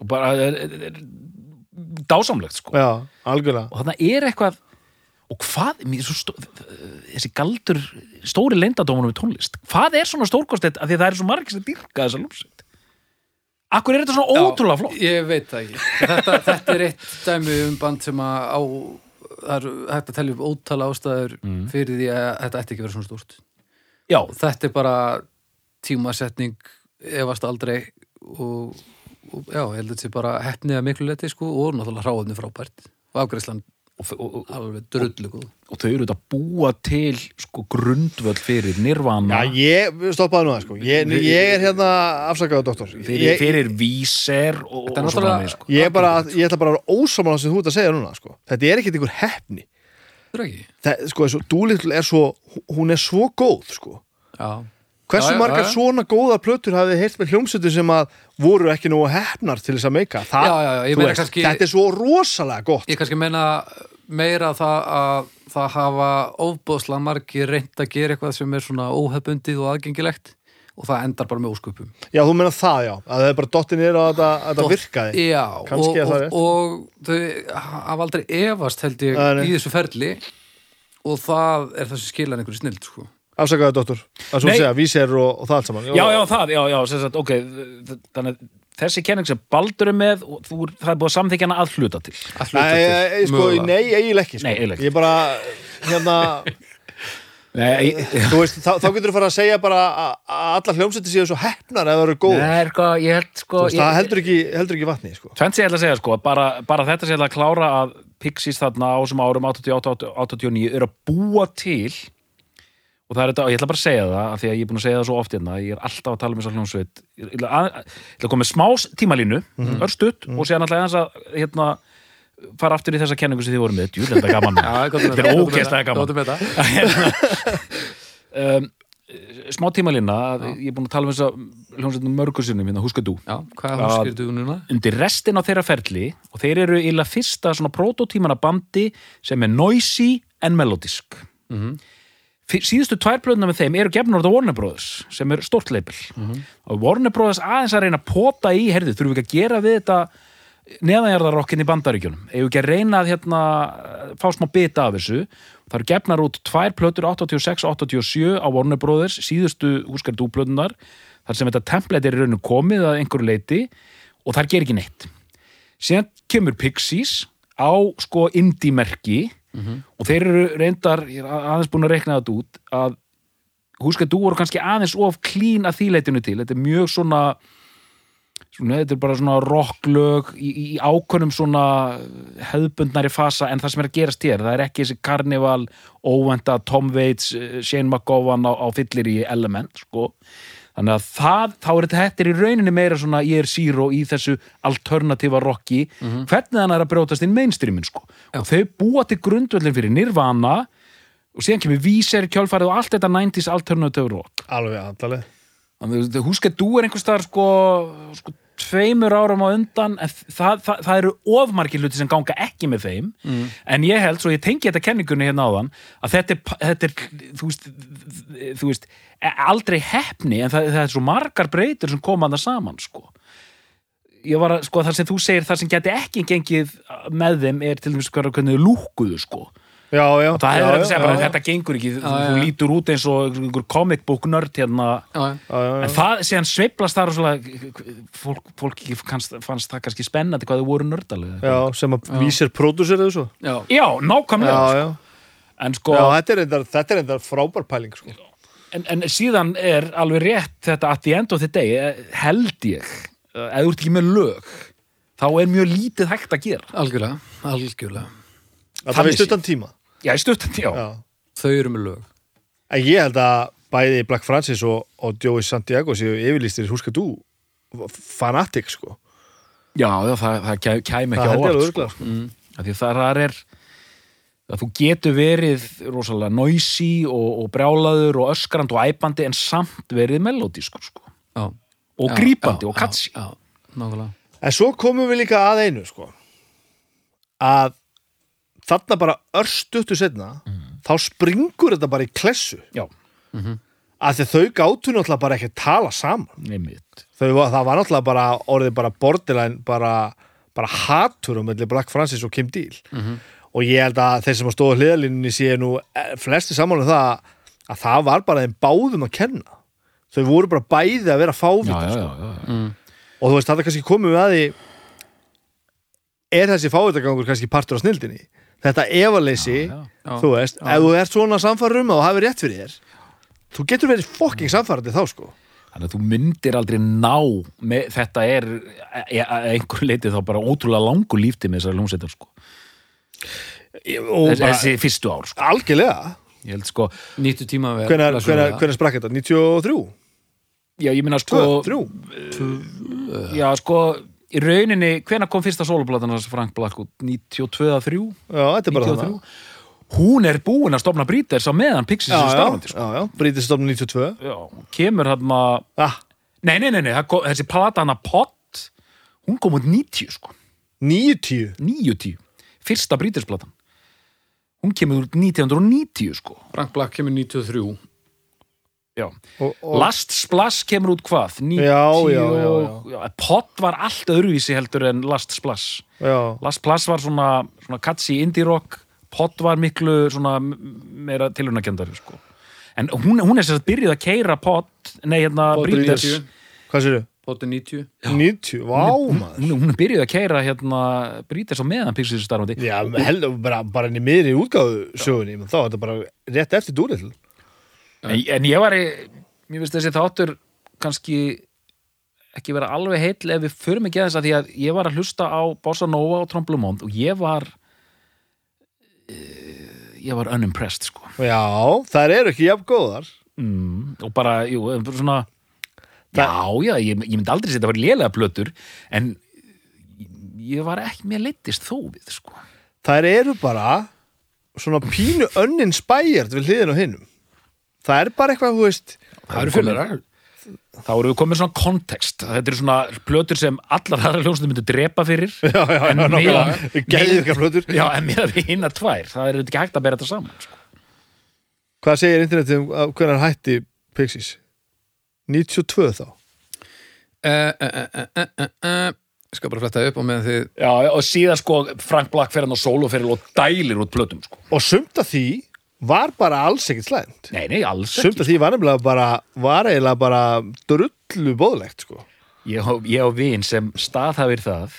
Speaker 3: og bara eh, er, er, er, dásamlegt sko.
Speaker 2: já, algjörlega
Speaker 3: og þarna er eitthvað og hvað, mér er svo stó, þessi galdur stóri leyndadómunum við tónlist hvað er svona stórkostið að því að það er svo margir sem dyrka þessa lúmsveit Akkur er þetta svona ótrúlega flott
Speaker 1: Ég veit það ekki. Þetta, þetta er eitt dæmi um band sem að á, það er hægt að telja upp ótal ástæður fyrir því að þetta ætti ekki að vera svona stórt.
Speaker 3: Já,
Speaker 1: Þetta er bara tímasetning efast aldrei og, og já, ég held að þetta er bara hefnið að miklu leti sko og náttúrulega hráðni frábært og afgreðslan
Speaker 3: og, og, og,
Speaker 1: alveg drullu góð.
Speaker 3: og þau eru þetta búa til sko grundvöld fyrir nirvana
Speaker 2: Já, ég stoppaði nú það sko Ég, ég er hérna afsakaðu doktor
Speaker 3: fyrir,
Speaker 2: ég,
Speaker 3: fyrir víser og,
Speaker 1: Þetta er
Speaker 3: og svona
Speaker 1: náttúrulega-
Speaker 3: með sko.
Speaker 2: ég, er bara, ég ætla bara að vera ósamála sem þú ert að segja núna sko. Þetta er ekkert einhver hefni
Speaker 1: Þetta er ekki?
Speaker 2: Það, sko, þessu, Dúlittle er svo, hún er svo góð sko.
Speaker 1: Já. Já,
Speaker 2: Hversu
Speaker 1: já,
Speaker 2: margar
Speaker 1: já, já.
Speaker 2: svona góða plötur hafið þið heyrt með hljómsveitum sem að voru ekki nógu hefnar til þess að meika Þa,
Speaker 1: Já, já, já, ég
Speaker 2: þú
Speaker 1: meina
Speaker 2: veist,
Speaker 1: kannski-
Speaker 2: Þetta er svo rosalega gott
Speaker 1: Ég kannski menna meira það að það hafa ofbóðslega margir reynd að gera eitthvað sem er svona óhefbundið og aðgengilegt og það endar bara með ósköpum.
Speaker 2: Já, þú meina það, já, að það er bara dottin er að þetta- að þetta
Speaker 1: Dott-
Speaker 2: virkaði
Speaker 1: Já, og,
Speaker 2: Kannski er það
Speaker 1: og, og þau hafa aldrei efast held ég
Speaker 2: Nei, nei.
Speaker 1: í þessu ferli og það er það sem skilar einhverju snild sko.
Speaker 2: Afsakaðu doktor, að svo
Speaker 3: Nei.
Speaker 2: segja, vísir og, og það allt saman
Speaker 3: já, já, það, já, já, sem sagt, ok þ- þannig að þessi kenning sem Baldur er með og þú, það er búið að samþykja hana að hluta til
Speaker 1: Að hluta
Speaker 2: Nei,
Speaker 1: til,
Speaker 2: nei, sko,
Speaker 1: mögulega.
Speaker 2: nei, eiginlega ekki sko.
Speaker 3: Nei, eiginlega ekki.
Speaker 2: Ég bara, hérna,
Speaker 3: Nei,
Speaker 2: þú veist, þá, þá getur þú fara að segja bara að að allar hljómsætti séu svo hefnar ef það eru góð
Speaker 3: er, sko, ég held sko
Speaker 2: veist, Það heldur ekki, heldur ekki vatni, sko
Speaker 3: Tvennt sem ég ætla að segja sko, bara, bara þetta sem ég ætla að klára að Pixies þarna á þessum árum 88-89 eru að búa til og það er þetta, og ég ætla bara að segja það af því að ég er búin að segja það svo oft hérna ég er alltaf að tala um þessar hljómsveit ég ætla að, ég ætla að koma með smá s- tímalínu
Speaker 2: Mhm.
Speaker 3: mm örstutt og séðan alltaf eins að hérna, fara aftur í þessa kenningu sem þið voru með djúlega þetta er gaman
Speaker 1: Já, gott með
Speaker 3: Þetta er ógeðslega gaman.
Speaker 1: Gott með þetta.
Speaker 3: um, smá tímalína, ég er búin að tala um þessa hljómsveitum mörgur sinnum hérna, húskadú
Speaker 1: Já, hvað er hún skýrðu núna?
Speaker 3: undir restin á þeirra ferli og þeir eru illa fyrsta svona prototímana bandi sem er noisy en melodisk mm -hmm. síðustu tvær blöðna með þeim eru gefnur á Warner Brothers sem er stórt leipil og Warner Brothers aðeins að reyna að pota í herðið, þurfum við ekki að gera við þetta neðanjarðarokkin í bandaríkjunum eigum við ekki að reyna að hérna, fá smá bita af þessu það eru gefnar út tvær plötur 86-87 á Warner Brothers síðustu húskar dúplötunar þar sem þetta template er í rauninu komið að einhverju leiti og þar gerir ekki neitt síðan kemur Pixies á sko indie-merki og þeir eru reyndar ég er a- aðeins búin að rekna þetta út að húska þú voru kannski aðeins of klín að þýleitinu til, þetta er mjög svona svona, þetta er bara svona rocklög í, í ákvönum svona hefðbundnari fasa en það sem er að gerast hér, það er ekki þessi karnival óvenda Tom Waits eh, Shane McGowan á, á fyllir í element sko, þannig að það þá er þetta þetta er í rauninni meira svona ég er zero í þessu alternativa rocki hvernig hann er að brjótast inn mainstreamin sko, og þau búa til grundvöldin fyrir Nirvana og síðan kemur víseri kjálfarið og allt þetta 90s alternative rock
Speaker 2: Alveg andaleg
Speaker 3: Þannig að húska þú er einhvers staðar sko, sko tveimur árum á undan en það, það, það eru ofmarkið hluti sem ganga ekki með þeim
Speaker 2: Mm.
Speaker 3: en ég held, svo ég tengi þetta kenningunni hérna áðan að þetta er, pa- þetta er þú veist, þú veist e- aldrei hefni en það, það er svo margar breytur sem koma það saman sko ég var að, sko, það sem þú segir, það sem geti ekki gengið með þeim er til dæmis hvernig hvernig þau lúkkuðu sko
Speaker 2: Já, já
Speaker 3: það
Speaker 2: já,
Speaker 3: hefur þetta að segja bara
Speaker 2: já,
Speaker 3: þetta gengur ekki, þú,
Speaker 1: Já, já.
Speaker 3: þú lítur út eins og einhver comic book nörd hérna
Speaker 1: Já, já.
Speaker 2: já, já, já.
Speaker 3: En það, síðan sveiflast þar og svona, fólk, fólk ekki kannst, fannst það kannski spennandi hvað þau voru nördalega.
Speaker 2: Já, sem að vísir pródúsir þessu
Speaker 1: Já.
Speaker 3: Já,
Speaker 2: Já,
Speaker 3: nákvæmlega.
Speaker 2: já,
Speaker 3: En sko,
Speaker 2: já, þetta er reyndar, þetta er reyndar frábær pæling, sko
Speaker 3: en, en síðan er alveg rétt þetta at the end of the day, eh, held ég, eh, ef þú ert ekki með lög, þá er mjög lítið hægt að gera.
Speaker 1: Algjörlega, algjörlega.
Speaker 2: Það
Speaker 3: Þannig
Speaker 2: er stuttan tíma
Speaker 3: Já, í stuttan, já.
Speaker 2: Já
Speaker 1: Þau eru með lög.
Speaker 2: En ég held að bæði Black Francis og, og Joey Santiago séu yfirlýstir í húska dú fanatik sko
Speaker 3: Já, já það, það kæ-
Speaker 2: það held
Speaker 3: kæmi ekki á
Speaker 2: ég
Speaker 3: allt,
Speaker 2: alveg
Speaker 3: sko.
Speaker 2: örglega sko.
Speaker 3: Af Því það þar er, að þú getur verið rosalega noisy og, og brjálaður og öskrand og æpandi en samt verið melodískur, sko.
Speaker 1: Já. Já,
Speaker 3: Og grípandi
Speaker 1: já,
Speaker 3: og katsi.
Speaker 1: Já, já, nákvæmlega.
Speaker 2: en svo komum við líka að einu sko að þarna bara örstuttu setna þá springur þetta bara í klessu
Speaker 3: já,
Speaker 2: af því að þau gátu náttúrulega bara ekki að tala saman
Speaker 3: neymiðt
Speaker 2: þau, var- það var náttúrulega bara orðið bara borderline bara, bara hatur um milli Black Francis og Kim Deal
Speaker 3: Mhm.
Speaker 2: og ég held að þeir sem að stóða hliðalínunni séu nú eh, flesti saman um það að það var bara þeim báðum að kenna þau voru bara bæði að vera
Speaker 3: já,
Speaker 2: fávita sko.
Speaker 3: já, já, já. Mm.
Speaker 2: og þú veist, þetta kannski komum við að því er þessi fávitagangur kannski partur á snildinni þetta efaleysi,
Speaker 1: já.
Speaker 2: þú veist ef þú ert svona samfærum og hafi rétt fyrir þér þú getur verið fokking samfærandi þá sko
Speaker 3: þannig að þú myndir aldrei ná með, þetta er e- e- að einhverju leiti þá bara ótrúlega langur líftími þessari hljómsveitar sko.
Speaker 2: og
Speaker 3: Þess,
Speaker 2: bara,
Speaker 3: þessi fyrstu ár sko.
Speaker 2: algjörlega
Speaker 3: ég held sko,
Speaker 1: 90 tíma við
Speaker 2: hvenar, hvenar, hvenar sprakk þetta? 93?
Speaker 3: já ég minna
Speaker 2: 2?
Speaker 3: sko
Speaker 2: 3?
Speaker 3: já sko, í rauninni hvenær kom fyrsta soloplatan hans Frank Black sko? út? 92 að 3
Speaker 2: Já, þetta er bara
Speaker 3: 93
Speaker 2: þannig
Speaker 3: hún er búin að stofna bríters á meðan Pixies
Speaker 2: Já,
Speaker 3: er
Speaker 2: já,
Speaker 3: starfandi sko.
Speaker 2: já, já, brítið um stofnum 92
Speaker 3: já, hún kemur hann að
Speaker 2: ah,
Speaker 3: nei, nei, nei, nei, það kom- þessi plata hann að pott hún kom út 90 sko
Speaker 2: 90
Speaker 3: 90, fyrsta brítirsplatan hún kemur úr 1990 sko
Speaker 1: Frank Black kemur 93
Speaker 3: já.
Speaker 2: og, og,
Speaker 3: Last Splash kemur út hvað? 90
Speaker 2: Já, já, já,
Speaker 3: já. Pott var allt öðruvísi heldur en Last Splash
Speaker 2: já,
Speaker 3: Last Splash var svona, svona katsi indie rock Pott var miklu svona m- meira tilhunakendari sko en hún, hún er sér að byrjuð að keira Pott nei hérna
Speaker 1: Pot er
Speaker 3: Bríters
Speaker 1: 90.
Speaker 2: hvað sér þau?
Speaker 1: Potter 90
Speaker 2: 90, vá maður
Speaker 3: hún, hún er byrjuð að keira hérna Bríters á meðan Pixies er starfandi
Speaker 2: Já, heldur bara, bara inn í miðri útgáðu sögunni, menn þá er þetta bara rétt eftir Dúlill.
Speaker 3: En, en ég var í, mér finnst þessi þáttur kannski ekki vera alveg heill ef við förum ekki aðeins að því að ég var að hlusta á Bossa Nova og Tromblumond og ég var uh, ég var unimpressed sko
Speaker 2: Já, þær eru ekki jafn góðar.
Speaker 3: mm, og bara, jú, bara svona
Speaker 2: Það-
Speaker 3: já, já, ég, ég myndi aldrei setja að vera lélega plötur en ég var ekki, mér leittist þó við sko
Speaker 2: Þær eru bara svona pínu önnin spæjart við hliðin á hinnum. Það er bara eitthvað, þú veist,
Speaker 3: Það eru fjölerar Þá eru við komin svona kontekst Þetta eru svona plötur sem allar aðra hljómsnum myndu drepa fyrir Já, já, já,
Speaker 2: nákvæmlega. Geðvika plötur.
Speaker 3: Já, en með að við hinna tvær Það eru ekki hægt að bera þetta saman sko.
Speaker 2: hvað segir internetið um að hvernig hætti Pixies? 92 þá.
Speaker 1: Eh, eh, eh, eh, eh, eh, eh. Ég skal bara fletta upp á meðan þið
Speaker 3: Já, já, og síðan sko Frank Black fer hann á solo fyrir og dælir út plötum sko.
Speaker 2: Og sumt af því var bara alls ekkert slæmt.
Speaker 3: Nei, nei, alls um.
Speaker 2: Sumt
Speaker 3: ekki
Speaker 2: af því var nefnilega bara, var eiginlega bara drullu bóðlegt, sko.
Speaker 3: Ég á, ég á vin sem staðhafir það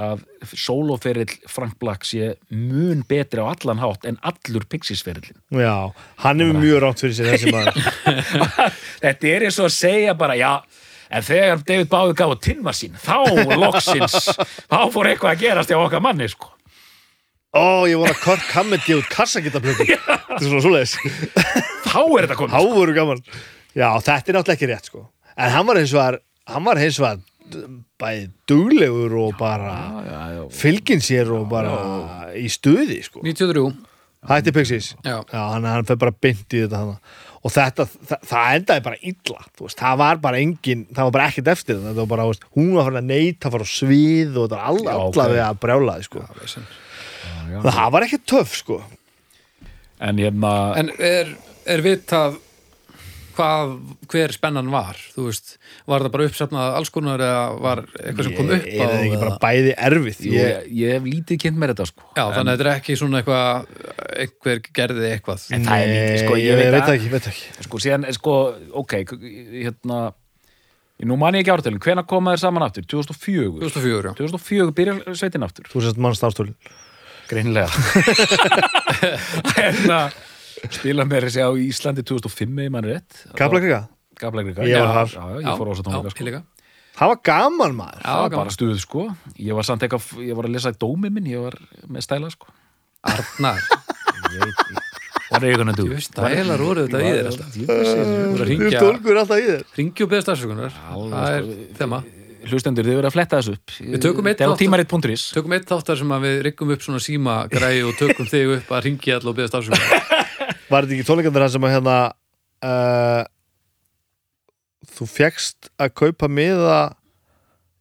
Speaker 3: að sóloferill Frank Black sé mun betri á allan hátt en allur Pixies-ferillin
Speaker 2: Já, hann hefur mjög rámt fyrir sér þessi maður.
Speaker 3: Þetta er eins og að segja bara, já, en þegar David Báði gaf á tinnma sín, þá loksins, þá fór eitthvað að gerast hjá okkar manni, sko.
Speaker 2: Ó, ég voru að Kirk Hammett gefa út kassakitaplöku Þetta er svona svoleiðis
Speaker 3: Þá er þetta komið.
Speaker 2: Há voru gaman Já, þetta er náttúrulega ekki rétt sko En hann var hins vegar Hann var hins vegar d- bæði duglegur og bara
Speaker 3: Já, já, já.
Speaker 2: fylgin sér og bara í stuði sko
Speaker 1: 93
Speaker 2: Hætti Pixies
Speaker 1: Já.
Speaker 2: hann, hann fer bara beint í þetta hana Og þetta, það, það endaði bara illa þú veist, Það var bara engin, það var bara ekkert eftir þetta, þetta var bara, þú veist, Hún var farin að neita að fara á svið og þetta var all,
Speaker 3: Já, ok.
Speaker 2: allavega að brjálaði sko
Speaker 1: vesen.
Speaker 2: Það var ekki töff sko
Speaker 3: En hérna,
Speaker 1: En er, er vitað hvað, hver spennan var? Þú veist, var það bara uppsafnað alls konar eða var eitthvað sem kom upp
Speaker 2: er það ekki
Speaker 1: eða-
Speaker 2: bara bæði erfið
Speaker 3: jú,
Speaker 2: ég,
Speaker 3: ég, ég hef lítið kynnt mér þetta, sko.
Speaker 1: Já, þannig að þetta er ekki svona eitthvað einhver gerði eitthvað
Speaker 3: En það er lítið, sko, ég,
Speaker 2: veit,
Speaker 3: veit
Speaker 2: það
Speaker 3: að,
Speaker 2: ekki, veit það ekki
Speaker 3: sko, síðan, er, sko, ok, k- hérna, nú man ég ekki ártölinn, hvenær koma þér saman aftur? 2004.
Speaker 1: 2004, já
Speaker 3: 2004 byrjar sveitin aftur.
Speaker 2: þú sérst mann starftólin
Speaker 3: Greinlega Hérna Spila mér þessi á Íslandi 2005 ef mann rétt
Speaker 2: Kaplakrika,
Speaker 3: Kaplakrika
Speaker 2: Ég var
Speaker 3: Já,
Speaker 2: þar.
Speaker 3: já, já, Ég fór á þess að tónleika
Speaker 1: já, ég
Speaker 3: sko.
Speaker 1: líka.
Speaker 2: það var gaman
Speaker 1: Já,
Speaker 2: maður
Speaker 3: Það var
Speaker 1: gaman.
Speaker 3: bara stuð sko Ég var samt eitthvað Ég var að lesa í dómi minn Ég var með stæla sko
Speaker 1: Arnar,
Speaker 3: Var eigun að
Speaker 1: ég veist, það heilar voru þetta í þér alltaf Þú voru að
Speaker 2: þú
Speaker 1: ringja,
Speaker 2: tólkur alltaf í þér
Speaker 1: ringja og beðast afsökunar
Speaker 3: sko,
Speaker 1: Það er þema
Speaker 3: Hlustendur, þið verið að fletta þessu upp
Speaker 1: Við tökum eitt
Speaker 3: Þetta er á
Speaker 1: þátt.
Speaker 3: tímarit.ris
Speaker 1: Tökum eitt þáttar sem að við riggum upp svona síma græði og tökum þig upp að ringja allar og beðast afsökunar
Speaker 2: var þetta ekki tónleikandir hann sem að hérna uh, þú fjekkst að kaupa miða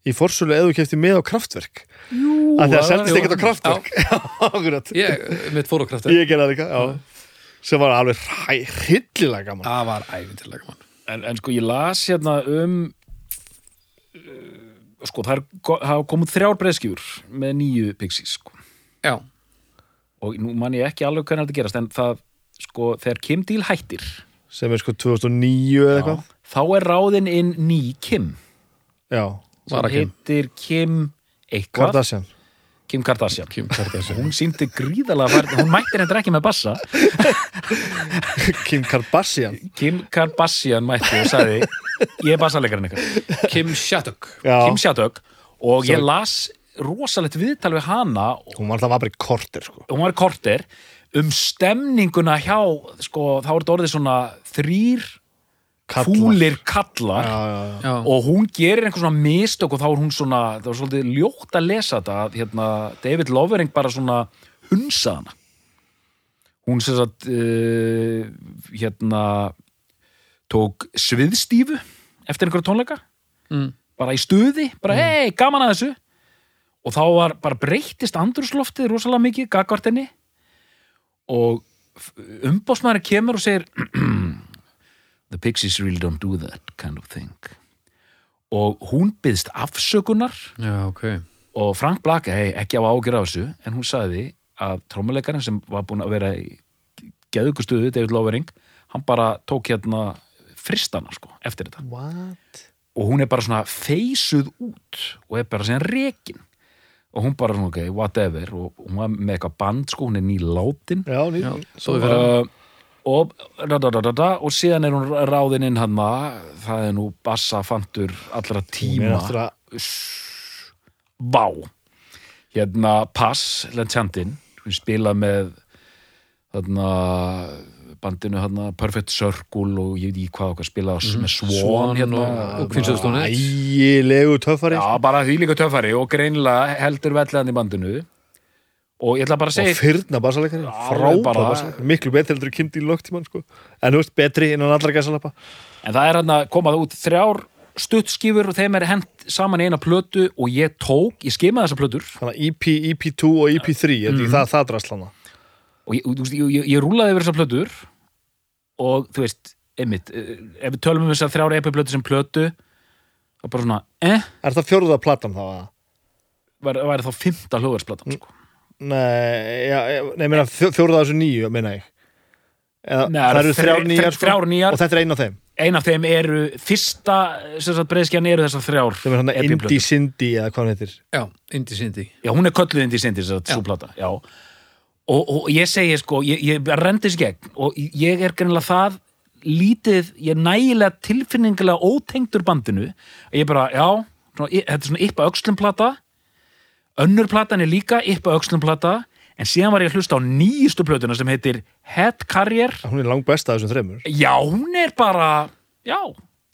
Speaker 2: í forsölu eða þú keftir með á kraftverk
Speaker 3: Jú,
Speaker 2: að það
Speaker 3: það-
Speaker 2: seldist
Speaker 1: jú,
Speaker 2: ekkert á kraftverk Akkurat.
Speaker 1: Ég, mitt fór á kraftur
Speaker 2: ég gerði það líka já. sem var alveg hræ- hryllilega gaman
Speaker 1: Það var æfintilega gaman
Speaker 3: en, en sko ég las hérna um uh, sko það, er, go- það hafa komið þrjár breyðskjúr með nýju pixis sko.
Speaker 1: Já,
Speaker 3: og nú man ég ekki alveg hvernig þetta gerast en það sko þegar Kim Deal hættir
Speaker 2: sem er sko 2009 eða eitthvað
Speaker 3: þá er ráðin inn ný Kim
Speaker 2: já,
Speaker 1: Var
Speaker 3: sem
Speaker 1: að Kim.
Speaker 3: heitir Kim eitthvað
Speaker 2: Kardashian
Speaker 3: Kim Kardashian
Speaker 1: Kim Kardashian
Speaker 3: hún síndi gríðalega færð hún mættir hendur ekki með bassa
Speaker 2: Kim Kardashian
Speaker 3: Kim Kardashian mætti og sagði ég er bassaleikarinn ykkur
Speaker 1: Kim Shattuck
Speaker 2: já,
Speaker 3: Kim Shattuck og ég las rosalegt viðtal við hana og
Speaker 2: hún var alltaf að bara í korter sko.
Speaker 3: hún var korter um stemninguna hjá sko, þá er þetta orðið svona þrýr
Speaker 2: Kallar.
Speaker 3: fúlir kallar
Speaker 2: já, já, já.
Speaker 1: Já,
Speaker 3: og hún gerir einhver svona mistök og þá er hún svona, það var svolítið ljótt að lesa þetta að hérna, David Lovering bara svona hunsa hana hún sem sagt uh, hérna tók sviðstífu eftir einhverja tónleika
Speaker 1: Mm.
Speaker 3: bara í stuði, bara hei, gaman að þessu og þá var bara breyttist andrúsloftið rosalega mikið, gagvartinni og umbásmaður kemur og segir the pixies really don't do that kind of thing og hún byðst afsökunar
Speaker 1: já ok
Speaker 3: og Frank Blake hei, ekki á ágjur af þessu en hún sagði að trómuleikarinn sem var búin að vera í geðugustuðu David Lovering hann bara tók hérna fristana sko, eftir þetta
Speaker 2: what?
Speaker 3: og hún er bara svona feysuð út og er bara sem rekin og hún bara svona ok, whatever og hún var með eitthvað band sko, hún er nýlátin
Speaker 2: já, ný,
Speaker 1: Já,
Speaker 2: svo,
Speaker 1: svo við fyrir
Speaker 3: uh, og, da, da, da, da, da, og síðan er hún ráðin inn hann það er nú bassafantur
Speaker 2: hún
Speaker 3: allra
Speaker 2: er
Speaker 3: tíma
Speaker 2: aftur að
Speaker 3: Vá hérna Pass, Lenchantinn hún spilað með þarna bandinu hérna Perfect Circle og ég veit í hvað okkar spilað mm með Swan,
Speaker 1: Mhm. Swan
Speaker 3: hérna
Speaker 1: og- og Queens of Stone Age
Speaker 2: ægilegu töffari
Speaker 3: Já, bara því líka töffari og greinilega heldur vellan í bandinu og ég ætla bara að segja
Speaker 2: og fyrna basalegari,
Speaker 3: Alveg
Speaker 2: frábæð
Speaker 3: bara-
Speaker 2: basalegari miklu betri heldur Kim Deal Locktíman sko. en þú veist betri innan allra gæsalappa
Speaker 3: En það er hann að komað út þrjár stuttskífur og þeim er hent saman í eina plötu og ég tók, ég skimaði þessar plötur
Speaker 2: þannig að E EP, EP2 og EP3 mm -hmm. það, það drast hana
Speaker 3: og ég, þú veist, ég, ég, ég rúlaði yfir þessar plötur og þú veist, einmitt, eh, ef við tölum um þessar þrjár epi-plötu sem plötu og bara svona, eh,
Speaker 2: er það fjórða platan þá að
Speaker 3: væri, væri þá fymta hljóðarsplatan
Speaker 2: Mm.
Speaker 3: sko.
Speaker 2: Nei, já, já, nei, meina fjó- fjórða af þessu nýju, meina ég Eða,
Speaker 3: Nei,
Speaker 2: það eru
Speaker 3: þre-
Speaker 2: þrjár nýjar, sko,
Speaker 3: þrjár nýjar.
Speaker 2: og þetta er eina af þeim
Speaker 3: Ein af þeim eru, fyrsta sem sagt breyðskjan eru þessar þrjár E
Speaker 2: sem er hann
Speaker 3: epi-plötur.
Speaker 2: Indie Cindy eða hvað hann heitir
Speaker 1: Já, Indi Sindi
Speaker 3: Já, hún er kölluð indi sindi, þess að svo plata, já. Og, og ég segi, sko, ég, ég rendis gegn og ég er greinlega það lítið, ég er nægilega tilfinningilega ótengdur bandinu að ég bara, já, svona, ég- þetta er svona yppa öxlum plata, önnur platan er líka yppa öxlum plata en síðan var ég að hlusta á nýjustu plötuna sem heitir Head Carrier
Speaker 2: hún er langt besta af þessum þreymur
Speaker 3: Já, hún er bara, já,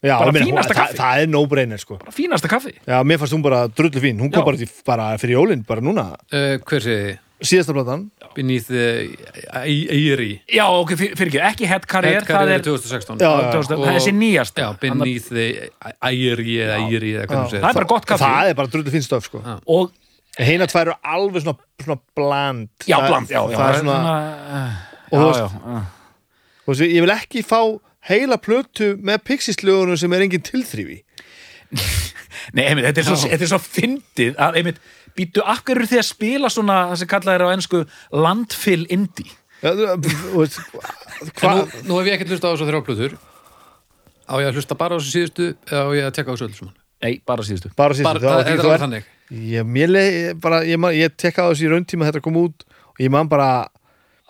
Speaker 2: já,
Speaker 3: bara
Speaker 2: ég meina, hún,
Speaker 3: fínasta
Speaker 2: það,
Speaker 3: kaffi
Speaker 2: það er no-brainer sko.
Speaker 3: bara fínasta kaffi
Speaker 2: já, mér fannst hún bara drullu fín hún kom
Speaker 3: Já.
Speaker 2: bara, til, bara fyrir jólinn, bara núna
Speaker 1: uh, Hver segði?
Speaker 2: síðasta platan,
Speaker 1: Beneath the Eyri
Speaker 3: Já, ok, fyrir, fyrir ekki, Head Carrier,
Speaker 1: Head Carrier
Speaker 3: það er,
Speaker 1: 2016
Speaker 2: Já, já.
Speaker 3: 2000, það er þessi nýjasta
Speaker 1: Já, Beneath the Eyri eða Eyri eða hvernig
Speaker 3: það er
Speaker 1: segir
Speaker 3: bara gott kaffi
Speaker 2: það er bara drullu fín stöf sko.
Speaker 3: og
Speaker 2: heina tvær eru alveg svona, svona bland
Speaker 3: Já,
Speaker 2: Það-
Speaker 3: bland, já, já
Speaker 2: það er svona,
Speaker 3: já,
Speaker 2: og þú
Speaker 3: já,
Speaker 2: veist- þú veist, ég vil ekki fá heila plötu með Pixies-lögunum sem er engin tilþrýfi
Speaker 3: Nei, einmitt, þetta er svo, þetta er svo fyndið að, einmitt, býttu, af hverju eru þið að spila svona, það sem kallað er á ensku landfill indie
Speaker 2: Já, þú þú veist,
Speaker 1: Nú,
Speaker 2: hvað
Speaker 1: nú hef ég ekkert hlusta á þessu þrjáplötur Á ég að hlusta bara á þessu síðustu eða á ég að tekka á þessu öll saman
Speaker 3: Nei, bara síðustu
Speaker 2: bara síðan
Speaker 1: Bara, það er alveg þannig
Speaker 2: ég, mér leið, bara, ég, man- ég tekka á þessu í rauntíma þetta kom út og ég man bara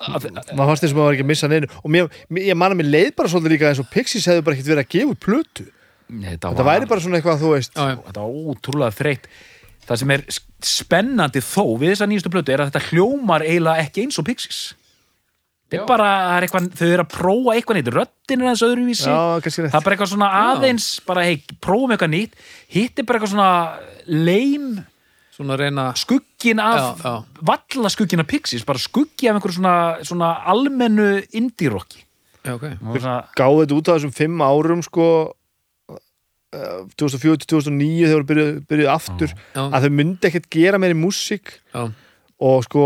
Speaker 2: maður fannst eins og maður var ekki að missa neinu og mér, mér- ég man að mér leið bara svolítið líka eins og Pixies hefðu bara ekkert verið að gefa út plötu
Speaker 3: Nei, þetta,
Speaker 1: Ah.
Speaker 2: það væri bara svona eitthvað þú veist
Speaker 1: Já, já.
Speaker 3: Þetta var ótrúlega þreytt Það sem er s- spennandi þó við þessa nýjustu plötu er að þetta hljómar eiginlega ekki eins og Pixies Þetta
Speaker 1: Já.
Speaker 3: er bara, það er eitthvað, þau eru að prófa eitthvað neitt, röddin er aðeins öðruvísi
Speaker 2: Já, kannski rétt.
Speaker 3: það er bara eitthvað svona aðeins, bara hei, prófum eitthvað nýtt, hitt er bara eitthvað svona leim
Speaker 1: Svona reyna
Speaker 3: skuggin af
Speaker 1: Já, já.
Speaker 3: valla skuggin af Pixies, bara skuggi af einhverju svona, svona almennu indie-rocki
Speaker 1: Já, ok
Speaker 3: Og svona,
Speaker 2: gáði þetta út á þessum fimm árum sko 2004-2009 þegar byrjuð byrjuð aftur
Speaker 1: Já.
Speaker 2: að þau myndi ekkert gera meiri músík
Speaker 1: já,
Speaker 2: og sko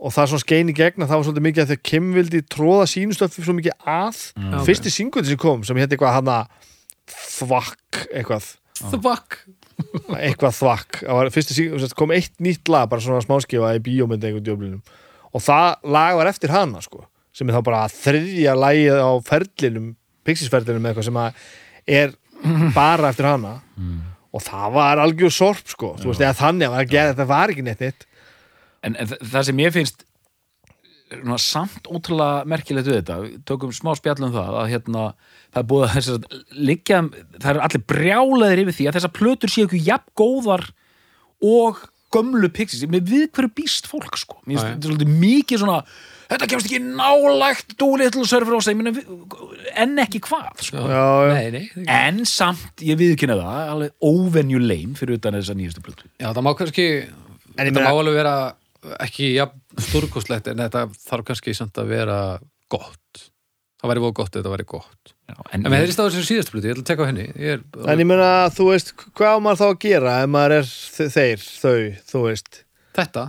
Speaker 2: og það er svona skein í gegna, það var svolítið mikið að þau Kim vildi tróða sínustöfi svo mikið að
Speaker 1: Mm. ok.
Speaker 2: fyrsti singundi sem kom sem hétt eitthvað hana þvakk eitthvað,
Speaker 1: the fuck
Speaker 2: eitthvað þvakk það var fyrsti singundi, kom eitt nýtt lag bara svona smáskifa í bíómynd einhvern djöflinum og það lag var eftir hana sko sem er þá bara þriðja lagið á ferlinum, pixisferlinum eitthvað sem að er bara eftir hana
Speaker 1: Mm.
Speaker 2: og það var algjör sorp sko, þú veist, eða þannig að var að gera þetta var ekki neitt neitt
Speaker 3: en, en þa- það sem ég finnst eh, svona, samt ótrúlega merkilegt við þetta við tökum smá spjallum það að hérna, það er búið að þess að liggja það er allir brjálaðir yfir því að þessar plötur séu ekki jafn góðar og gömlu pixis með við hverju býst fólk sko Mér
Speaker 1: Já, já.
Speaker 3: finnst þetta svolítið mikið svona þetta kemst ekki nálægt dúlið til að sörfra á sig en ekki hvað sko.
Speaker 2: Já, já.
Speaker 1: Nei, nei, já,
Speaker 3: en samt, ég viðkynna það alveg óvenjuleim fyrir utan þessar nýjastu plötur
Speaker 1: það má kannski
Speaker 2: En ég
Speaker 1: þetta má
Speaker 2: meina-
Speaker 1: alveg vera ekki ja, stúrkoslegt en þetta þarf kannski samt að vera gott það væri voru gott ef þetta væri gott
Speaker 3: Já,
Speaker 1: en með þeirri stáður sem síðast bluti, ég ætla að teka á henni ég er,
Speaker 2: En ég meina, þú veist, hvað á maður þá að gera ef maður er þe- þeir, þau, þú veist
Speaker 1: þetta,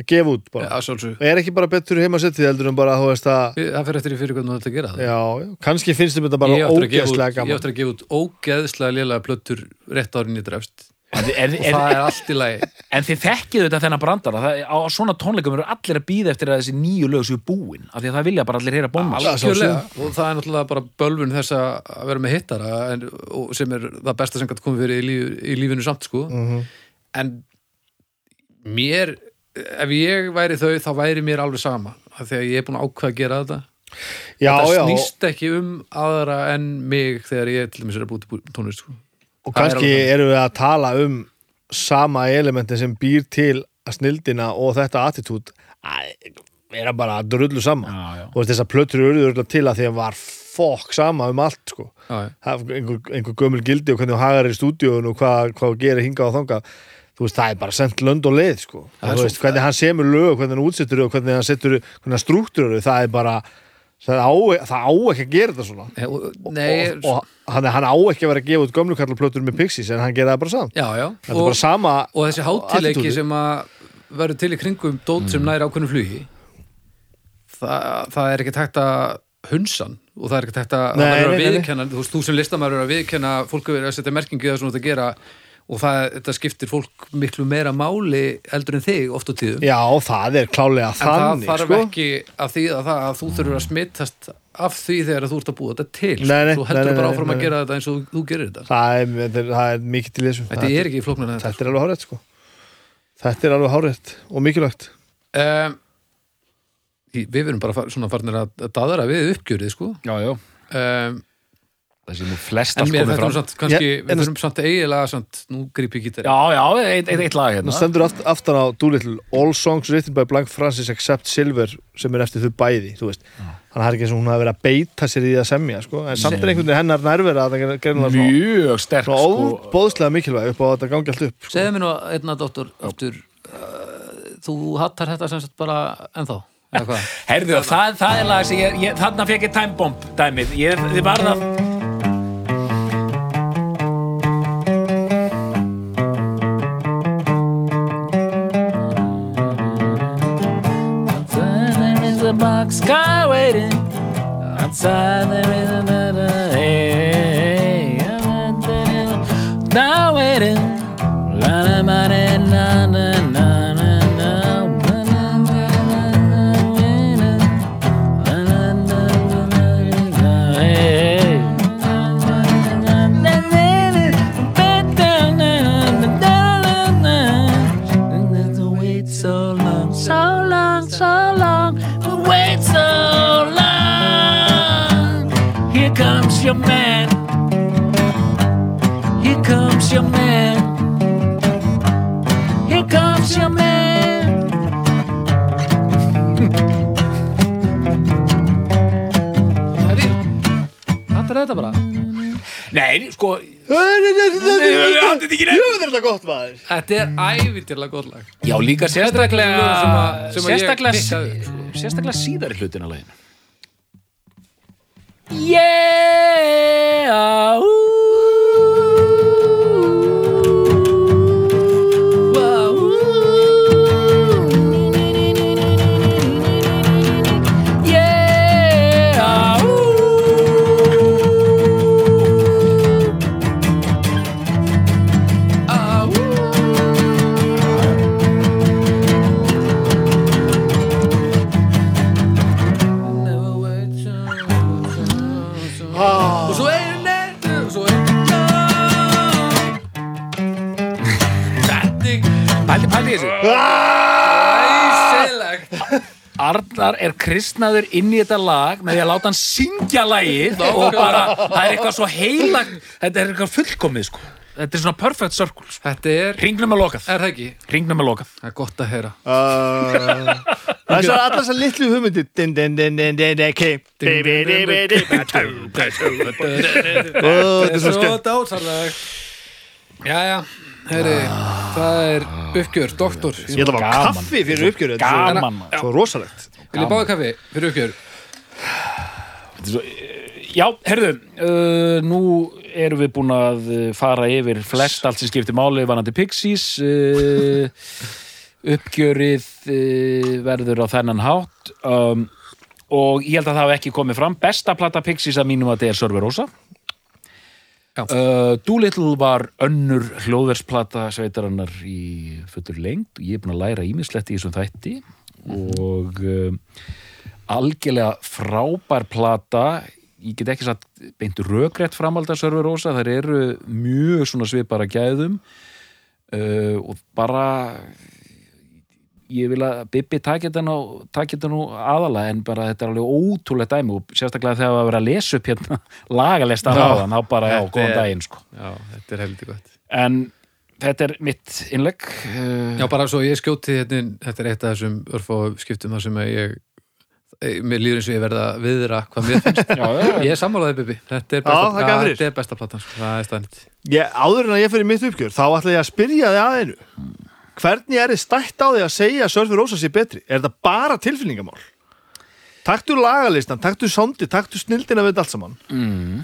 Speaker 2: að gefa út bara.
Speaker 1: ja, svolsug
Speaker 2: Og er ekki bara betur heima að setja heldur en bara, þú veist að
Speaker 1: það fyrir eftir í fyrir hvernig þú ætla að gera það
Speaker 2: já, já, kannski finnst þeim þetta bara
Speaker 1: ég áttur að gefa
Speaker 2: ógeðslega
Speaker 1: út, ég
Speaker 2: gaman
Speaker 1: áttur að gefa út ógeðslega lélega plötur rétt árinni drefst
Speaker 3: en, en,
Speaker 1: og það er allt í lagi
Speaker 3: En þið þekkið þetta þennan brandara það, á svona tónleikum eru allir að býða eftir að þessi nýju lög séu búin af því að það vilja bara allir heyra bomba
Speaker 2: Alla.
Speaker 1: Algjörlega, og það er náttúrulega bara bölvun þess að að vera með hittara en, og sem er það besta sem gætt komið fyrir í, líf, í lífinu samt sko
Speaker 2: Mhm.
Speaker 1: en mér ef ég væri þau þá væri mér alveg sama af því að ég er búin að ákveða að gera þetta
Speaker 2: Já,
Speaker 1: það
Speaker 2: já, og,
Speaker 1: snýst ekki um aðra en mig þegar ég til dæmis er að búti tónlist sko.
Speaker 2: og
Speaker 1: það er
Speaker 2: kannski
Speaker 1: alveg
Speaker 2: erum við að tala um sama elementi sem býr til að snildina og þetta attitút er bara drullu saman
Speaker 3: Já, já.
Speaker 2: og veist, þessar plötur eru örugglega til að því að var fokk sama um allt, sko
Speaker 1: já, já.
Speaker 2: Það er einhver, einhver gömul gildi og hvernig þú hagar í stúdíun og hvað, hvað þú gerir hingað og þangað þú veist, það er bara sendt lönd og leið sko.
Speaker 1: er
Speaker 2: og þú veist, hvernig hann semur lög, hvernig hann útsettur þau og hvernig hann settur, hvernig hann strúktur þau það er bara, það á, það á ekki að gera þetta svona
Speaker 1: Eh, og- Nei,
Speaker 2: og, og hann, hann á ekki að vera að gefa út gömlu kallarplötur með Pixies en hann gera það bara samt
Speaker 1: já, já
Speaker 2: þetta er bara sama
Speaker 1: og þessi hátileiki
Speaker 2: attitúdið.
Speaker 1: sem að verður til í kringum dót
Speaker 2: Mm.
Speaker 1: sem næri ákveðnum flugi það, það er ekki tægt að hunsan og það er ekki tægt að, að,
Speaker 2: Nei,
Speaker 1: að
Speaker 2: nei, nei, nei.
Speaker 1: viðkenna, þú, veist, þú sem listamæður er að viðkenna fólk er að setja merkingu í það sem þetta gera og það, þetta skiptir fólk miklu meira máli eldur en þig oft á tíðum
Speaker 2: já, það er klálega
Speaker 1: en það
Speaker 2: þannig
Speaker 1: þarf
Speaker 2: sko.
Speaker 1: ekki að þýða það að þú þurfur að smittast af því þegar þú ert að búa þetta til
Speaker 2: Nei, nei,
Speaker 1: þú
Speaker 2: nei,
Speaker 1: heldur
Speaker 2: nei,
Speaker 1: bara
Speaker 2: nei,
Speaker 1: áfram
Speaker 2: nei.
Speaker 1: að gera þetta eins og þú gerir þetta
Speaker 2: það er, það er, það er mikið til þessu
Speaker 1: þetta er ekki flóknar en þetta
Speaker 2: þetta er alveg hárétt sko. þetta er alveg hárétt og mikilvægt
Speaker 1: um, við verum bara far, svona farnir að að daðra við uppgjörið sko
Speaker 3: Já, já,
Speaker 1: um,
Speaker 3: það sé nú flest
Speaker 1: en
Speaker 3: allt
Speaker 1: mér þetta um
Speaker 3: komið
Speaker 1: er
Speaker 3: fram
Speaker 1: samt kannski,
Speaker 2: Ég- en-
Speaker 1: við þurfum samt eiginlega samt, nú grýp ég gítari
Speaker 3: Já, já, eitt, eitt, eitt lag
Speaker 2: Nú
Speaker 3: hérna
Speaker 2: stendur aft, aftan á Doolittle All songs written by Blank Francis except Silver sem er eftir þau bæði, þú veist þannig að það er ekki eins og hún hafi verið að beita sér í því að semja sko. en samt er einhvern veginn hennar nærvera að það gerðum það svona,
Speaker 3: Mjög sterk
Speaker 2: svona
Speaker 3: sko
Speaker 2: óbóðslega mikilvæg upp á að þetta gangi allt upp sko.
Speaker 1: segðu mér nú, einna dóttur aftur, uh, þú hattar þetta sem sagt bara ennþá eða hvað?
Speaker 3: Herðu, það, það er lag sem ég, ég þarna fekk ég time bomb dæmið Ég, þið varða There is a box car waiting Outside there is another hey, Now waiting La la ma da, na na na na na La, la, la, la, la, la, la. Wait so long, so long, so long, wait so long. Here comes your man. Here comes your man. Here comes your man.
Speaker 1: hattar þetta bara?
Speaker 3: Nei, sko
Speaker 2: Jú,
Speaker 3: þetta ekki
Speaker 2: þetta er þetta gott maður
Speaker 1: þetta er ævindirlega gott lag
Speaker 3: Já, líka sérstaklega
Speaker 1: Þetta er lög sem að- sem að ég
Speaker 3: sérstaklega,
Speaker 1: pikkaði
Speaker 3: sérstaklega síðari hlutin að leginu
Speaker 1: ah,
Speaker 3: Yeah ooh,
Speaker 1: ah, Ah, Ah.
Speaker 3: Pældi, pældi í þessu
Speaker 1: Æsilegt
Speaker 3: Arnar er kristnaður inn í þetta lag með því að láta hann syngja lagið og bara, það er eitthvað svo heilagt þetta er eitthvað fullkomið sko þetta er svona perfect circle sko.
Speaker 1: Þetta er,
Speaker 3: ringnum er lokað,
Speaker 1: er það ekki?
Speaker 3: ringnum er lokað
Speaker 1: Það er gott að heyra
Speaker 2: Ah. Það er svo allar þessar litlu hugmyndi Din din din din din din kim Baby di bi di ba tu ba tu ba tu. Ó, Þetta er svo skemmt
Speaker 1: dátarleg Jæja, herri, það er uppgjör, doktor
Speaker 2: Ég ætla að fá
Speaker 3: Gaman.
Speaker 2: kaffi fyrir uppgjöru þetta er svo-
Speaker 3: gaman maður.
Speaker 2: Svo rosalegt
Speaker 1: Vil ég báða kaffi fyrir uppgjör?
Speaker 3: já, herðu, uh, nú erum við búin að uh, fara yfir flest allt sem skiptir máli varandi Pixies uh, uppgjörið uh, verður á þennan hátt um, og ég held að það hafi ekki komið fram besta plata Pixies að mínum að þetta er Sörver Rósa
Speaker 1: Já.
Speaker 3: Uh, Doolittle var önnur hljóðversplata sveitarannar í fullur lengd ég er búin að læra ímislegt í þessum þætti og um, algjörlega frábær plata ég get ekki satt beint rökrétt framhald að Sörver Rósa, þær eru mjög svona svipara gæðum uh, og bara ég vil að Bibbi taki þetta nú, taki þetta nú aðala en bara þetta er alveg ótrúlega dæmi og sérstaklega þegar að vera að lesa upp hérna lagalesta
Speaker 1: Já.
Speaker 3: ráðan, þá bara já,
Speaker 1: Þetta
Speaker 3: góðan
Speaker 1: er-
Speaker 3: daginn sko
Speaker 1: Já, þetta er heldig gott
Speaker 3: en þetta er mitt innlegg uh,
Speaker 1: Já, bara svo ég skjóti hérna, inn, þetta er eitt af þessum örfó skiptum þar sem að ég eh, mér líður eins og ég verða að viðra hvað mér finnst
Speaker 3: já, já, já.
Speaker 1: ég er sammálaðið Bibi, þetta er
Speaker 2: Já,
Speaker 1: besta,
Speaker 2: þakka fyrir.
Speaker 1: þetta er besta platan sko. það er stænt
Speaker 2: ég, Áður en að ég fyrir mitt uppgjör Þá ætla ég að spyrja þig að einu Hvernig er þið stætt á því að segja að Sörfi Rósa sé betri? Er þetta bara tilfinningamál? Taktu lagalistan, taktu sondi, taktu snildina við þetta allt saman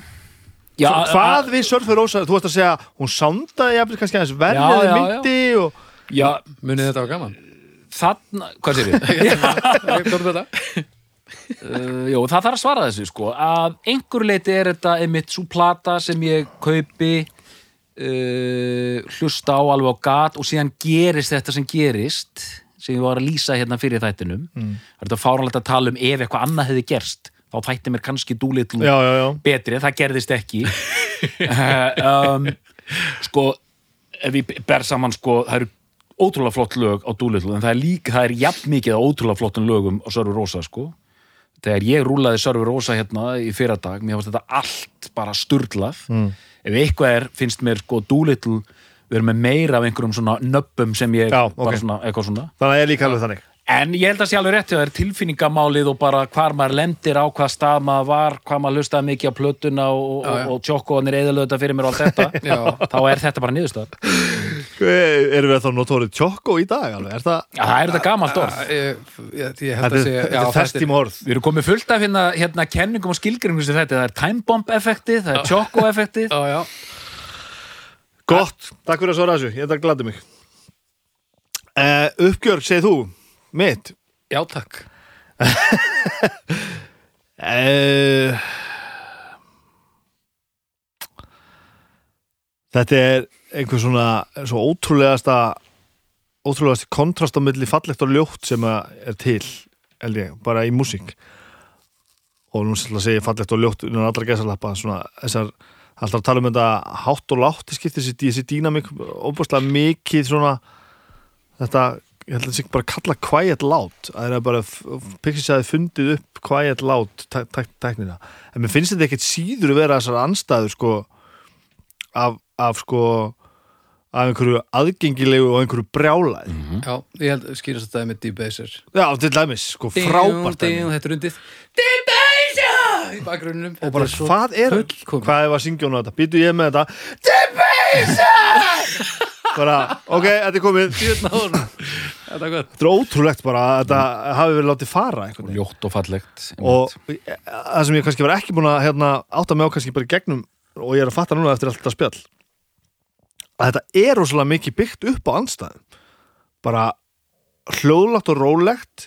Speaker 3: já,
Speaker 2: Svo, hvað við Sörfi Rósa, þú ætti að segja hún soundaði jafnvel kannski aðeins verðið
Speaker 3: Já, já,
Speaker 2: eða
Speaker 3: já.
Speaker 2: myndi og
Speaker 3: já,
Speaker 1: munið þetta var gaman
Speaker 3: þarna, hvað sér við?
Speaker 1: Ég tók þetta.
Speaker 3: Uh, Jó, það þarf að svara þessu sko að einhver leiti er þetta einmitt svo plata sem ég kaupi uh, hlusta á alveg á gat og síðan gerist þetta sem gerist sem ég var að lýsa hérna fyrir þættinum mm. það er þetta fáranlegt að tala um ef eitthvað annað hefði gerst þá þætti mér kannski dúlitlu
Speaker 2: Já, já, já.
Speaker 3: betri, það gerðist ekki Eh, um, sko ef ég ber saman sko það eru ótrúlega flott lög á Doolittle en það er líka, það er jafn mikið á ótrúlega flottum lögum á Sörfur Rósa sko þegar ég rúlaði Sörfur Rósa hérna í fyrradag, mér fannst þetta allt bara sturglað,
Speaker 2: Mm.
Speaker 3: ef eitthvað er finnst mér sko Doolittle við erum með meira af einhverjum svona nöppum sem ég
Speaker 2: Já, ok.
Speaker 3: bara svona, eitthvað svona
Speaker 2: þannig að ég er líka alveg þannig
Speaker 3: En ég held að sé alveg rétt hjá þér tilfinningamálið og bara hvar maður lendir á hvað stað maður var, hvað maður hlustaði mikið á plötuna og,
Speaker 1: Já, já.
Speaker 3: og tjókkoðanir eðalöðta fyrir mér og allt þetta,
Speaker 1: Já.
Speaker 3: þá er þetta bara niðurstöð.
Speaker 2: Eh, Erum við þá notórið tjokko í dag alveg? Er það,
Speaker 3: Það er þetta gamalt orð.
Speaker 1: Ég- ég ég held
Speaker 2: þetta
Speaker 1: að
Speaker 2: er,
Speaker 1: segja
Speaker 2: þetta
Speaker 1: já,
Speaker 2: er fest í morð
Speaker 3: Við erum komið fullt af hérna, hérna kenningum og skilgjöringum sem þetta, það er timebomb-effektið, það er tjókko-effektið.
Speaker 1: Já, já,
Speaker 2: Gott, takk fyrir að svara þessu, ég þetta gladi mig uh, Uppgjör, segið þú mitt
Speaker 1: já takk
Speaker 2: uh, Þetta er einhver svona svo ótrúlegasta ótrúlegasti kontrast á milli fallegt og ljótt sem að er til held ég, bara í músík og nú sem að segja fallegt og ljótt innan allra gæsalappa svona þessar alltaf að tala um þetta hátt og látt í skipti þessi, þessi dýnamik óbúrslega mikið svona þetta, ég held að þetta sé bara að kalla quiet loud að það er bara Pixis að fundið upp quiet loud tæ- tæk- tæknina en mér finnst þetta ekkert síður að vera þessar anstæður sko af, af sko af einhverju aðgengilegu og einhverju brjálæð
Speaker 1: Já, ég held skýrast að það er með Deep Baser
Speaker 2: já, til dæmis, sko frábært dæmi.
Speaker 1: dæmi Þetta er undið Deep Baser í bakgrunninum
Speaker 2: og bara hvað er
Speaker 1: fullkomið.
Speaker 2: hvað er að syngja hún á þetta, býtu ég með þetta Deep Baser bara, ok, þetta er komið þetta
Speaker 1: Þetta er gott
Speaker 2: er ótrúlegt bara að þetta hafi verið látið fara einhvern veginn
Speaker 3: Ljótt og fallegt.
Speaker 2: og eh, það sem ég kannski var ekki búin að hérna, átta mig á kannski bara í gegnum og ég er að fatta núna eftir allt þetta spjall að þetta er rosalega mikið byggt upp á anstæðum bara hljóðlagt og rólegt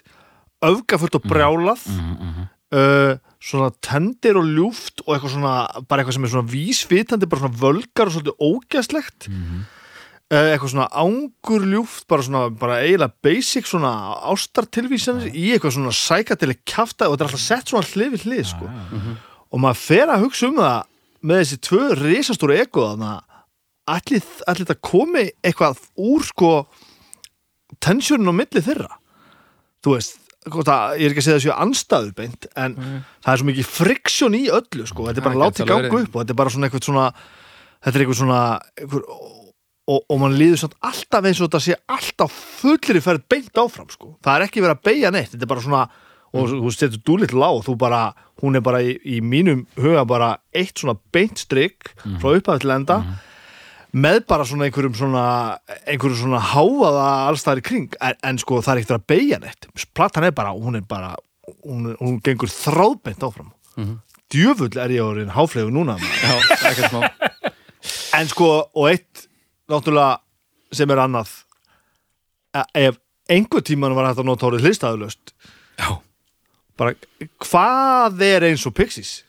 Speaker 2: öfgafullt og brjálað uh, svona tendir og ljúft og eitthvað svona, bara eitthvað sem er svona vísvitandi, bara svona völgar og svolítið ógæslegt uh, eitthvað svona angurljúft, bara svona bara eiginlega basic svona ástartilvísanir í eitthvað svona sækatileg kjafta og þetta er alltaf sett svona hlið við hlið sko. og maður fer að hugsa um það með þessi tvö risastóru ego þannig að allir, allir þetta komi eitthvað úr sko tensjónin á milli þeirra þú veist hvort að, ég er ekki að segja þessu anstæðu beint en það er svo mikið friksjón í öllu sko. þetta er bara
Speaker 1: Það
Speaker 2: látið
Speaker 1: gæti alveg
Speaker 2: gangu
Speaker 1: verið.
Speaker 2: upp og þetta er bara svona eitthvað svona þetta er eitthvað svona eitthvað, og, og mann líður samt alltaf eins og þetta sé alltaf fullri ferð beint áfram sko. það er ekki verið að beigja neitt þetta er bara svona, og þú setur dúlitt lág og þú bara, hún er bara í, í mínum huga bara eitt svona beint strikk frá upphafið til enda með bara svona einhverjum svona einhverjum svona háaða allstæðar í kring en, en sko það er ekkert að beigja neitt platan er bara, hún er bara hún, hún gengur þráðbeint áfram djöfull er ég orðin háflegu núna maður.
Speaker 1: Já, ekkert smá
Speaker 2: en sko, og eitt náttúrulega sem er annað e- ef einhver tíman var hægt að nota orðið hlistaðulöst
Speaker 1: Já,
Speaker 2: bara, hvað er eins og Pixies?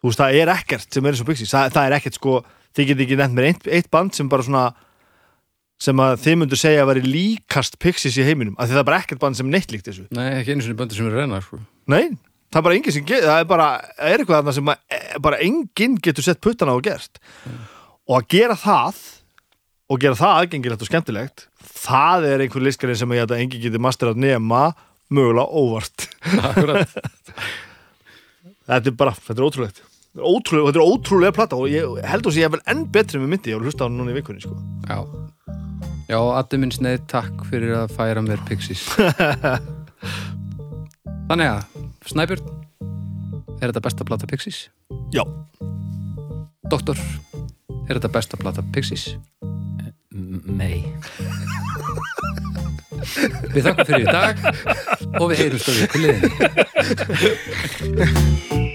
Speaker 2: Þú veist, það er ekkert sem er eins og Pixies, það, það er ekkert sko þið getið ekki nefnt mér eitt, eitt band sem bara svona sem að þið myndu segja að veri líkast Pixies í heiminum, af því það er bara ekkert band sem er neitt líkt þessu.
Speaker 1: nei, ekki einu sinni böndu sem eru reynar sko.
Speaker 2: Nei, það er bara engin sem getur, það er bara, það er eitthvað þarna sem að, e, bara enginn getur sett puttana á og gert. Og að gera það, og gera það aðgengilegt og skemmtilegt, það er einhver liskarinn sem ég held að enginn getur masterað nema mögulega óvart.
Speaker 1: Akkurat,
Speaker 2: Þetta er bara, þetta er ótrúlegt Þetta er Ótrúlega, þetta er ótrúlega plata og ég held þú sé ég er vel enn betri með myndi, ég var að hlusta á hann núna í vikunni sko.
Speaker 1: já Já, Addi minn sneið, takk fyrir að færa mér Pixies Þannig að, Snæbjörn Er þetta besta plata Pixies?
Speaker 2: Já,
Speaker 1: Doktor, er þetta besta plata Pixies?
Speaker 3: Nei
Speaker 1: Við þakkum fyrir í dag og við heyrumst á við til liðinni